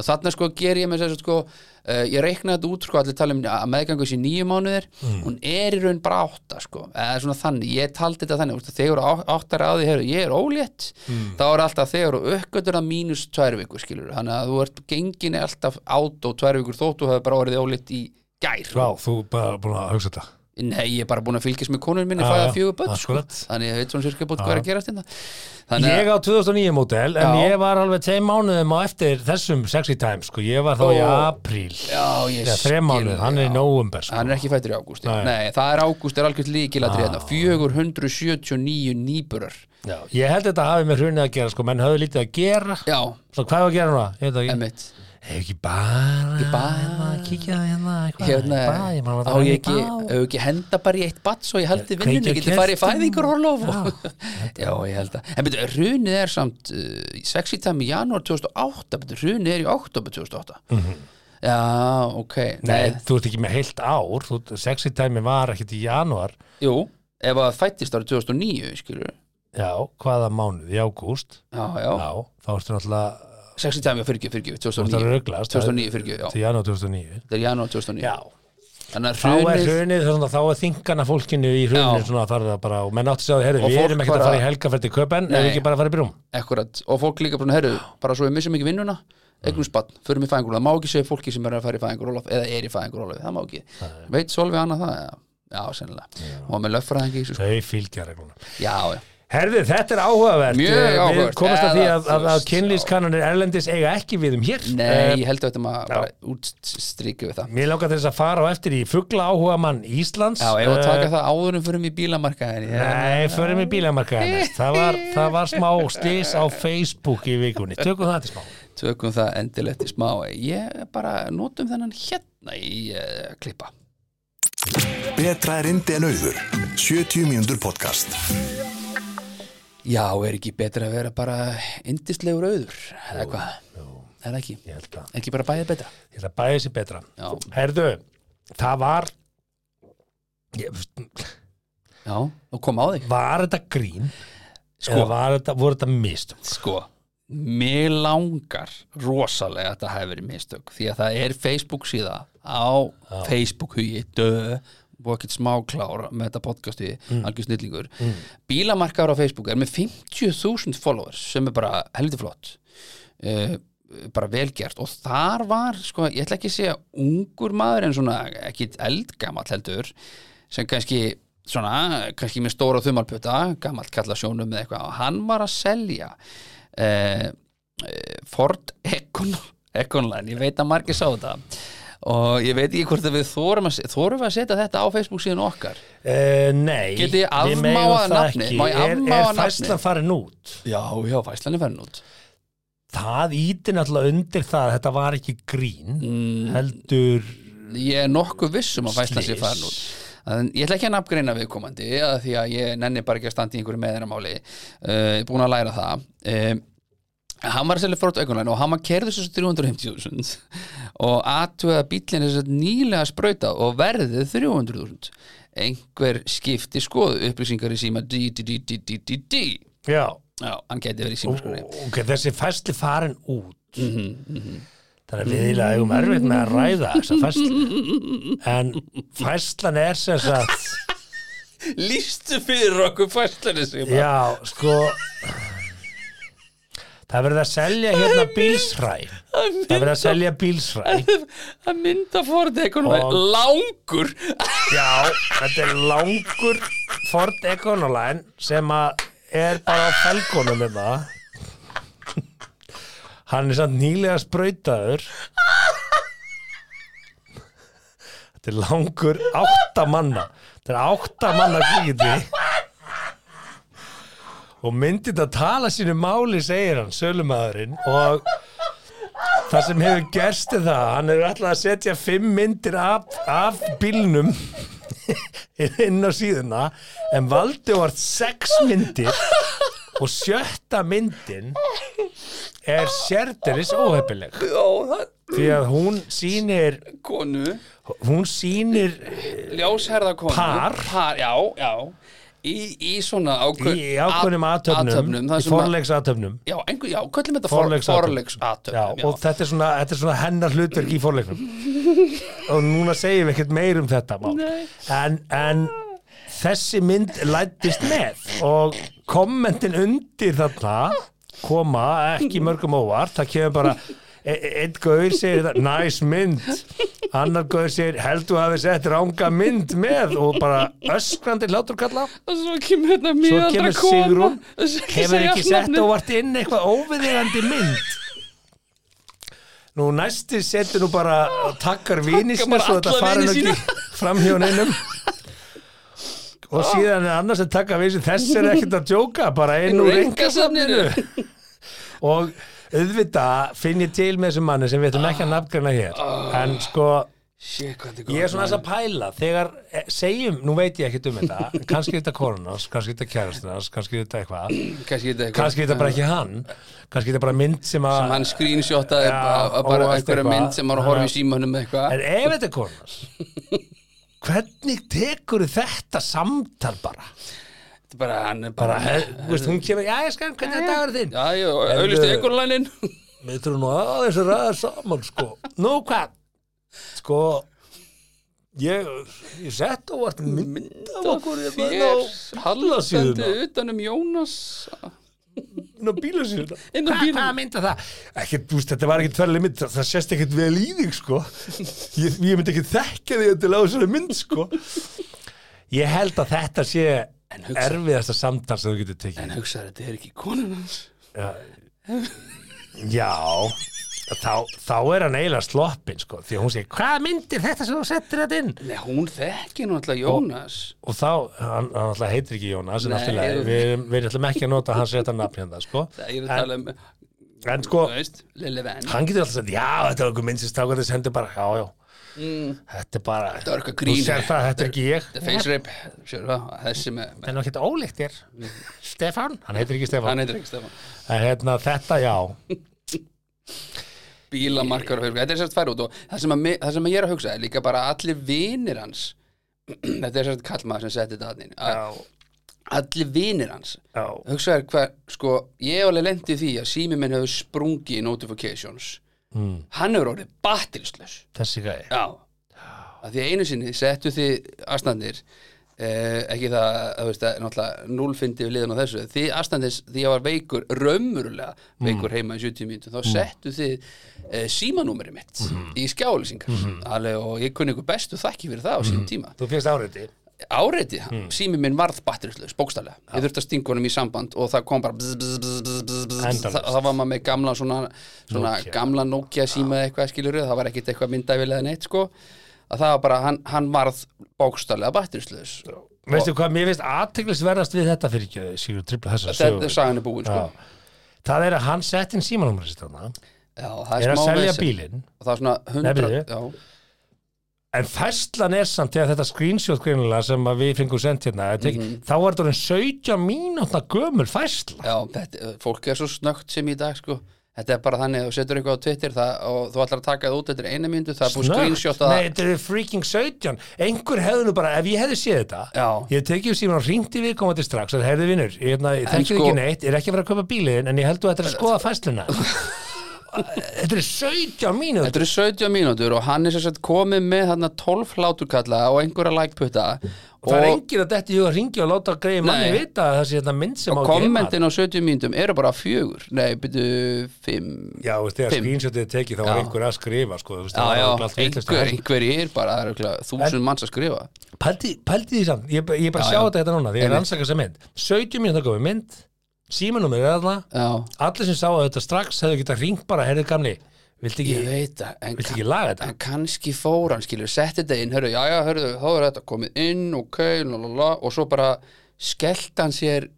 Speaker 2: og þarna sko ger ég með þess að sko uh, ég reikna þetta út sko allir tala um að meðgangu sé nýju mánuðir,
Speaker 3: Mm.
Speaker 2: hún er í raun bara átta sko, eða svona þannig ég taldi þetta þannig, úrst, þegar á- áttar að því heru, ég er ólétt,
Speaker 3: Mm.
Speaker 2: þá er alltaf þegar og uppgötur að mínus tvær vikur skilur þannig að þú ert gengin er alltaf át og tvær vikur þótt og hefur bara orðið ólétt í gær
Speaker 3: Vá, þú bara búin að hugsa þetta
Speaker 2: nei, ég er bara búin að fylgjast með konun minni
Speaker 3: Já,
Speaker 2: fæða
Speaker 3: Ah, já,
Speaker 2: fjögur börn sko.
Speaker 3: akkurat.
Speaker 2: þannig að ég veit svona sirka búin hvað er að gerast hérna þannig
Speaker 3: Ég
Speaker 2: að
Speaker 3: á 2009 mótel, en
Speaker 2: Já.
Speaker 3: ég var alveg tveim mánuðum á eftir þessum sexy time, sko, ég var þá í
Speaker 2: Ó.
Speaker 3: apríl
Speaker 2: Já, ég
Speaker 3: eða þreim mánuðum,
Speaker 2: skil,
Speaker 3: hann er í
Speaker 2: já.
Speaker 3: november sko.
Speaker 2: hann er ekki fættur í ágúst já.
Speaker 3: Nei. Ah.
Speaker 2: nei, það er ágúst er algjörð líkilatri hérna 479 nýburar
Speaker 3: Já, ég held þetta hafi með hrunið að gera sko, menn höfðu lítið að gera
Speaker 2: já,
Speaker 3: Svo hvað var að gera núna? Ég veit það ekki.
Speaker 2: emmitt
Speaker 3: hefur ekki bara,
Speaker 2: Ekki bara-
Speaker 3: hérna, kíkja á hérna, eitthvað,
Speaker 2: hérna,
Speaker 3: í bað, ég maður
Speaker 2: á
Speaker 3: var að
Speaker 2: ég
Speaker 3: reyna í
Speaker 2: ekki,
Speaker 3: bað.
Speaker 2: á ég ekki henda bara í eitt batt svo ég haldi
Speaker 3: Kveikja
Speaker 2: vinnunni, geti
Speaker 3: kertum.
Speaker 2: farið í fæðingarorlof <laughs> og...
Speaker 3: Já.
Speaker 2: já, ég held að en betur, runið er samt uh, sexítami í janúar 2008 betur, runið er í oktober 2008 já, ok
Speaker 3: Mhm. Nei, þú ert ekki með heilt ár, þú, sexy time var ekkert í janúar,
Speaker 2: jú, ef að fættist árið 2009 skilur,
Speaker 3: já, hvaða mánuð, í ágúst,
Speaker 2: já, já,
Speaker 3: já, þá ertu náttúrulega,
Speaker 2: sexítami fyrir, fyrir,
Speaker 3: þú ert að
Speaker 2: 2009
Speaker 3: röglast,
Speaker 2: 2009 fyrir, já,
Speaker 3: til janúar 2009,
Speaker 2: þetta er janúar 2009
Speaker 3: já,
Speaker 2: þannig
Speaker 3: þá
Speaker 2: að runið
Speaker 3: er hrunið, þá, þá er þingana fólkinu í
Speaker 2: Já.
Speaker 3: hrunið svona að fara það bara, og menn átti sig á því, herri,
Speaker 2: Og
Speaker 3: við
Speaker 2: fólk
Speaker 3: erum ekkert
Speaker 2: bara-
Speaker 3: að fara í helgaferð til köpen, erum
Speaker 2: Nei.
Speaker 3: við ekki bara að fara í brúm,
Speaker 2: Akkurat, og fólk líka bara, herru, bara svo við missum ekki vinnuna eignum spann, förum í fæðingur það má ekki segja fólki sem er að fara í fæðingur eða er í fæðingur það má ekki, veit Solvi annað það já, já sennilega, og með löffræðingi sko.
Speaker 3: þau fylgja reglunum.
Speaker 2: já, já,
Speaker 3: Herðu, þetta er áhugavert
Speaker 2: Mjög
Speaker 3: Eh, Við
Speaker 2: áhugavert.
Speaker 3: komast
Speaker 2: Eða,
Speaker 3: að því að, að,
Speaker 2: þú
Speaker 3: að
Speaker 2: veist,
Speaker 3: kynlífskannanir erlendis eiga ekki við um hér
Speaker 2: nei,
Speaker 3: Eh,
Speaker 2: ég held að þetta maður bara útstrykju við það
Speaker 3: Mér langar til þess að fara á eftir í fugla áhuga mann Íslands
Speaker 2: já, ef að
Speaker 3: Eh,
Speaker 2: taka það áðurum fyrir mig bílamarkaðin
Speaker 3: Nei, förum í bílamarkaðin næst. það var, það var smá stis á Facebook í vikunni, tökum það til smá
Speaker 2: tökum það endilegt í smá ég bara notum þennan hérna í uh, klippa
Speaker 1: Betra er indi en auður. 70 mínútur podcast.
Speaker 2: já, er ekki betra að vera bara indislegur auður, eða hvað er það ekki,
Speaker 3: Ég held að,
Speaker 2: Er ekki bara bæðið betra
Speaker 3: ég held að bæði sér betra
Speaker 2: já,
Speaker 3: Herðu, það var ég,
Speaker 2: já, og kom á þig
Speaker 3: var þetta grín
Speaker 2: Sko.
Speaker 3: eða var þetta, voru þetta mist
Speaker 2: sko, mér langar rosalega að þetta hafi verið mistök því að það er Facebook síða á Facebook hugi, dö og ekkert smáklár með þetta podcasti mm. algjör snillingur bílamarkaður á Facebook er með 50.000 followers sem er bara heldur flott uh, bara velgert og þar var, sko, ég ætla ekki að segja ungur maður en svona ekki eldgamall heldur sem kannski svona, kannski með stóra þumalpöta gamall kalla sjónum eða eitthvað og hann var að selja eh, eh, Ford Econ, Econline, ég veit að margir sá þetta og ég veit ekki hvort að við þórum að, þórum að setja þetta á Facebook síðan okkar
Speaker 3: Uh, nei,
Speaker 2: Get ég
Speaker 3: við
Speaker 2: afmáað
Speaker 3: megum það
Speaker 2: nafnið?
Speaker 3: ekki.
Speaker 2: Má ég
Speaker 3: Er,
Speaker 2: afmáa
Speaker 3: er
Speaker 2: nafnið?
Speaker 3: fæslan farin út?
Speaker 2: Já, já, fæslan er færin út
Speaker 3: Það íti náttúrulega undir það að þetta var ekki grín heldur
Speaker 2: Mm, ég er nokkuð vissum að fæsla sér
Speaker 3: Slys.
Speaker 2: farin út En ég ætla ekki að nafngreina viðkomandi að því að ég nenni bara ekki að standa í einhverju meðinamáli uh, búin að læra það um, hann var að selja fórt aukunlæn og hann var kerður þessu 350.000 og aðtöða bíllinn þess að nýlega sprauta og verðið 300.000 einhver skipti skoðu upplýsingar í síma dí, dí, dí, dí, dí, dí, dí.
Speaker 3: Já,
Speaker 2: Já, hann geti verið í síma skoði
Speaker 3: ok, þessi fæsli farin út
Speaker 2: Mhm,
Speaker 3: Þannig að við eiginlega eigum erfitt með að ræða þessa fæsla
Speaker 2: <laughs>
Speaker 3: En fæslan er sem sagt
Speaker 2: Lýstu fyrir okkur fæslanir síma
Speaker 3: Já, sko Það verður að selja hérna bílsræ Það verður að selja bílsræ
Speaker 2: að mynda Ford Econoline
Speaker 3: Og-
Speaker 2: langur
Speaker 3: Já, þetta er langur Ford Econoline sem að er bara á felgunum með það Hann er samt nýlega sprautaður Þetta er langur átta manna Þetta er átta manna kvíði Og myndið að tala sínu máli segir hann, sölumæðurinn og það sem hefur gerst er það að hann er alltaf að setja fimm myndir af, af bílnum <laughs> inn á síðuna en valdi vart sex myndir og sjötta myndin er sérderis óhefileg
Speaker 2: Já, það
Speaker 3: því að hún sýnir
Speaker 2: konu,
Speaker 3: hún sýnir
Speaker 2: ljósherða konu
Speaker 3: Par.
Speaker 2: já, já Í, í svona ákveð,
Speaker 3: í ákveðnum aðtöfnum,
Speaker 2: það
Speaker 3: í
Speaker 2: sem að-
Speaker 3: forleiksatöfnum
Speaker 2: Já, einhver, já, köllum þetta
Speaker 3: Forleiksathöfnum. Já,
Speaker 2: forlegsatöfnum
Speaker 3: og þetta er, svona, þetta er svona hennar hlutverk í fórleikum og núna segjum við ekkert meir um þetta mál. en, en þessi mynd lættist með og kommentin undir þarna koma ekki mörgum óvart það kemur bara e- e- einn gaur segir þetta, nice mynd annar gaur segir, heldur að hafi sett ranga mynd með og bara öskrandi hlátur kalla
Speaker 2: og svo kemur hérna
Speaker 3: svo
Speaker 2: mjög
Speaker 3: kemur Sigrún hefur ekki sett óvart inn eitthvað óviðegandi mynd nú næsti setur nú bara takkar vini
Speaker 2: Takkar
Speaker 3: sína
Speaker 2: bara
Speaker 3: svo þetta
Speaker 2: alla
Speaker 3: fara
Speaker 2: vini
Speaker 3: nú ekki <laughs> fram hjá neinum og
Speaker 2: Ah.
Speaker 3: síðan er annars að taka vini sína, þess er ekkert að djóka bara inn úr
Speaker 2: Einkasafninu.
Speaker 3: ringasafninu og auðvitað finn ég til með þessum manni sem við ætlum ekki að nafngreina hér en sko,
Speaker 2: Shit, hvað þetta er
Speaker 3: ég er
Speaker 2: gott,
Speaker 3: svona þess að pæla þegar, eh, segjum, nú veit ég ekkert um þetta kannski er þetta korunas, kannski er þetta kærastans kannski er þetta eitthvað,
Speaker 2: maður. Kannski þetta er eitthvað-
Speaker 3: kannski er þetta bara ekki hann kannski er þetta bara mynd sem að
Speaker 2: sem hann screenshotaði
Speaker 3: Já,
Speaker 2: bara- bara
Speaker 3: og
Speaker 2: einhverja
Speaker 3: eitthvað.
Speaker 2: mynd sem var að horfa í símanum með
Speaker 3: En
Speaker 2: eitthvað
Speaker 3: ef þetta er korunas
Speaker 2: <laughs>
Speaker 3: hvernig tekur þetta samtal bara?
Speaker 2: Þetta er bara, hann er
Speaker 3: bara
Speaker 2: bara
Speaker 3: he, þú veist, hún kemur, já, ég skal, hvernig er dagur þinn?
Speaker 2: Já, ég auðlistu
Speaker 3: En, uh,
Speaker 2: einhverjulænin
Speaker 3: Við þurfum nú aðeins að ræða saman, sko. Nú hvað? Sko, ég, ég sett og vart mynd af okkur hérna
Speaker 2: Þér
Speaker 3: á
Speaker 2: hallastandi
Speaker 3: bílasíðuna.
Speaker 2: utan um Jónas
Speaker 3: Inn á bílasíðuna.
Speaker 2: Inn á
Speaker 3: Hva-
Speaker 2: bílasíðuna.
Speaker 3: Hvaða mynd er það? Ekki, þú veist, þetta var ekkert þærlega mynd, það, það sést ekkert vel í þig, sko. Ég, ég myndi ekki þekka þig til á þessari mynd, sko. Ég held að þetta sé
Speaker 2: En hugsa-
Speaker 3: erfiðasta samtal sem þú getur tekið.
Speaker 2: En hugsaður, þetta er ekki konan hans
Speaker 3: Já þá, þá er hann eiginlega sloppin sko, því að hún segir, hvað myndir þetta sem þú settir þetta inn?
Speaker 2: Nei, hún þekki nú alltaf
Speaker 3: Sko-
Speaker 2: Jónas
Speaker 3: Og þá, hann, hann alltaf heitir ekki Jónas en
Speaker 2: Nei,
Speaker 3: allt í lagi,
Speaker 2: þú-
Speaker 3: við, við ætlum ekki að nota hans rétta nafn hérna, sko
Speaker 2: Það er að
Speaker 3: en,
Speaker 2: tala um, þú
Speaker 3: en sko,
Speaker 2: veist, Lille Venn
Speaker 3: hann getur alltaf sagt, já, þetta er okkur minn sem stákur þess hendur bara, já, já Þetta er bara,
Speaker 2: Þetta var eitthvað grín.
Speaker 3: þú sér það, þetta er ekki ég
Speaker 2: Mm. Þetta er face rape, sér það, þessi með með-
Speaker 3: En það er ekki ólíkt þér, Stefan Hann heitir ekki
Speaker 2: Mm. Hann
Speaker 3: Stefan,
Speaker 2: heitir ekki Stefán
Speaker 3: en hérna, þetta, já
Speaker 2: Bílamarkar og hörgur, þetta er sérst færi út og það sem, að, mi- það sem að ég er að hugsa er líka bara að allir vinir hans <clears throat> Þetta er sérst kallmaður sem setti þetta hann inn
Speaker 3: Já,
Speaker 2: Allir vinir hans
Speaker 3: já,
Speaker 2: hugsaður hvað, sko, ég hef alveg lendi því að sími minn hefur sprungið í notifications mm. hann hefur orðið battilslaus
Speaker 3: þessi gæði
Speaker 2: já, að því að einu sinni settu þið astandir eh, ekki það, það veist að náttúrulega núlfindi við liðan á þessu, því astandir því ég var veikur, raumurulega veikur heima í 70 mínútur, þá settu þið eh, símanúmerið mitt í skjálisingar, alveg og ég kunni ykkur bestu þakki fyrir það á sínum tíma
Speaker 3: Þú fyrst áriði
Speaker 2: áreiti,
Speaker 3: Hmm.
Speaker 2: sími minn varð batterislaus, bókstælega, ég þurfti að stinga honum í samband og það kom bara bzz, bzz, bzz, bzz, bzz, bzz.
Speaker 3: Endalaust.
Speaker 2: Þa, það var maður með gamla svona, svona
Speaker 3: Nokia.
Speaker 2: gamla Nokia síma eða eitthvað skilur það var ekkit eitthvað myndavilega eða neitt sko að það var bara, hann, hann varð bókstælega batterislaus
Speaker 3: Veistu hvað, mér finnst aðteglisverðast við þetta fyrir ekki, Sigur, tripla þessa
Speaker 2: þetta
Speaker 3: sögur.
Speaker 2: er sagan er búin sko
Speaker 3: Já. Það er að hann sett inn símanúmer sitt þarna,
Speaker 2: Já, það
Speaker 3: er að
Speaker 2: smá
Speaker 3: selja
Speaker 2: vesen.
Speaker 3: bílinn,
Speaker 2: og það er svona hundra
Speaker 3: Nei, bíðu.
Speaker 2: já,
Speaker 3: en fæslan er samt þegar þetta screenshot greinilega sem að við fengum sendt hérna, mm
Speaker 2: Mhm.
Speaker 3: þá var þetta orðin 17 mínútna gömul fæsla.
Speaker 2: já, þetta, fólk er svo snöggt sem í dag sko Þetta er bara þannig að þú setur eitthvað á Twitter það, og þú ætlar að taka það út eftir einu myndu það er búið screenshot að
Speaker 3: Nei, þetta er freaking 17. Einhver hefði nú bara, ef ég hefði séð þetta,
Speaker 2: Já.
Speaker 3: ég tekið síman og ringti við komandi strax og hefði vinnur, ég hérna, ég þekkið
Speaker 2: sko-
Speaker 3: ekki neitt, ég er ekki að vera að köpa bílinn, en ég held þú ættir að skoða
Speaker 2: <laughs>
Speaker 3: fæsluna. þetta er 17 mínútur.
Speaker 2: Þetta eru 17 mínútur og hann er sér sett komið með þarna 12 hláturkalla og einhverja lækputta
Speaker 3: og það er
Speaker 2: og,
Speaker 3: enginn að þetta ég að ringja og láta greiði manni
Speaker 2: Nei.
Speaker 3: vita að það sé þetta mynd sem á
Speaker 2: og
Speaker 3: að
Speaker 2: kommentin á 70 mínútum eru bara fjögur, nei, byrju fimm,
Speaker 3: Já, veist, þegar
Speaker 2: Fimm.
Speaker 3: screenshotið er tekið þá var
Speaker 2: Já.
Speaker 3: einhver að skrifa sko, þú
Speaker 2: já,
Speaker 3: veist, það var
Speaker 2: já,
Speaker 3: örugglega allt vitlaust.
Speaker 2: einhver, einhver er bara, það eru örugglega þúsund manns að skrifa
Speaker 3: Pældi pældi því samt, ég, ég bara
Speaker 2: Já,
Speaker 3: sjá
Speaker 2: já.
Speaker 3: þetta hérna núna því ég er
Speaker 2: Einmitt.
Speaker 3: ansaka þessa mynd 17 mínútur komið mynd, símanúmer er alla
Speaker 2: Já,
Speaker 3: allir sem sá þetta strax hefðu getað ringt bara, herrið gamli viltu
Speaker 2: ég
Speaker 3: ekki,
Speaker 2: veit það, en,
Speaker 3: viltu ekki laga þetta?
Speaker 2: en kannski fór hann, skilur, setti þetta inn, hörðu, já, já, hörðu, þá er þetta komið inn, ok, lalala, og svo bara skellt hann sér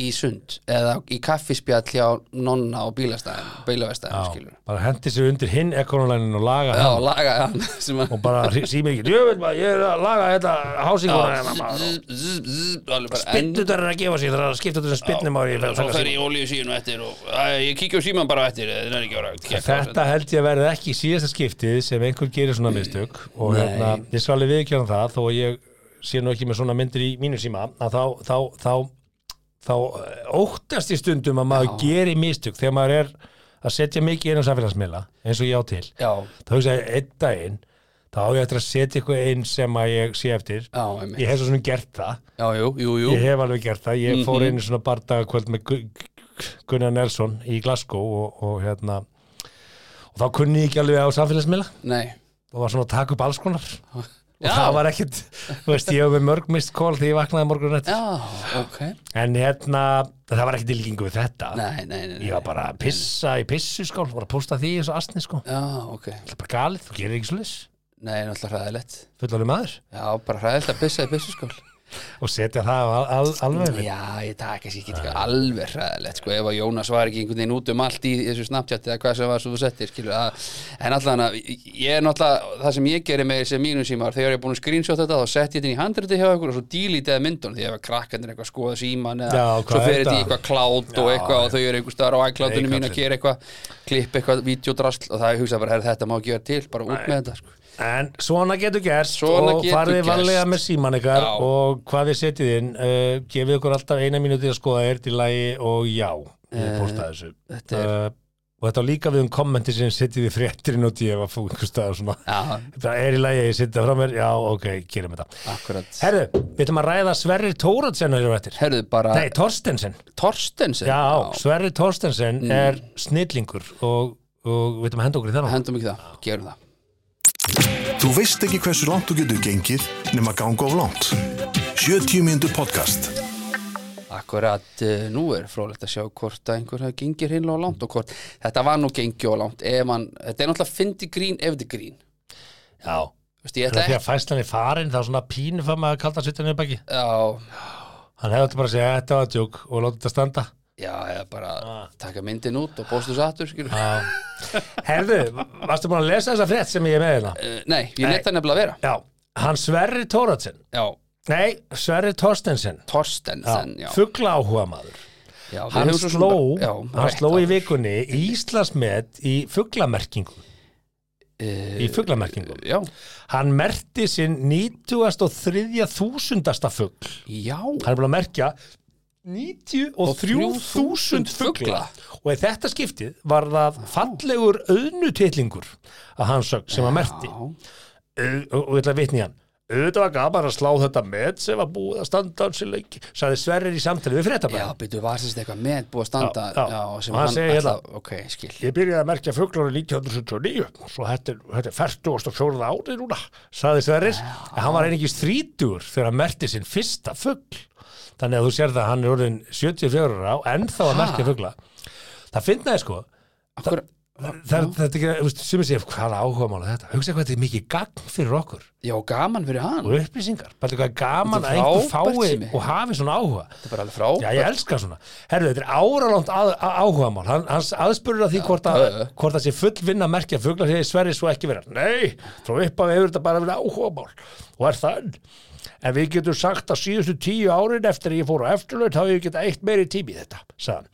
Speaker 2: í sund eða í kaffispjall hjá nonna á bílastæðin, bílavestæðin, skilur.
Speaker 3: Já, bara hendi sér undir hinn ekonolænin og laga
Speaker 2: Já,
Speaker 3: hann
Speaker 2: laga hann sem að
Speaker 3: og bara símið ekki, jöfnveld maður, ég er að laga þetta hásinguna hérna maður og
Speaker 2: Spittu
Speaker 3: Spynnutar er að gefa sér, það er að skipta þessum spinnum á ég fer að
Speaker 2: Svo
Speaker 3: taka
Speaker 2: fer
Speaker 3: símann.
Speaker 2: ég í ólíusínu eftir og æ, ég kíkja á síman bara á eftir það er ekki að vera að kekka á
Speaker 3: Þetta held ég að verði ekki síðasta skiptið sem einhver gerir svona mistök og hérna, ég skal alveg viðkjörna það þó að ég sé nú ekki með svona myndir í mínu síma að þá, þá, þá, þá, eh, óttast ég stundum að maður geri mistök þegar maður er að setja mikið inn á samfélagsmiðla eins og ég á til
Speaker 2: Já,
Speaker 3: þá hugsa ég einn daginn þá á ég eftir að setja eitthvað inn sem að ég sé eftir
Speaker 2: já, einmitt
Speaker 3: ég hef svo svona gert það
Speaker 2: Já, jú, jú, jú
Speaker 3: Ég hef alveg gert það, ég
Speaker 2: Mhm.
Speaker 3: fór einu svona bardagakvöld með Gu- Gu- Gunnar Nelson í Glasgow og, og hérna og þá kunni ég ekki alveg á samfélagsmiðla
Speaker 2: Nei
Speaker 3: og var svona að taka upp alls konar og
Speaker 2: Já.
Speaker 3: það var ekkit, þú veist, ég hef með mörg mist kól því ég vaknaði morgun eftir
Speaker 2: Já, ok
Speaker 3: en hérna, það var ekkit ilgingu við þetta
Speaker 2: Nei, nei, nei,
Speaker 3: ég
Speaker 2: nei.
Speaker 3: var bara að pissa í pissu skál var að posta því eins og astni sko
Speaker 2: Já, ok
Speaker 3: það er bara galið, þú gerir ekki svo leys
Speaker 2: Nei, náttúrulega hræðilegt
Speaker 3: fullalum maður
Speaker 2: Já, bara hræðilegt að pissa í pissuskól
Speaker 3: og setja það al, al, alveg við.
Speaker 2: Já, ég það er kannski ekki eitthvað alveg hræðilegt sko, ef að Jónas var ekki einhvern veginn út um allt í þessu Snapchat eða hvað sem var svo þú settir skilur, að, en allan að ég er náttúrulega, það sem ég gerir með þessi mínum símar þegar ég er búin að screenshot þetta þá sett ég þetta inn í handriti hjá ykkur og svo dílítið myndun því ef að krakkandir eitthvað skoða síman eða
Speaker 3: Já, hvað
Speaker 2: svo
Speaker 3: er
Speaker 2: fer þetta í
Speaker 3: þetta?
Speaker 2: eitthvað cloud og
Speaker 3: Já,
Speaker 2: eitthvað og þau eru einhver staðar á iCloudinu
Speaker 3: Nei,
Speaker 2: mín að
Speaker 3: kallinn.
Speaker 2: gera eitthvað klipp eitthvað, videodrasl og það er hugsað bara, herr, þetta má ekki vera til, bara út með þetta sko.
Speaker 3: En svona getur gerst
Speaker 2: Svona
Speaker 3: og
Speaker 2: getur
Speaker 3: farið
Speaker 2: gerst.
Speaker 3: varlega með síman ykkar
Speaker 2: Já.
Speaker 3: og hvað þið setjið inn uh, gefið okkur alltaf eina mínúti að skoða er til lagi og já, við postaði þessu
Speaker 2: Eh, þetta
Speaker 3: uh, og þetta á líka við um kommenti sem setjið í fréttirinn og tíu ef að fú einhver staðar svona
Speaker 2: Já,
Speaker 3: það er í lagi, ég setja frá mér, já ok, gerum þetta
Speaker 2: akkurat
Speaker 3: Herðu, við ætlum að ræða Sverrir Tóratsen hér á eftir,
Speaker 2: Herðu bara,
Speaker 3: nei Torstensen
Speaker 2: Torstensen
Speaker 3: já, Sverrir Torstensen
Speaker 2: Mm.
Speaker 3: er snillingur og, og við ætlum að henda okkur í þannig
Speaker 2: Hendum ekki það, gerum það
Speaker 1: Þú veist ekki hversu langt þú getur gengið nema ganga of langt. 70 mínútur podcast.
Speaker 2: Akkurat uh, nú er frólægt að sjá hvort að einhver hafa gengið hreinlega á langt og hvort þetta var nú gengið á langt ef man, þetta er náttúrulega fyndi grín ef þetta er grín
Speaker 3: já,
Speaker 2: Veistu, ég
Speaker 3: Það
Speaker 2: ætla
Speaker 3: því
Speaker 2: ekki
Speaker 3: að fæslan er farin þá svona pínu fann maður að kalda sittan upp ekki
Speaker 2: Já,
Speaker 3: Hann hefði átti bara að segja þetta var djók og láta þetta standa
Speaker 2: já, eða bara
Speaker 3: Ah.
Speaker 2: taka myndin út og bóstu þess aftur skilur uh,
Speaker 3: Herðu, varstu búin að lesa þessa frétt sem ég er með hérna?
Speaker 2: Eh, Nei, ég
Speaker 3: Nei.
Speaker 2: leta hann nefnilega vera
Speaker 3: Já, hann Sverri Tóratsen
Speaker 2: Já,
Speaker 3: Nei, Sverri Torstensen
Speaker 2: Torstensen, já,
Speaker 3: Fugla áhuga maður
Speaker 2: já við
Speaker 3: Hann
Speaker 2: höfum svo sem
Speaker 3: sló,
Speaker 2: bara- já,
Speaker 3: hann
Speaker 2: rétt
Speaker 3: sló í
Speaker 2: áður.
Speaker 3: vikunni Íslandsmet í fuglamerkingu
Speaker 2: Eh,
Speaker 3: Í fuglamerkingu
Speaker 2: Já,
Speaker 3: Hann merti sinn 93 þúsundasta fugl
Speaker 2: já
Speaker 3: hann er búin að merkja 93.000 fugla og í þetta skiptið var það fallegur auðnutitlingur að hann sög sem að
Speaker 2: Já,
Speaker 3: merti Au- og og ég ætla að vitni hann auðvitað var gaman að slá þetta met sem var búið að standa hans í leik sagði Sverrir í samtali
Speaker 2: já
Speaker 3: við fréttabæð
Speaker 2: byrju, var þess eitthvað með búið að standa
Speaker 3: Já, já.
Speaker 2: sem
Speaker 3: Og hann
Speaker 2: hann
Speaker 3: segir hérna-
Speaker 2: ætla- Ok, skil
Speaker 3: ég byrjaði að merkja fuglar í 1979 svo þetta er, þetta er 44 árið núna sagði Sverrir en hann var einingis 30 þegar hann merti sinn fyrsta fugl þannig að þú sér það að hann er orðin 74 ára og ennþá að merkja fugla það finnaði sko
Speaker 2: Akkur,
Speaker 3: Það, þetta er ekki, sem ég segja, hvað er áhuga mála þetta? Hugsa hvað þetta er mikið gagn fyrir okkur
Speaker 2: Já, gaman fyrir hann
Speaker 3: og upplýsingar. Bæði hvað er gaman
Speaker 2: Þetta
Speaker 3: að
Speaker 2: er
Speaker 3: einhver
Speaker 2: frábært,
Speaker 3: fái
Speaker 2: Simmi.
Speaker 3: og hafi svona áhuga.
Speaker 2: Þetta er bara alveg frá
Speaker 3: Já, ég elska svona. Herru, þetta er áralangt að, að, áhuga mál. Hann, hans aðspurur að því hvort, að,
Speaker 2: já, já.
Speaker 3: hvort það sé full vinna að merkja fugla þegar sverri svo ekki vera. Nei, frá uppafi hefur þetta bara verið áhuga mál. Og er þann. En við getum sagt að síðustu tíu árin eftir að ég fór á eftirlaut þá ég geta eitt meiri tími í þetta, sagðan.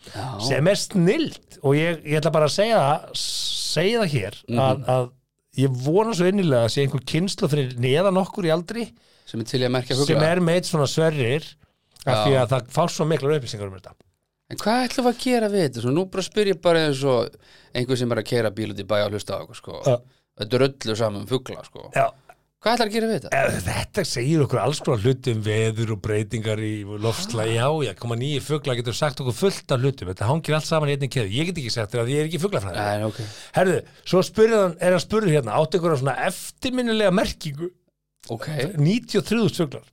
Speaker 3: Sem er snilt og ég, ég ætla bara að segja það, segja það hér
Speaker 2: Mhm.
Speaker 3: að, að ég vona svo innilega að sé einhver kynslu fyrir neðan okkur í aldri
Speaker 2: sem er til í að merkja
Speaker 3: sem
Speaker 2: fugla
Speaker 3: er meitt svona sverrir af því að það fá svo miklar upplýsingar um þetta
Speaker 2: en hvað ætlum við að gera við þetta Svo nú bara spyr ég bara eins og einhver sem er að keira bíl út í bæ og hlusta á okkur sko.
Speaker 3: Já.
Speaker 2: þetta er öllu saman um fugla sko.
Speaker 3: Já,
Speaker 2: hvað ætlar að gera við þetta
Speaker 3: ef þetta segir okkur alls konar hluti um veður og breytingar í lofsla Já, já, koma nýju fugla getur sagt okkur fullt af hlutum Þetta hangir allt saman í einni keðu Ég get ekki sagt þér að ég er ekki fuglafræði
Speaker 2: Nei, ok,
Speaker 3: Herðu, svo spurði hann, er hann spurði hérna Áttu ykkur svona eftirminnilega merkingu
Speaker 2: ok
Speaker 3: 93 fuglar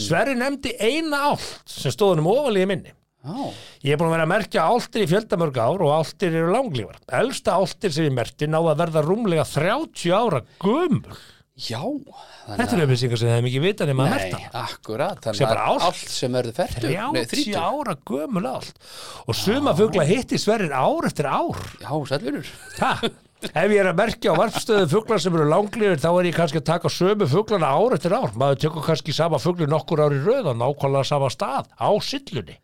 Speaker 3: Sverri nefndi eina átt sem stóð hann um ofalíði minni
Speaker 2: Já,
Speaker 3: Ég er búin að vera að merkja áltir í fjöldamörg ár og áltir eru langlífar. Elsta áltir sem ég merkti ná að verða rúmlega 30 ára gömul.
Speaker 2: já þannig
Speaker 3: Þetta eru upplýsingar sem það er mikið vita nema að merta.
Speaker 2: Nei, akkurat
Speaker 3: Sem
Speaker 2: Þannig
Speaker 3: bara
Speaker 2: að
Speaker 3: ást.
Speaker 2: allt sem verður fertur
Speaker 3: 30 ára gömul ált. Og suma fugla hitti sverrir ár eftir ár.
Speaker 2: Já, sælvinur
Speaker 3: Ha? Ef ég er að merkja á varpstöðu fuglar sem eru langlífir þá er ég kannski að taka sömu fuglana ár eftir ár. Maður tekur kannski sama fugli nokkur ár í röð og nákvæmlega sama stað á sillunni.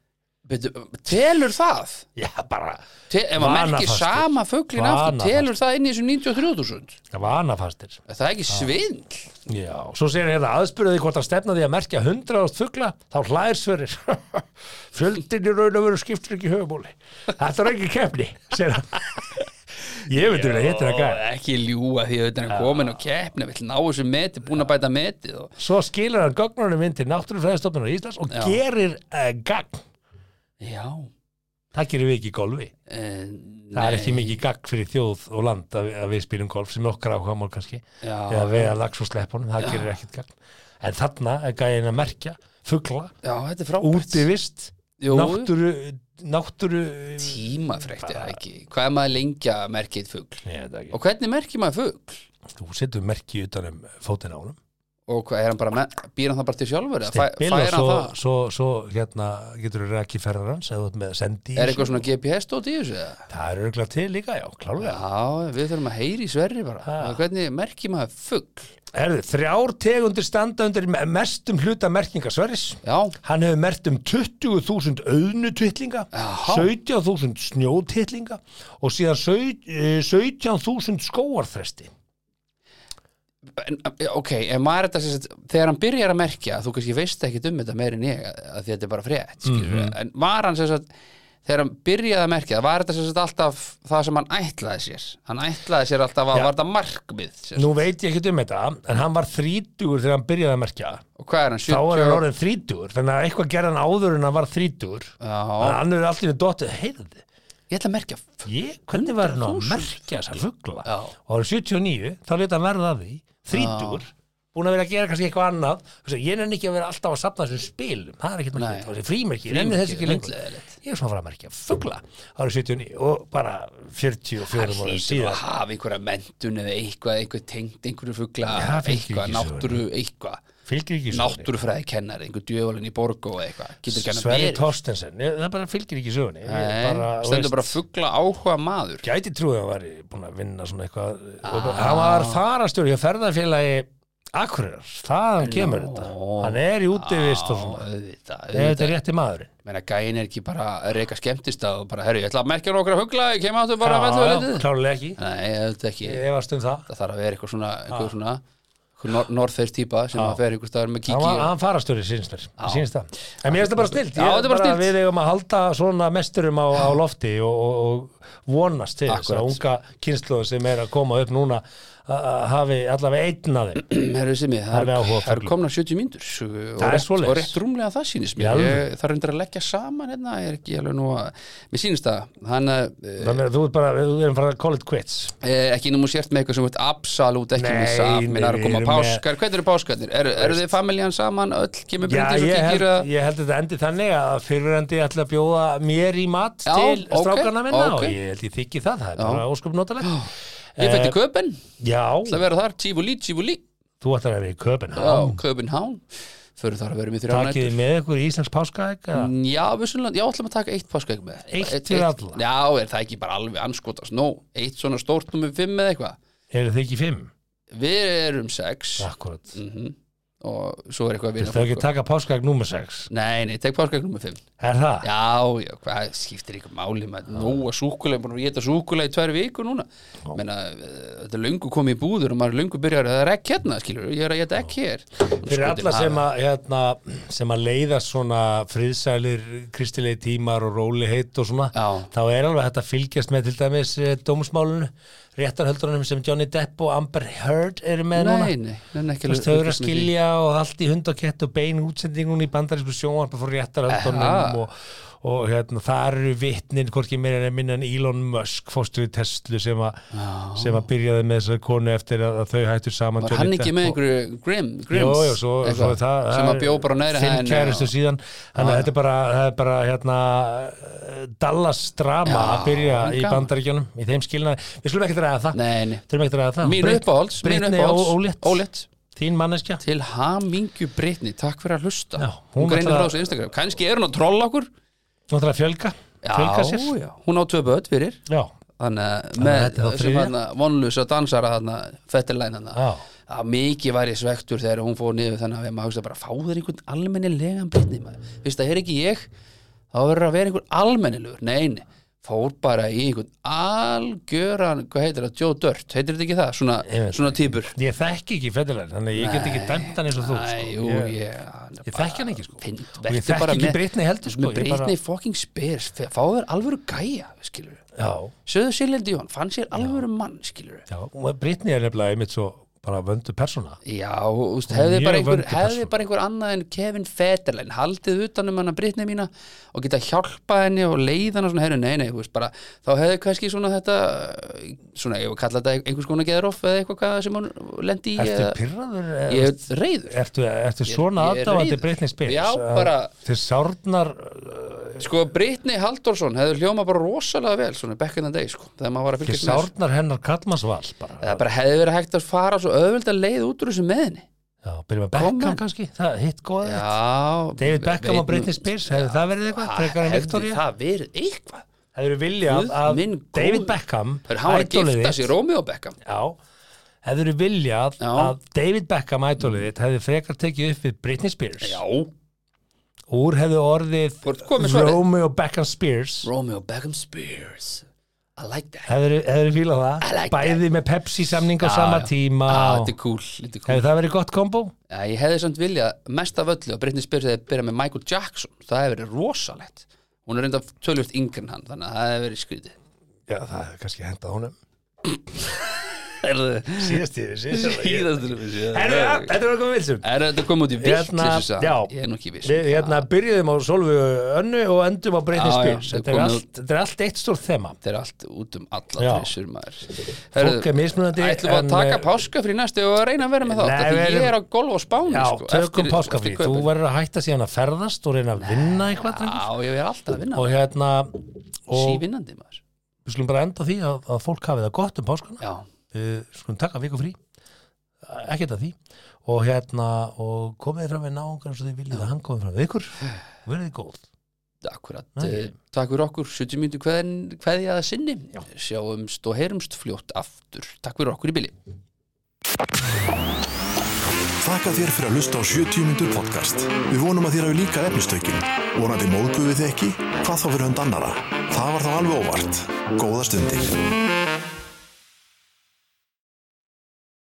Speaker 2: Telur það?
Speaker 3: Já, bara
Speaker 2: Te ef maður merkir
Speaker 3: Vanafastur.
Speaker 2: sama fuglin aftur
Speaker 3: Vanafastur.
Speaker 2: Telur það inn í þessum 93.000?
Speaker 3: vanafastir.
Speaker 2: Er Það er ekki svindl
Speaker 3: Já, svo segir hérna aðspurði hvort að stefna því að merkja 100.000 fugla, þá hlæðir <laughs> sverir. Fjöldin í raun og veru skiptir ekki höfumóli. Þetta er ekki keppni, segir hann. Ég veit um að hittir að gæða.
Speaker 2: ekki ljúa því að þetta er komin og keppni vill ná þessu meti, búin að bæta metið og...
Speaker 3: Svo skilur hann gögnunum inn til náttúrufræðistofnunar Íslands og
Speaker 2: Já.
Speaker 3: gerir uh, gagn.
Speaker 2: já
Speaker 3: Það gerir við ekki í golfi.
Speaker 2: en,
Speaker 3: Það er ekki mikið gagn fyrir þjóð og land að, að við spilum golf sem okkar áhugamál kannski.
Speaker 2: Já.
Speaker 3: Eða við að lags og sleppunum, það gerir ekkert gagn. En þarna er gæðin að merkja fugla,
Speaker 2: já, þetta er frábært
Speaker 3: útivist,
Speaker 2: Jú.
Speaker 3: náttúru, náttúru
Speaker 2: tímafrekt er það ekki hvað er maður lengja að merkja eitt fugl
Speaker 3: Nei, þetta er ekki.
Speaker 2: og hvernig merkir maður fugl
Speaker 3: Þú setur merki utan um fótinn á honum
Speaker 2: og hvað er hann bara með, býr hann það bara til sjálfur eða fæ-
Speaker 3: Stimpil og
Speaker 2: fær hann
Speaker 3: svo,
Speaker 2: það
Speaker 3: svo, svo hérna getur þú rekki ferðar hans eða þú ert með sendi
Speaker 2: er eitthvað svona GPS stótt í þessu eða?
Speaker 3: Það er örgulega til líka, já, klálega
Speaker 2: já, við þurfum að heyri í sverri bara
Speaker 3: Ha.
Speaker 2: hvernig merkir maður fugg
Speaker 3: Herðu, þrjár tegundir standa undir me- mestum hluta merkingasverðis.
Speaker 2: Já.
Speaker 3: Hann hefur merkt um 20.000 auðnutittlinga,
Speaker 2: Jaha.
Speaker 3: 17.000 snjótittlinga og síðan sau- eh, 17.000 skóarþresti.
Speaker 2: En, eh, ok, en maður er þetta sem sagt, þegar hann byrjar að merkja, þú kannski veist ekki um þetta meir en ég, að því þetta er bara frétt mm
Speaker 3: Mhm.
Speaker 2: en var hann sem sagt þegar hann byrjaði að merkja, var þetta sem sagt alltaf það sem hann ætlaði sér hann ætlaði sér alltaf að
Speaker 3: Já.
Speaker 2: var þetta markmið sem sagt.
Speaker 3: Nú veit ég ekki um þetta, en hann var þrítugur þegar hann byrjaði að merkja.
Speaker 2: og hvað er hann, 70
Speaker 3: Þá er hann orðin þrítugur, þannig að eitthvað gerði hann áður en hann var þrítugur. Þannig að
Speaker 2: Já,
Speaker 3: hann er alltaf í dottu, heyrðu,
Speaker 2: ég ætla að merkja f-
Speaker 3: ég, hvernig var hann að merkja þessar fugla
Speaker 2: Já.
Speaker 3: og árið 79, þá leta hann verða að því þrítur, búin að vera að gera kannski eitthvað annað, Þú veist, ég nenni ekki að vera alltaf að sapna þessum spilum, það er ekkert merkja
Speaker 2: Nei.
Speaker 3: það er frímerki, ég nenni þess ekki lengur
Speaker 2: hundleiðilegt.
Speaker 3: ég er svona að fara að merkja fugla árið 79 og bara 44 ára
Speaker 2: hlýtur að
Speaker 3: síðan
Speaker 2: hafa einhverja mentun eða eitthvað, eitthvað tengt einhverju fugla,
Speaker 3: Já, það fylgir
Speaker 2: eitthvað,
Speaker 3: ekki sögunni.
Speaker 2: náttúru eitthvað,
Speaker 3: fylgir ekki sögunni,
Speaker 2: náttúrufræði kennar einhver djöfalinn í borgo eða eitthvað, getur kennar
Speaker 3: Sverri Torstensen Ég- það bara fylgir ekki sögunni Ég
Speaker 2: Nei,
Speaker 3: bara, þú
Speaker 2: stendur
Speaker 3: veist,
Speaker 2: bara fuggla áhuga maður
Speaker 3: gæti trúið að hann væri búin að vinna svona eitthvað ah. hann var farastjóri hjá ferðarfélagi Akureyrar, þaðan kemur þetta hann er í útivist og svona
Speaker 2: auðvitað,
Speaker 3: ef þetta
Speaker 2: Ah, auðvitað.
Speaker 3: er rétti maðurinn
Speaker 2: Meina, gæin er ekki bara að reyka skemmtist að bara, herru, ég ætla að merkja nokkra fuggla ég kem áttu bara að
Speaker 3: Já,
Speaker 2: vellu að
Speaker 3: já,
Speaker 2: litið
Speaker 3: klárlega ekki,
Speaker 2: Nei, auðvitað ekki,
Speaker 3: ég efast um það
Speaker 2: það þarf að vera eitthvað svona eitthvað svona, eitthvað norðferð típa sem að fer einhver staðar með
Speaker 3: hann,
Speaker 2: kiki
Speaker 3: var,
Speaker 2: og-
Speaker 3: hann farastjóri sínst mér sínst það, en mér finnst það bara snilt
Speaker 2: Já, þetta er bara snillt.
Speaker 3: við eigum að halda svona mesturum á, á lofti og, og, og vonast til þess að
Speaker 2: Akkurat.
Speaker 3: unga kynsluðu sem er að koma upp núna a- a- hafi allavega einn að
Speaker 2: <clears throat>
Speaker 3: þeim
Speaker 2: <clears throat> Herru Simi, það
Speaker 3: Alveg
Speaker 2: er,
Speaker 3: áhuga á
Speaker 2: það er
Speaker 3: fuglum.
Speaker 2: komna 70 mínútur og,
Speaker 3: Það er
Speaker 2: rétt-
Speaker 3: svoleiðis.
Speaker 2: og rétt rúmlega það sýnist
Speaker 3: Í
Speaker 2: mér
Speaker 3: alvöru?
Speaker 2: ég þarf reyndar að leggja saman hérna, ég er ekki alveg nú að mér sýnist það, hann eh,
Speaker 3: þannig að þú ert bara, við erum bara að call it quits
Speaker 2: Eh, ekki nú sért með eitthvað sem þú ert absolút ekki
Speaker 3: Nei,
Speaker 2: missa af,
Speaker 3: nei,
Speaker 2: minna er að
Speaker 3: við
Speaker 2: koma
Speaker 3: erum
Speaker 2: páskar hvernig eru páskarnir, eru er þið familjan saman öll, kemur
Speaker 3: Já,
Speaker 2: brindis og
Speaker 3: ég held,
Speaker 2: kikir að
Speaker 3: ég held að þetta endi þannig að fyrirandi ætla að bjóða mér í mat
Speaker 2: Já,
Speaker 3: til
Speaker 2: ok,
Speaker 3: strákarna minna
Speaker 2: ok.
Speaker 3: og ég held ég þykki það, það er
Speaker 2: Já.
Speaker 3: bara ósköp notalegt.
Speaker 2: ég fætti
Speaker 3: Eh,
Speaker 2: köpen, ætla
Speaker 3: Já,
Speaker 2: að vera þar tífúlí, tífúlí,
Speaker 3: þú ætlar að vera í köpinn.
Speaker 2: já, köpen hán fyrir þar að vera með þrjá
Speaker 3: Takið þið með ykkur í Íslands páskaegg eða?
Speaker 2: já, vissulega, já, ætlum að taka eitt páskaegg með
Speaker 3: Eitt fyrir alla?
Speaker 2: já, er það ekki bara alveg anskotast, nó, eitt svona stórt nummer fimm eða eitthvað,
Speaker 3: Eru þið ekki í fimm?
Speaker 2: við erum sex Mhm.
Speaker 3: Akkurat.
Speaker 2: Mm. og svo er eitthvað að
Speaker 3: Viltu ekki
Speaker 2: vinna
Speaker 3: taka páskaegg nummer 6?
Speaker 2: nei, nei, tek páskaegg nummer fimm
Speaker 3: Er það?
Speaker 2: Já, já, hvað skiptir ykkur máli maður, nú að súkulega, búin að geta súkulega í tvær viku núna menna, þetta er löngu komið í búður og maður er löngu byrjar það er ekki hérna, skilur, ég er að geta ekki hér
Speaker 3: Fyrir alla sem að, hérna, sem að leiða svona friðsælir, kristilegi tímar og róli heitt og svona,
Speaker 2: Já.
Speaker 3: þá er alveg hægt að fylgjast með til dæmis eh, dómsmálinu, réttarhöldunum sem Johnny Depp og Amber Heard eru með
Speaker 2: Nei,
Speaker 3: núna.
Speaker 2: nei, nei, ekki
Speaker 3: Þú veist, þau eru að skilja og allt í hund og kett og bein útsendingun í bandarísku sjónvarp frá
Speaker 2: Aha.
Speaker 3: réttarhöldunum og, og hérna, það eru vitnin, hvorki meira en minna en Elon Musk, fórstu við Tesla sem, a, sem að byrjaði með þessari konu eftir að, að þau hættu saman
Speaker 2: Var
Speaker 3: Johnny
Speaker 2: hann ekki
Speaker 3: Depp
Speaker 2: með
Speaker 3: og-
Speaker 2: einhverju Grim, Grims
Speaker 3: Jó, jó, svo, svo
Speaker 2: eitthvað,
Speaker 3: það
Speaker 2: sem að bjó bara á neðri
Speaker 3: Fimm
Speaker 2: hæðinni
Speaker 3: kæristu
Speaker 2: og-
Speaker 3: síðan Þannig að þetta er bara, það er bara hérna, eh, Dallas drama
Speaker 2: Já,
Speaker 3: að byrja
Speaker 2: en
Speaker 3: í
Speaker 2: gaman.
Speaker 3: bandaríkjunum í þeim skilnaði, við skulum ekki draga það
Speaker 2: Nei, nei,
Speaker 3: þurfum ekki draga það
Speaker 2: mín
Speaker 3: Brit-
Speaker 2: uppáhalds mín
Speaker 3: Britney Ó-
Speaker 2: uppáhalds,
Speaker 3: Ólétt,
Speaker 2: ólétt
Speaker 3: þín manneskja
Speaker 2: til hamingju Britni, takk fyrir að hlusta
Speaker 3: Já, hún
Speaker 2: hún greinir frá
Speaker 3: ætlar að-
Speaker 2: þessu Instagram, kannski er hún að trolla okkur
Speaker 3: Þú ætlar að fjölga, fjölga
Speaker 2: já,
Speaker 3: sér
Speaker 2: já, hún á tvö börn fyrir
Speaker 3: Já,
Speaker 2: þannig að
Speaker 3: Þannig að
Speaker 2: með
Speaker 3: þetta er þá
Speaker 2: sem
Speaker 3: þriðja?
Speaker 2: hann vonlusa dansara hann fettilæn hann
Speaker 3: Já.
Speaker 2: að mikið var ég svektur þegar hún fór niður þannig að við maður hugsa bara fá þér einhvern almennilegan britni maður, veist það er ekki ég þá verður að vera einhvern almennilegur nein, fór bara í einhvern algjöran, hvað heitir það, Joe Dirt heitir þetta ekki það, svona,
Speaker 3: Ég veit
Speaker 2: svona típur
Speaker 3: ég þekki ekki feddilega Þannig að ég get ekki dæmt hann eins og þú
Speaker 2: Æ,
Speaker 3: sko.
Speaker 2: jú,
Speaker 3: Ég-
Speaker 2: ég, hann er
Speaker 3: Ég
Speaker 2: bara-
Speaker 3: þekki hann ekki, sko.
Speaker 2: Finn-
Speaker 3: Og ég
Speaker 2: vertu
Speaker 3: þekki
Speaker 2: bara
Speaker 3: ekki
Speaker 2: með-
Speaker 3: Britney heldur, sko,
Speaker 2: með
Speaker 3: ég bara-
Speaker 2: Britney fucking Spears, fe- fá þér alvöru gæja skilur,
Speaker 3: Já,
Speaker 2: söðu sérlendi í hann fann sér alvöru mann, skilur
Speaker 3: já, og Britney er nefnilega einmitt svo bara vöndu persóna
Speaker 2: Já, úst, hefði,
Speaker 3: Mjög
Speaker 2: bara einhver,
Speaker 3: vönduð
Speaker 2: hefði
Speaker 3: persóna.
Speaker 2: bara einhver annað en Kevin Federlein haldið utanum hana Britni mína og geta hjálpað henni og leið hana svona, heyrðu, nei, nei, þú veist, bara, þá hefði kannski svona þetta svona, ég var kalla þetta einhvers konar geðroff eða eitthvað hvað sem hún lendi í
Speaker 3: Ertu
Speaker 2: eða,
Speaker 3: pyrraður? eh,
Speaker 2: ég er reyður
Speaker 3: Ertu, ertu svona
Speaker 2: ég er
Speaker 3: aðdáðandi
Speaker 2: reiður.
Speaker 3: Britney Spears?
Speaker 2: Já,
Speaker 3: Að
Speaker 2: bara-
Speaker 3: Þið sárnar
Speaker 2: Sko, Britni Halldórsson hefði hljóma bara rosalega vel, svona, back in the day, sko þegar maður var að
Speaker 3: Þið
Speaker 2: fylgjast með þessu.
Speaker 3: sárnar hennar kallmannsval bara.
Speaker 2: eða bara hefði verið hægt að fara svo öðvöld að leið út úr þessu með henni
Speaker 3: Já, byrjum að Beckham
Speaker 2: Coman.
Speaker 3: kannski, það er hitt góða þetta.
Speaker 2: Já
Speaker 3: David Beckham
Speaker 2: veit
Speaker 3: og Britney
Speaker 2: nú-
Speaker 3: Spears, hefði það verið eitthvað, frekar en
Speaker 2: Hefði
Speaker 3: Victoria?
Speaker 2: Ah, Það verið eitthvað
Speaker 3: Það eru viljað
Speaker 2: Guð
Speaker 3: að
Speaker 2: minn góður.
Speaker 3: David Beckham,
Speaker 2: Hörru, Hann var að
Speaker 3: idolið
Speaker 2: gifta
Speaker 3: þitt-
Speaker 2: sér Rómi og Beckham
Speaker 3: Já, hefur þú viljað
Speaker 2: Já.
Speaker 3: að David Beckham ædolið þitt hefði frekar tekið upp við Britney Spears
Speaker 2: Já,
Speaker 3: úr hefði orðið
Speaker 2: Þú ert komið með svarið.
Speaker 3: Romeo Beckham Spears
Speaker 2: Rómi og Beckham Spears I like that
Speaker 3: hefur þú fílað
Speaker 2: I
Speaker 3: það
Speaker 2: like
Speaker 3: bæði með Pepsi samning á
Speaker 2: Já,
Speaker 3: sama
Speaker 2: já.
Speaker 3: tíma
Speaker 2: Ah,
Speaker 3: og-
Speaker 2: Þetta er cool, þetta er cool.
Speaker 3: hefur það verið gott kombo
Speaker 2: Já, Ég hefði samt viljað mest af öllu að Britney Spears hefði byrjað með Michael Jackson það hefði verið rosalegt Hún er reynda tölvöld yngri en hann þannig að það hefði verið skrítið
Speaker 3: já það hefur kannski hendað honum
Speaker 2: Erðu-
Speaker 3: síðast yfir
Speaker 2: Síðastur við séð.
Speaker 3: Herru, ja, þetta var komið vilsum
Speaker 2: Er þetta komið út í vilt
Speaker 3: Hérna, já.
Speaker 2: Ég er nú ekki viss um
Speaker 3: Við hérna byrjuðum á Solvi Önnu og endum á Britney
Speaker 2: Já, já,
Speaker 3: Spears
Speaker 2: þau
Speaker 3: þetta, er
Speaker 2: komu
Speaker 3: allt, þetta er allt eitt stór þema
Speaker 2: Þetta er allt út um
Speaker 3: Já.
Speaker 2: alla trissur maður
Speaker 3: Fólk er mismunandi,
Speaker 2: Ætlum við
Speaker 3: en,
Speaker 2: að taka
Speaker 3: eh,
Speaker 2: páska fyrir næstu og reyna að vera með það
Speaker 3: Nei,
Speaker 2: Þetta
Speaker 3: við
Speaker 2: ég er á
Speaker 3: erum-
Speaker 2: golf á Spáni
Speaker 3: Já,
Speaker 2: sko,
Speaker 3: tökum
Speaker 2: eftir-
Speaker 3: páskafrí,
Speaker 2: eftir
Speaker 3: þú
Speaker 2: kaupin.
Speaker 3: verður að hætta síðan að ferðast og reyna að vinna eitthvað drengur.
Speaker 2: Já, ég er alltaf að vinna
Speaker 3: og hérna og
Speaker 2: Sívinnandi maður
Speaker 3: við skulum bara enda á því að, að fólk hafi það gott um páskana
Speaker 2: Já,
Speaker 3: við skulum taka viku frí ekkert að því og hérna og komið þið fram við náungar eins og þið viljið að hann komið fram við ykkur verðið góð
Speaker 2: akkurat
Speaker 3: Nei.
Speaker 2: Nei. Takk fyrir okkur, 70 mínútur hverja hveð að sinni Sjáumst og heyrumst fljótt aftur Takk fyrir okkur í bili
Speaker 1: Þakka þér fyrir að hlusta á 70 mínútur podcast. Við vonum að þér hafi líka efnistökin. Vonandi móðguðu þið ekki? Hvað þá fyrir hund annara? Það var þá alveg óvart. Góða stundir.